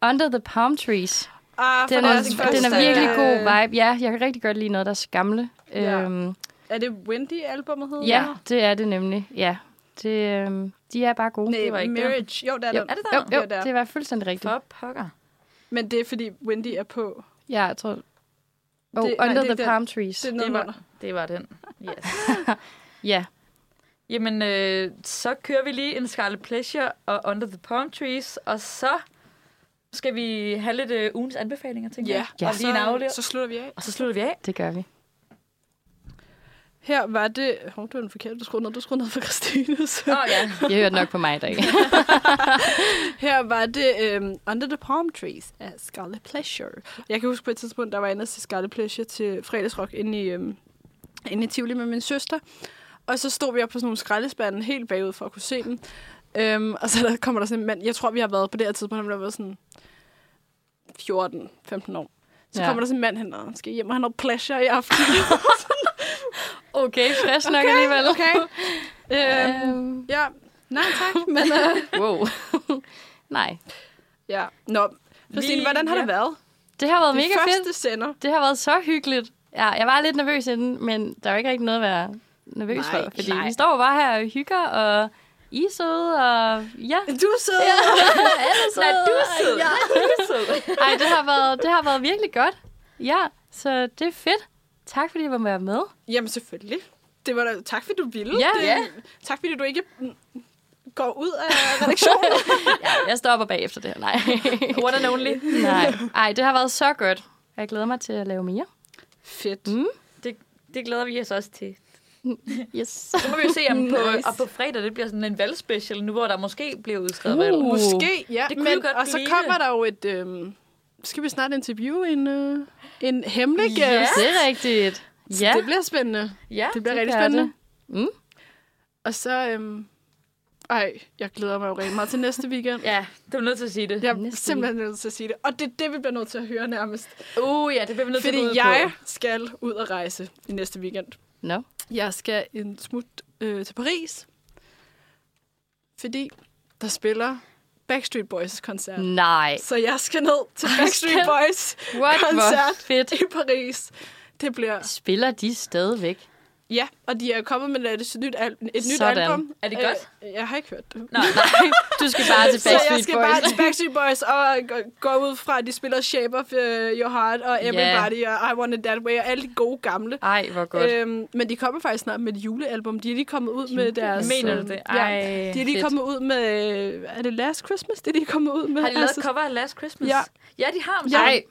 Under the Palm Trees.
Ah, for
Den
deres
er,
første,
den er virkelig
øh,
god vibe. Ja, jeg kan rigtig godt lide noget, der er skamle.
Ja.
Øhm,
Er det Wendy-albummet hedder?
ja, det er det nemlig. Ja, det, øhm, de er bare gode.
det var
Nej,
ikke
Marriage. Jo, der er
Jo,
den.
Er det der?
Jo, jo,
Det er der.
det var fuldstændig rigtigt.
For pokker.
Men det er, fordi Wendy er på.
Ja, jeg tror... Oh,
nej,
Under
det er
the
ikke den.
Palm Trees.
Det er
Det
noget
var,
under.
det var den. Yes.
Ja,
Jamen, øh, så kører vi lige en Scarlet Pleasure og Under the Palm Trees, og så skal vi have lidt øh, ugens anbefalinger, tænker
Ja,
jeg. Og lige en afleder.
så, så slutter vi af.
Og så slutter vi af.
det gør vi.
Her var det... Hov, det var den forkerte. Du skruede ned, du skruede ned for Christinus.
Åh, oh, ja.
Jeg hørte nok på mig i dag.
Her var det um, Under the Palm Trees af Scarlet Pleasure. Jeg kan huske på et tidspunkt, der var jeg inde til Scarlet Pleasure til fredagsrock inde i, um, inde i Tivoli med min søster. Og så stod vi op på sådan nogle skraldespande helt bagud for at kunne se dem. Um, og så der kommer der sådan en mand, jeg tror vi har været på det her tidspunkt, han har været sådan 14-15 år. Så
Ja.
ja. kommer der sådan en mand hen, og han skal hjem og have noget pleasure i aften.
Okay, fresh nok alligevel.
okay. øhm,
Øhm,
ja, nej tak, men uh,
wow. Nej,
ja. Nå, Christine,
Vi-
hvordan har
ja.
det været?
det har været
Det
mega
første
fedt.
sender.
Det har været så hyggeligt. Ja, jeg var lidt nervøs inden, men der er jo ikke rigtig noget at være nervøs
Nej,
for. Fordi
nej.
vi står bare her og hygger, og
I er søde, og ja.
Du sidder ja.
Nej, du er sød. Ja.
Ej, det har, været, det har været virkelig godt. Ja, så det er fedt. Tak, fordi I var med. med.
Jamen selvfølgelig. Det var da, tak fordi du ville.
Ja.
det,
Ja.
Tak fordi du ikke mm, går ud af redaktionen.
Jeg stopper bagefter det her. Nej.
One and only.
Nej. Ej, det har været så godt. Og Jeg glæder mig til at lave mere.
Fedt.
Mm.
Det, det glæder vi os også til.
Yes.
Så må vi jo se, om på,
Nice.
og på fredag det bliver sådan en valgspecial, nu hvor der måske bliver udskrevet
Uh.
valg.
Måske, ja.
Det kunne
men,
jo godt
og så
blive
kommer
det.
der jo et... Øhm, skal vi snart interviewe en, øh, en hemmelig gæst?
Ja.
Det er rigtigt. Ja.
Det bliver spændende.
Ja,
Det bliver
det
rigtig
gør
spændende.
det. Mm.
Og så... Øhm, ej, jeg glæder mig jo rigtig meget til næste weekend.
ja, du er nødt til at sige det.
Jeg er
Næste
simpelthen nødt til at sige det. Og det er det, vi bliver nødt til at høre nærmest.
Uh, ja, det bliver vi nødt til at gå ud
Fordi jeg skal ud og rejse i næste weekend.
No.
Jeg skal en smut øh, til Paris. Fordi der spiller Backstreet Boys koncert. Mm.
Nej.
Så jeg skal ned til Backstreet Boys
What, hvor
koncert
fedt.
i Paris. Det bliver...
Spiller de stadigvæk?
Ja, og de er kommet med et nyt, al- et nyt
Sådan.
album.
Er det godt?
Øh, jeg har ikke hørt det.
Nå, nej.
Du skal bare til
Så jeg
Backstreet
skal
Boys.
bare til Backstreet Boys og gå- gå ud fra, at de spiller Shape of øh, Your Heart og
Ja.
Everybody og I Want It That Way og alle de gode gamle.
Ej, hvor godt.
Øhm, men de kommer faktisk snart med et julealbum. De er lige kommet ud med deres...
Mener
øhm,
du det?
Ja,
Ej.
de er lige
fedt. kommet
kommet ud med... øh, Er det Last Christmas? Det er de kommet ud med. Altså,
Har de lavet et cover af Last Christmas?
Ja.
Ja, de har.
Ja.
Ej,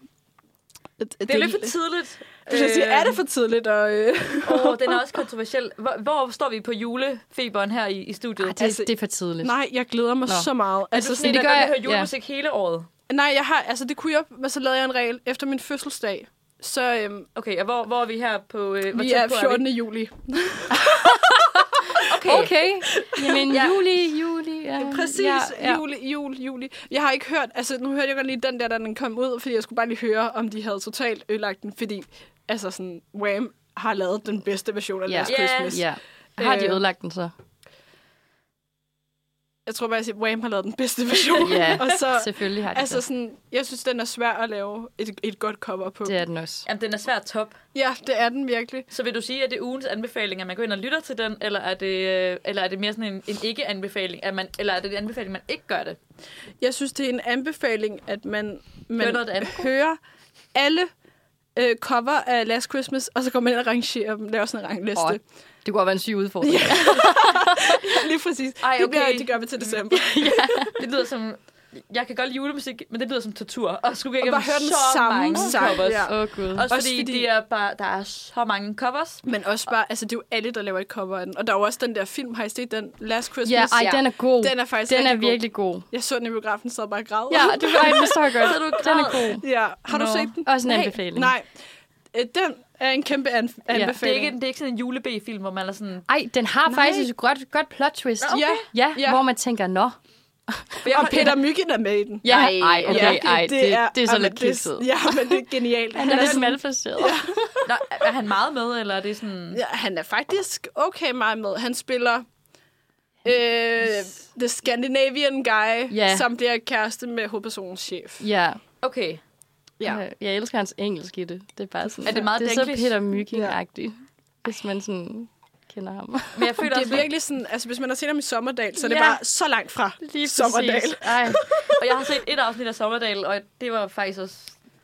det,
det er lidt for tidligt.
tidligt. Er det for tidligt? Og, øh,
Og den er også kontroversiel. Hvor, hvor står vi på julefeberen her i, i studiet?
Ej, det,
altså-
det er for tidligt.
nej, jeg glæder mig
Nå.
Nå. så meget. Altså,
sådan,
det
det
gør
gør jeg.
jeg-
Høre julemusik hele året.
nej, jeg har... Altså, det kunne jeg... Men så lavede jeg en regel efter min fødselsdag. Så øhm,
Okay, og hvor, hvor er vi her på... Øh, hvor
vi
tæt
er
på
14. juli.
Okay. okay.
Okay. Jamen,
Ja.
juli, juli. Ja,
Præcis, ja, juli, jul, juli. Jeg har ikke hørt, altså nu hørte jeg godt lige den der, da den kom ud, fordi jeg skulle bare lige høre, om de havde totalt ødelagt den, fordi altså sådan, Wham har lavet den bedste version af
Ja.
Last
Ja.
Christmas.
Ja. Har de
Øh.
ødelagt den så?
Jeg tror faktisk, at Wham har lavet den bedste version.
Ja,
Og så,
selvfølgelig har de
altså
altså,
sådan, jeg synes, den er svær at lave et, et godt cover på.
det. Det er den også.
Jamen, den er svær top.
Ja, det er den virkelig.
Så vil du sige, at det er ugens anbefaling, at man går ind og lytter til den, eller er det, øh, eller er det mere sådan en, en ikke-anbefaling, at man, eller er det en anbefaling, man ikke gør det?
Jeg synes, det er en anbefaling, at man, man
Gør noget andet.
hører alle øh, cover af Last Christmas, og så går man ind og rangerer dem, laver sådan en rangliste.
Åh, det kunne godt være en syg udfordring. Ja.
Lige præcis.
Ej,
Ej, okay. Mm. Det,
okay.
bliver, det gør vi til december.
Det lyder som... Jeg kan godt lide julemusik, men det lyder som tortur. Og skulle gå
Og bare
igennem
høre den
så
samme
mange
sang,
covers.
ja.
Åh, oh, gud.
Også,
Også
fordi,
fordi-
Det er bare, der er så mange covers.
Men også bare, altså det er jo alle, der laver et cover af den. Og der er jo også den der film, har I set den? Last Christmas?
Ja, ej, den er god.
Den er faktisk
den er
rigtig god.
virkelig god.
Jeg så den i biografen, så bare og græd.
Ja, det var jeg forstår godt.
Så du
den er
græd.
god.
ja. Har du
Nå.
set den?
Også en
Nej.
anbefaling.
Nej. Øh, Den er en kæmpe anf- anbefaling.
Det er, ikke, det er ikke sådan en juleb-film, hvor man er sådan...
Ej, den har
Nej.
faktisk et godt, godt plot twist.
Nå, okay.
Ja.
Ja,
Ja.
hvor man tænker, nå.
Og Peter Myggen er med i den.
Ja,
Ej,
ej, okay, ej, det, det, er, det er så
Ej, men
lidt
det-
kikset.
Ja, men det er genialt.
Han
Han er,
er ligesom- lidt malplaceret. Ja.
Nå, er han meget med, eller er det sådan...
ja, han er faktisk okay meget med. Han spiller øh, The Scandinavian Guy,
Ja.
som bliver kæreste med hovedpersonens chef.
ja.
Okay.
Ja. Jeg elsker hans engelsk i det. Det er bare sådan,
Er det meget
det er så
Denglish?
Peter Myking-agtigt, hvis man sådan kender ham.
Men jeg føler
Det
også,
er virkelig sådan, altså hvis man har set ham i Sommerdal, så er det
Ja.
bare så langt fra Sommerdal.
Ej,
og jeg har set et afsnit af Sommerdal, og det var faktisk også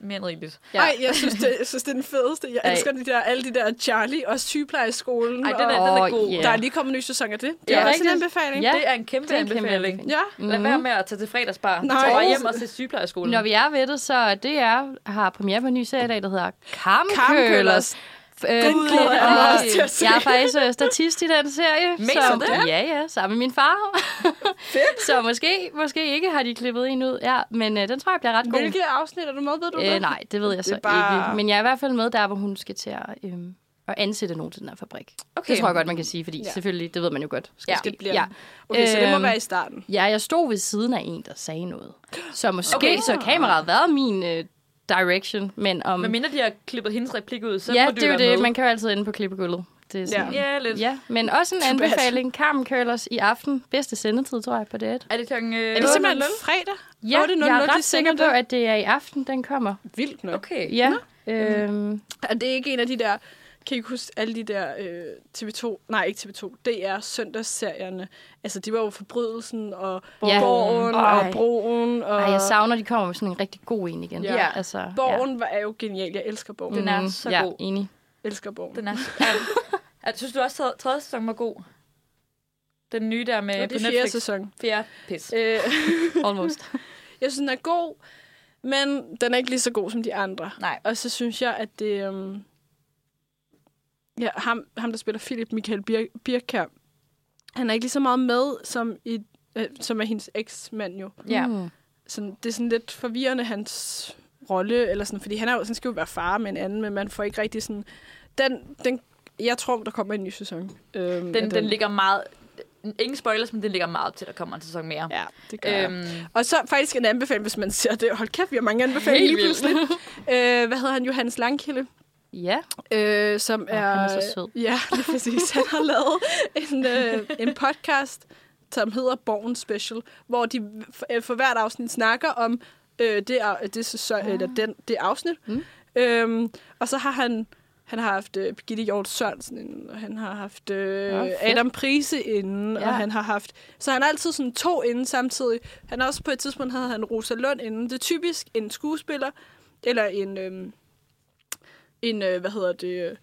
mere end rigeligt.
Ja.
Ja. Ej, jeg synes, det, jeg synes, det er den fedeste. Jeg
Ej.
elsker de der, alle de der Charlie og sygeplejeskolen.
Ej, den er,
og,
den er
Åh,
god.
ja.
der er lige kommet en ny sæson af det. Det
Ja,
er også
rigtigt.
en anbefaling.
Ja.
Det er en kæmpe
Det er en kæmpe
anbefaling.
anbefaling.
ja.
Lad være med at tage til fredagsbar.
Nej.
Tag bare hjem og se sygeplejerskolen.
når vi er ved det, så DR har premiere på en ny serie i dag, der hedder Kamkølers.
Kamkølers. Den glæder jeg mig også til at se.
jeg er faktisk øh, statist i den serie.
Mener
så,
du det?
Ja, ja, sammen med min far. så måske, måske ikke har de klippet en ud. Ja, men øh, den tror jeg bliver ret god.
Hvilke afsnit er du med, ved du
Øh,
det?
nej, det ved jeg
Det er
så bare...
bare-
ikke. Men jeg er i hvert fald med der, hvor hun skal til at, øhm, at ansætte nogen til den her fabrik. Okay.
Okay.
Det tror jeg godt, man kan sige, fordi ja.
Ja.
selvfølgelig, det ved man jo godt. Skal
Ja.
ske.
Det bliver
ja.
den. Okay, så det må
Øhm,
være i starten.
ja, jeg stod ved siden af en, der sagde noget. Så måske okay.
Okay.
så har kameraet været min øh, direction, men om...
Men mindre de har klippet hendes replik ud, så
ja,
må du
det er jo
være
det.
med.
Man kan jo altid inde på klippegulvet. Det er sådan.
Ja, lidt.
ja, men også en
Too bad.
anbefaling. Carmen Curlers i aften. Bedste sendetid, tror jeg, på det.
Er det klokken... Øh,
Er det simpelthen fredag?
Ja, jeg
8.00,
er
de
ret sikker på,
sender det.
at det er i aften, den kommer.
Vildt nok.
Okay.
Ja, øhm,
Er det ikke en af de der Kan I ikke huske alle de der øh, TV2, nej ikke TV2, DR søndagsserierne? Altså, de var jo Forbrydelsen og
Ja.
ja. Borgen
Ej.
og Broen. Og
Ej, jeg savner, de kommer med sådan en rigtig god en igen.
Ja.
Altså,
Borgen var, er jo genial. Jeg elsker Borgen.
Den
Jeg
er
Mhm.
så
ja,
god.
enig.
elsker Borgen.
Den er, er, er, synes du også, at tredje sæson var god? Den nye der med
det er
på
fjerde
Netflix.
sæson.
Fjerde pis.
Øh,
Almost.
jeg synes, den er god, men den er ikke lige så god som de andre.
Nej.
Og så synes jeg, at det... Øhm, ja, ham, ham, der spiller Philip Michael Bir- Birkær, han er ikke lige så meget med, som, i, øh, som er hendes eksmand jo.
Ja.
Mm.
Sådan, det er sådan lidt forvirrende, hans rolle, eller sådan, fordi han, er jo, sådan skal jo være far med en anden, men man får ikke rigtig sådan... Den, den, jeg tror, der kommer en ny sæson. Øhm, af
Den, den ligger meget... Ingen spoilers, men den ligger meget op til, at der kommer en sæson mere.
Ja, det gør jeg.
Øhm,
Og så faktisk en anbefaling, hvis man ser det. Hold kæft, vi har mange anbefalinger
Helt
lige pludselig. øh, hvad hedder han? Johannes Langkilde,
Ja.
øh, som
Åh,
er...
han er så sød.
Ja, lige præcis. Han har lavet en, øh, en podcast, som hedder Born Special, hvor de for, øh, for hvert afsnit snakker om øh, det, af- det, sæson, eller den, det afsnit.
Ah. Mm.
Mm. Øhm, og så har han... Han har haft øh, Birgitte Hjort Sørensen inden, og han har haft øh,
Nå, Ah, fedt.
Adam Prise inden,
Ja.
og han har haft... Så han har altid sådan to inden samtidig. Han har også på et tidspunkt havde han Rosa Lund inden. Det er typisk en skuespiller, eller en, øhm, en øh, hvad hedder det, øh,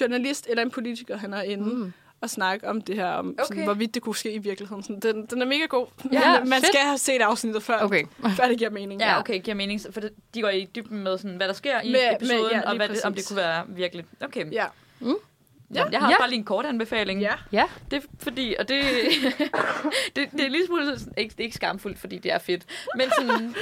journalist eller en politiker, han er inde mm. og snakke om det her, om okay. sådan,
Okay.
hvorvidt det kunne ske i virkeligheden. Sådan, den, den er mega god.
Ja,
men, øh, man
fedt.
skal have set afsnittet før,
Okay.
før det giver mening.
ja, okay, giver mening. For det, de går i dybden med, sådan, hvad der sker i
Med- med-
episoden,
ja, lige
og hvad det, om det
præcis.
kunne være virkelig. Okay,
Ja.
ja. jeg har også
Ja.
bare lige en kort anbefaling.
ja.
Ja.
Det er fordi, og det, det, det er lige smule, sådan- ikke, det er ikke skamfuldt, fordi det er fedt. Men sådan,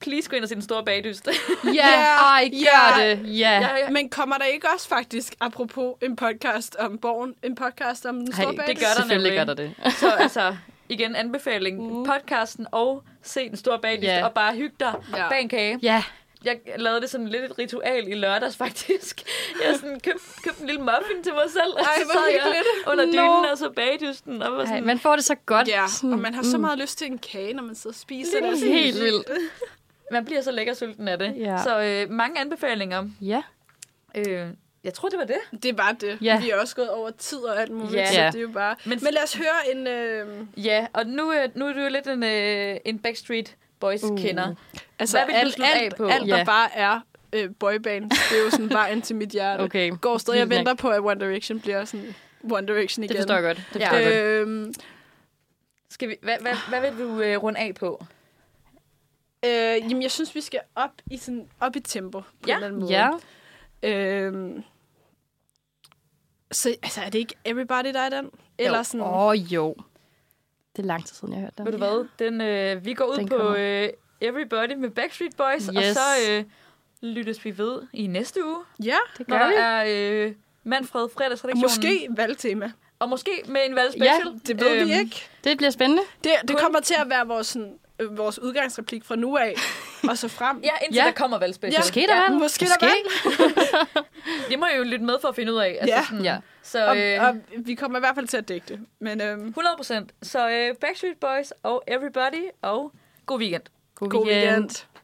please gå ind og se den store bagdyst.
Ja. Ej, gør
Ja.
det. Ja.
Ja, ja.
Men kommer der ikke også faktisk, apropos en podcast om borgen, en podcast om den
Ej,
store
det gør der
Selvfølgelig
nemlig.
gør der det.
Så altså, igen, anbefaling. Mm. Podcasten og se den store bagdyst,
Ja.
og bare hygge dig
Ja.
bag en kage.
Ja.
Jeg lavede det sådan lidt et ritual i lørdags, faktisk. Jeg sådan købte køb en lille muffin til mig selv, og
Ej,
så
hvor
sad jeg under
Nå.
dynen og så bagdysten. Og var
Ej,
sådan,
man får det så godt.
Ja,
Sådan,
og man har så meget lyst til en kage, når man sidder og spiser
mm,
det.
Helt vildt.
man bliver så lækker sulten af det.
Ja.
Så øh, mange anbefalinger.
Ja.
Øh, jeg tror, det var det.
Det var det.
Ja.
Vi er også gået over tid og alt muligt,
Ja.
så
Ja.
det er jo bare... Men,
Men-
Men lad os høre en... Øh...
Ja, og nu, øh, nu er du jo lidt en, øh, en Backstreet Boys-kender. Uh.
Altså,
Hvad vil du
alt,
slutte
alt,
af på?
alt, der
Ja.
bare er øh, boyband, det er jo sådan vejen til mit hjerte.
Okay.
Går stadig og
Vildt nok.
venter på, at One Direction bliver sådan One Direction igen.
Det forstår jeg godt. Det
Ja.
forstår jeg godt.
Øhm,
Skal vi, hvad, hvad, hvad vil du øh, runde af på?
øh, jamen, jeg synes, vi skal op i, sådan, op i tempo på
Ja.
en eller anden måde.
Ja.
Øhm, så altså, er det ikke Everybody, der er den? Eller sådan...
Åh, oh, jo. Det er lang tid siden, jeg har hørt den.
Ved du hvad? Den, øh, vi går ud
Den
den på
kommer.
øh, Everybody med Backstreet Boys, yes. og
Yes.
så øh, lyttes vi ved i næste uge,
Ja,
Det
når
gør vi.
der er øh, Manfred fredagsredaktionen.
måske valgtema.
Og måske med en valgspecial.
Ja,
Det ved øhm, vi
Øhm,
ikke.
Det bliver spændende.
Det, det kommer til at være vores, sådan, øh, vores udgangsreplik fra nu af, og så frem.
Ja, indtil
Ja.
ja. der kommer valgspecial.
Måske der er en.
Måske der var en.
Det må I jo lytte med for at finde ud af. Altså,
Ja.
Sådan, ja. Så
Og,
øh,
og vi kommer i hvert fald til at dække det. Men øhm,
100 procent. Så øh, Backstreet Boys og Everybody, og god weekend.
God
god
weekend.
weekend.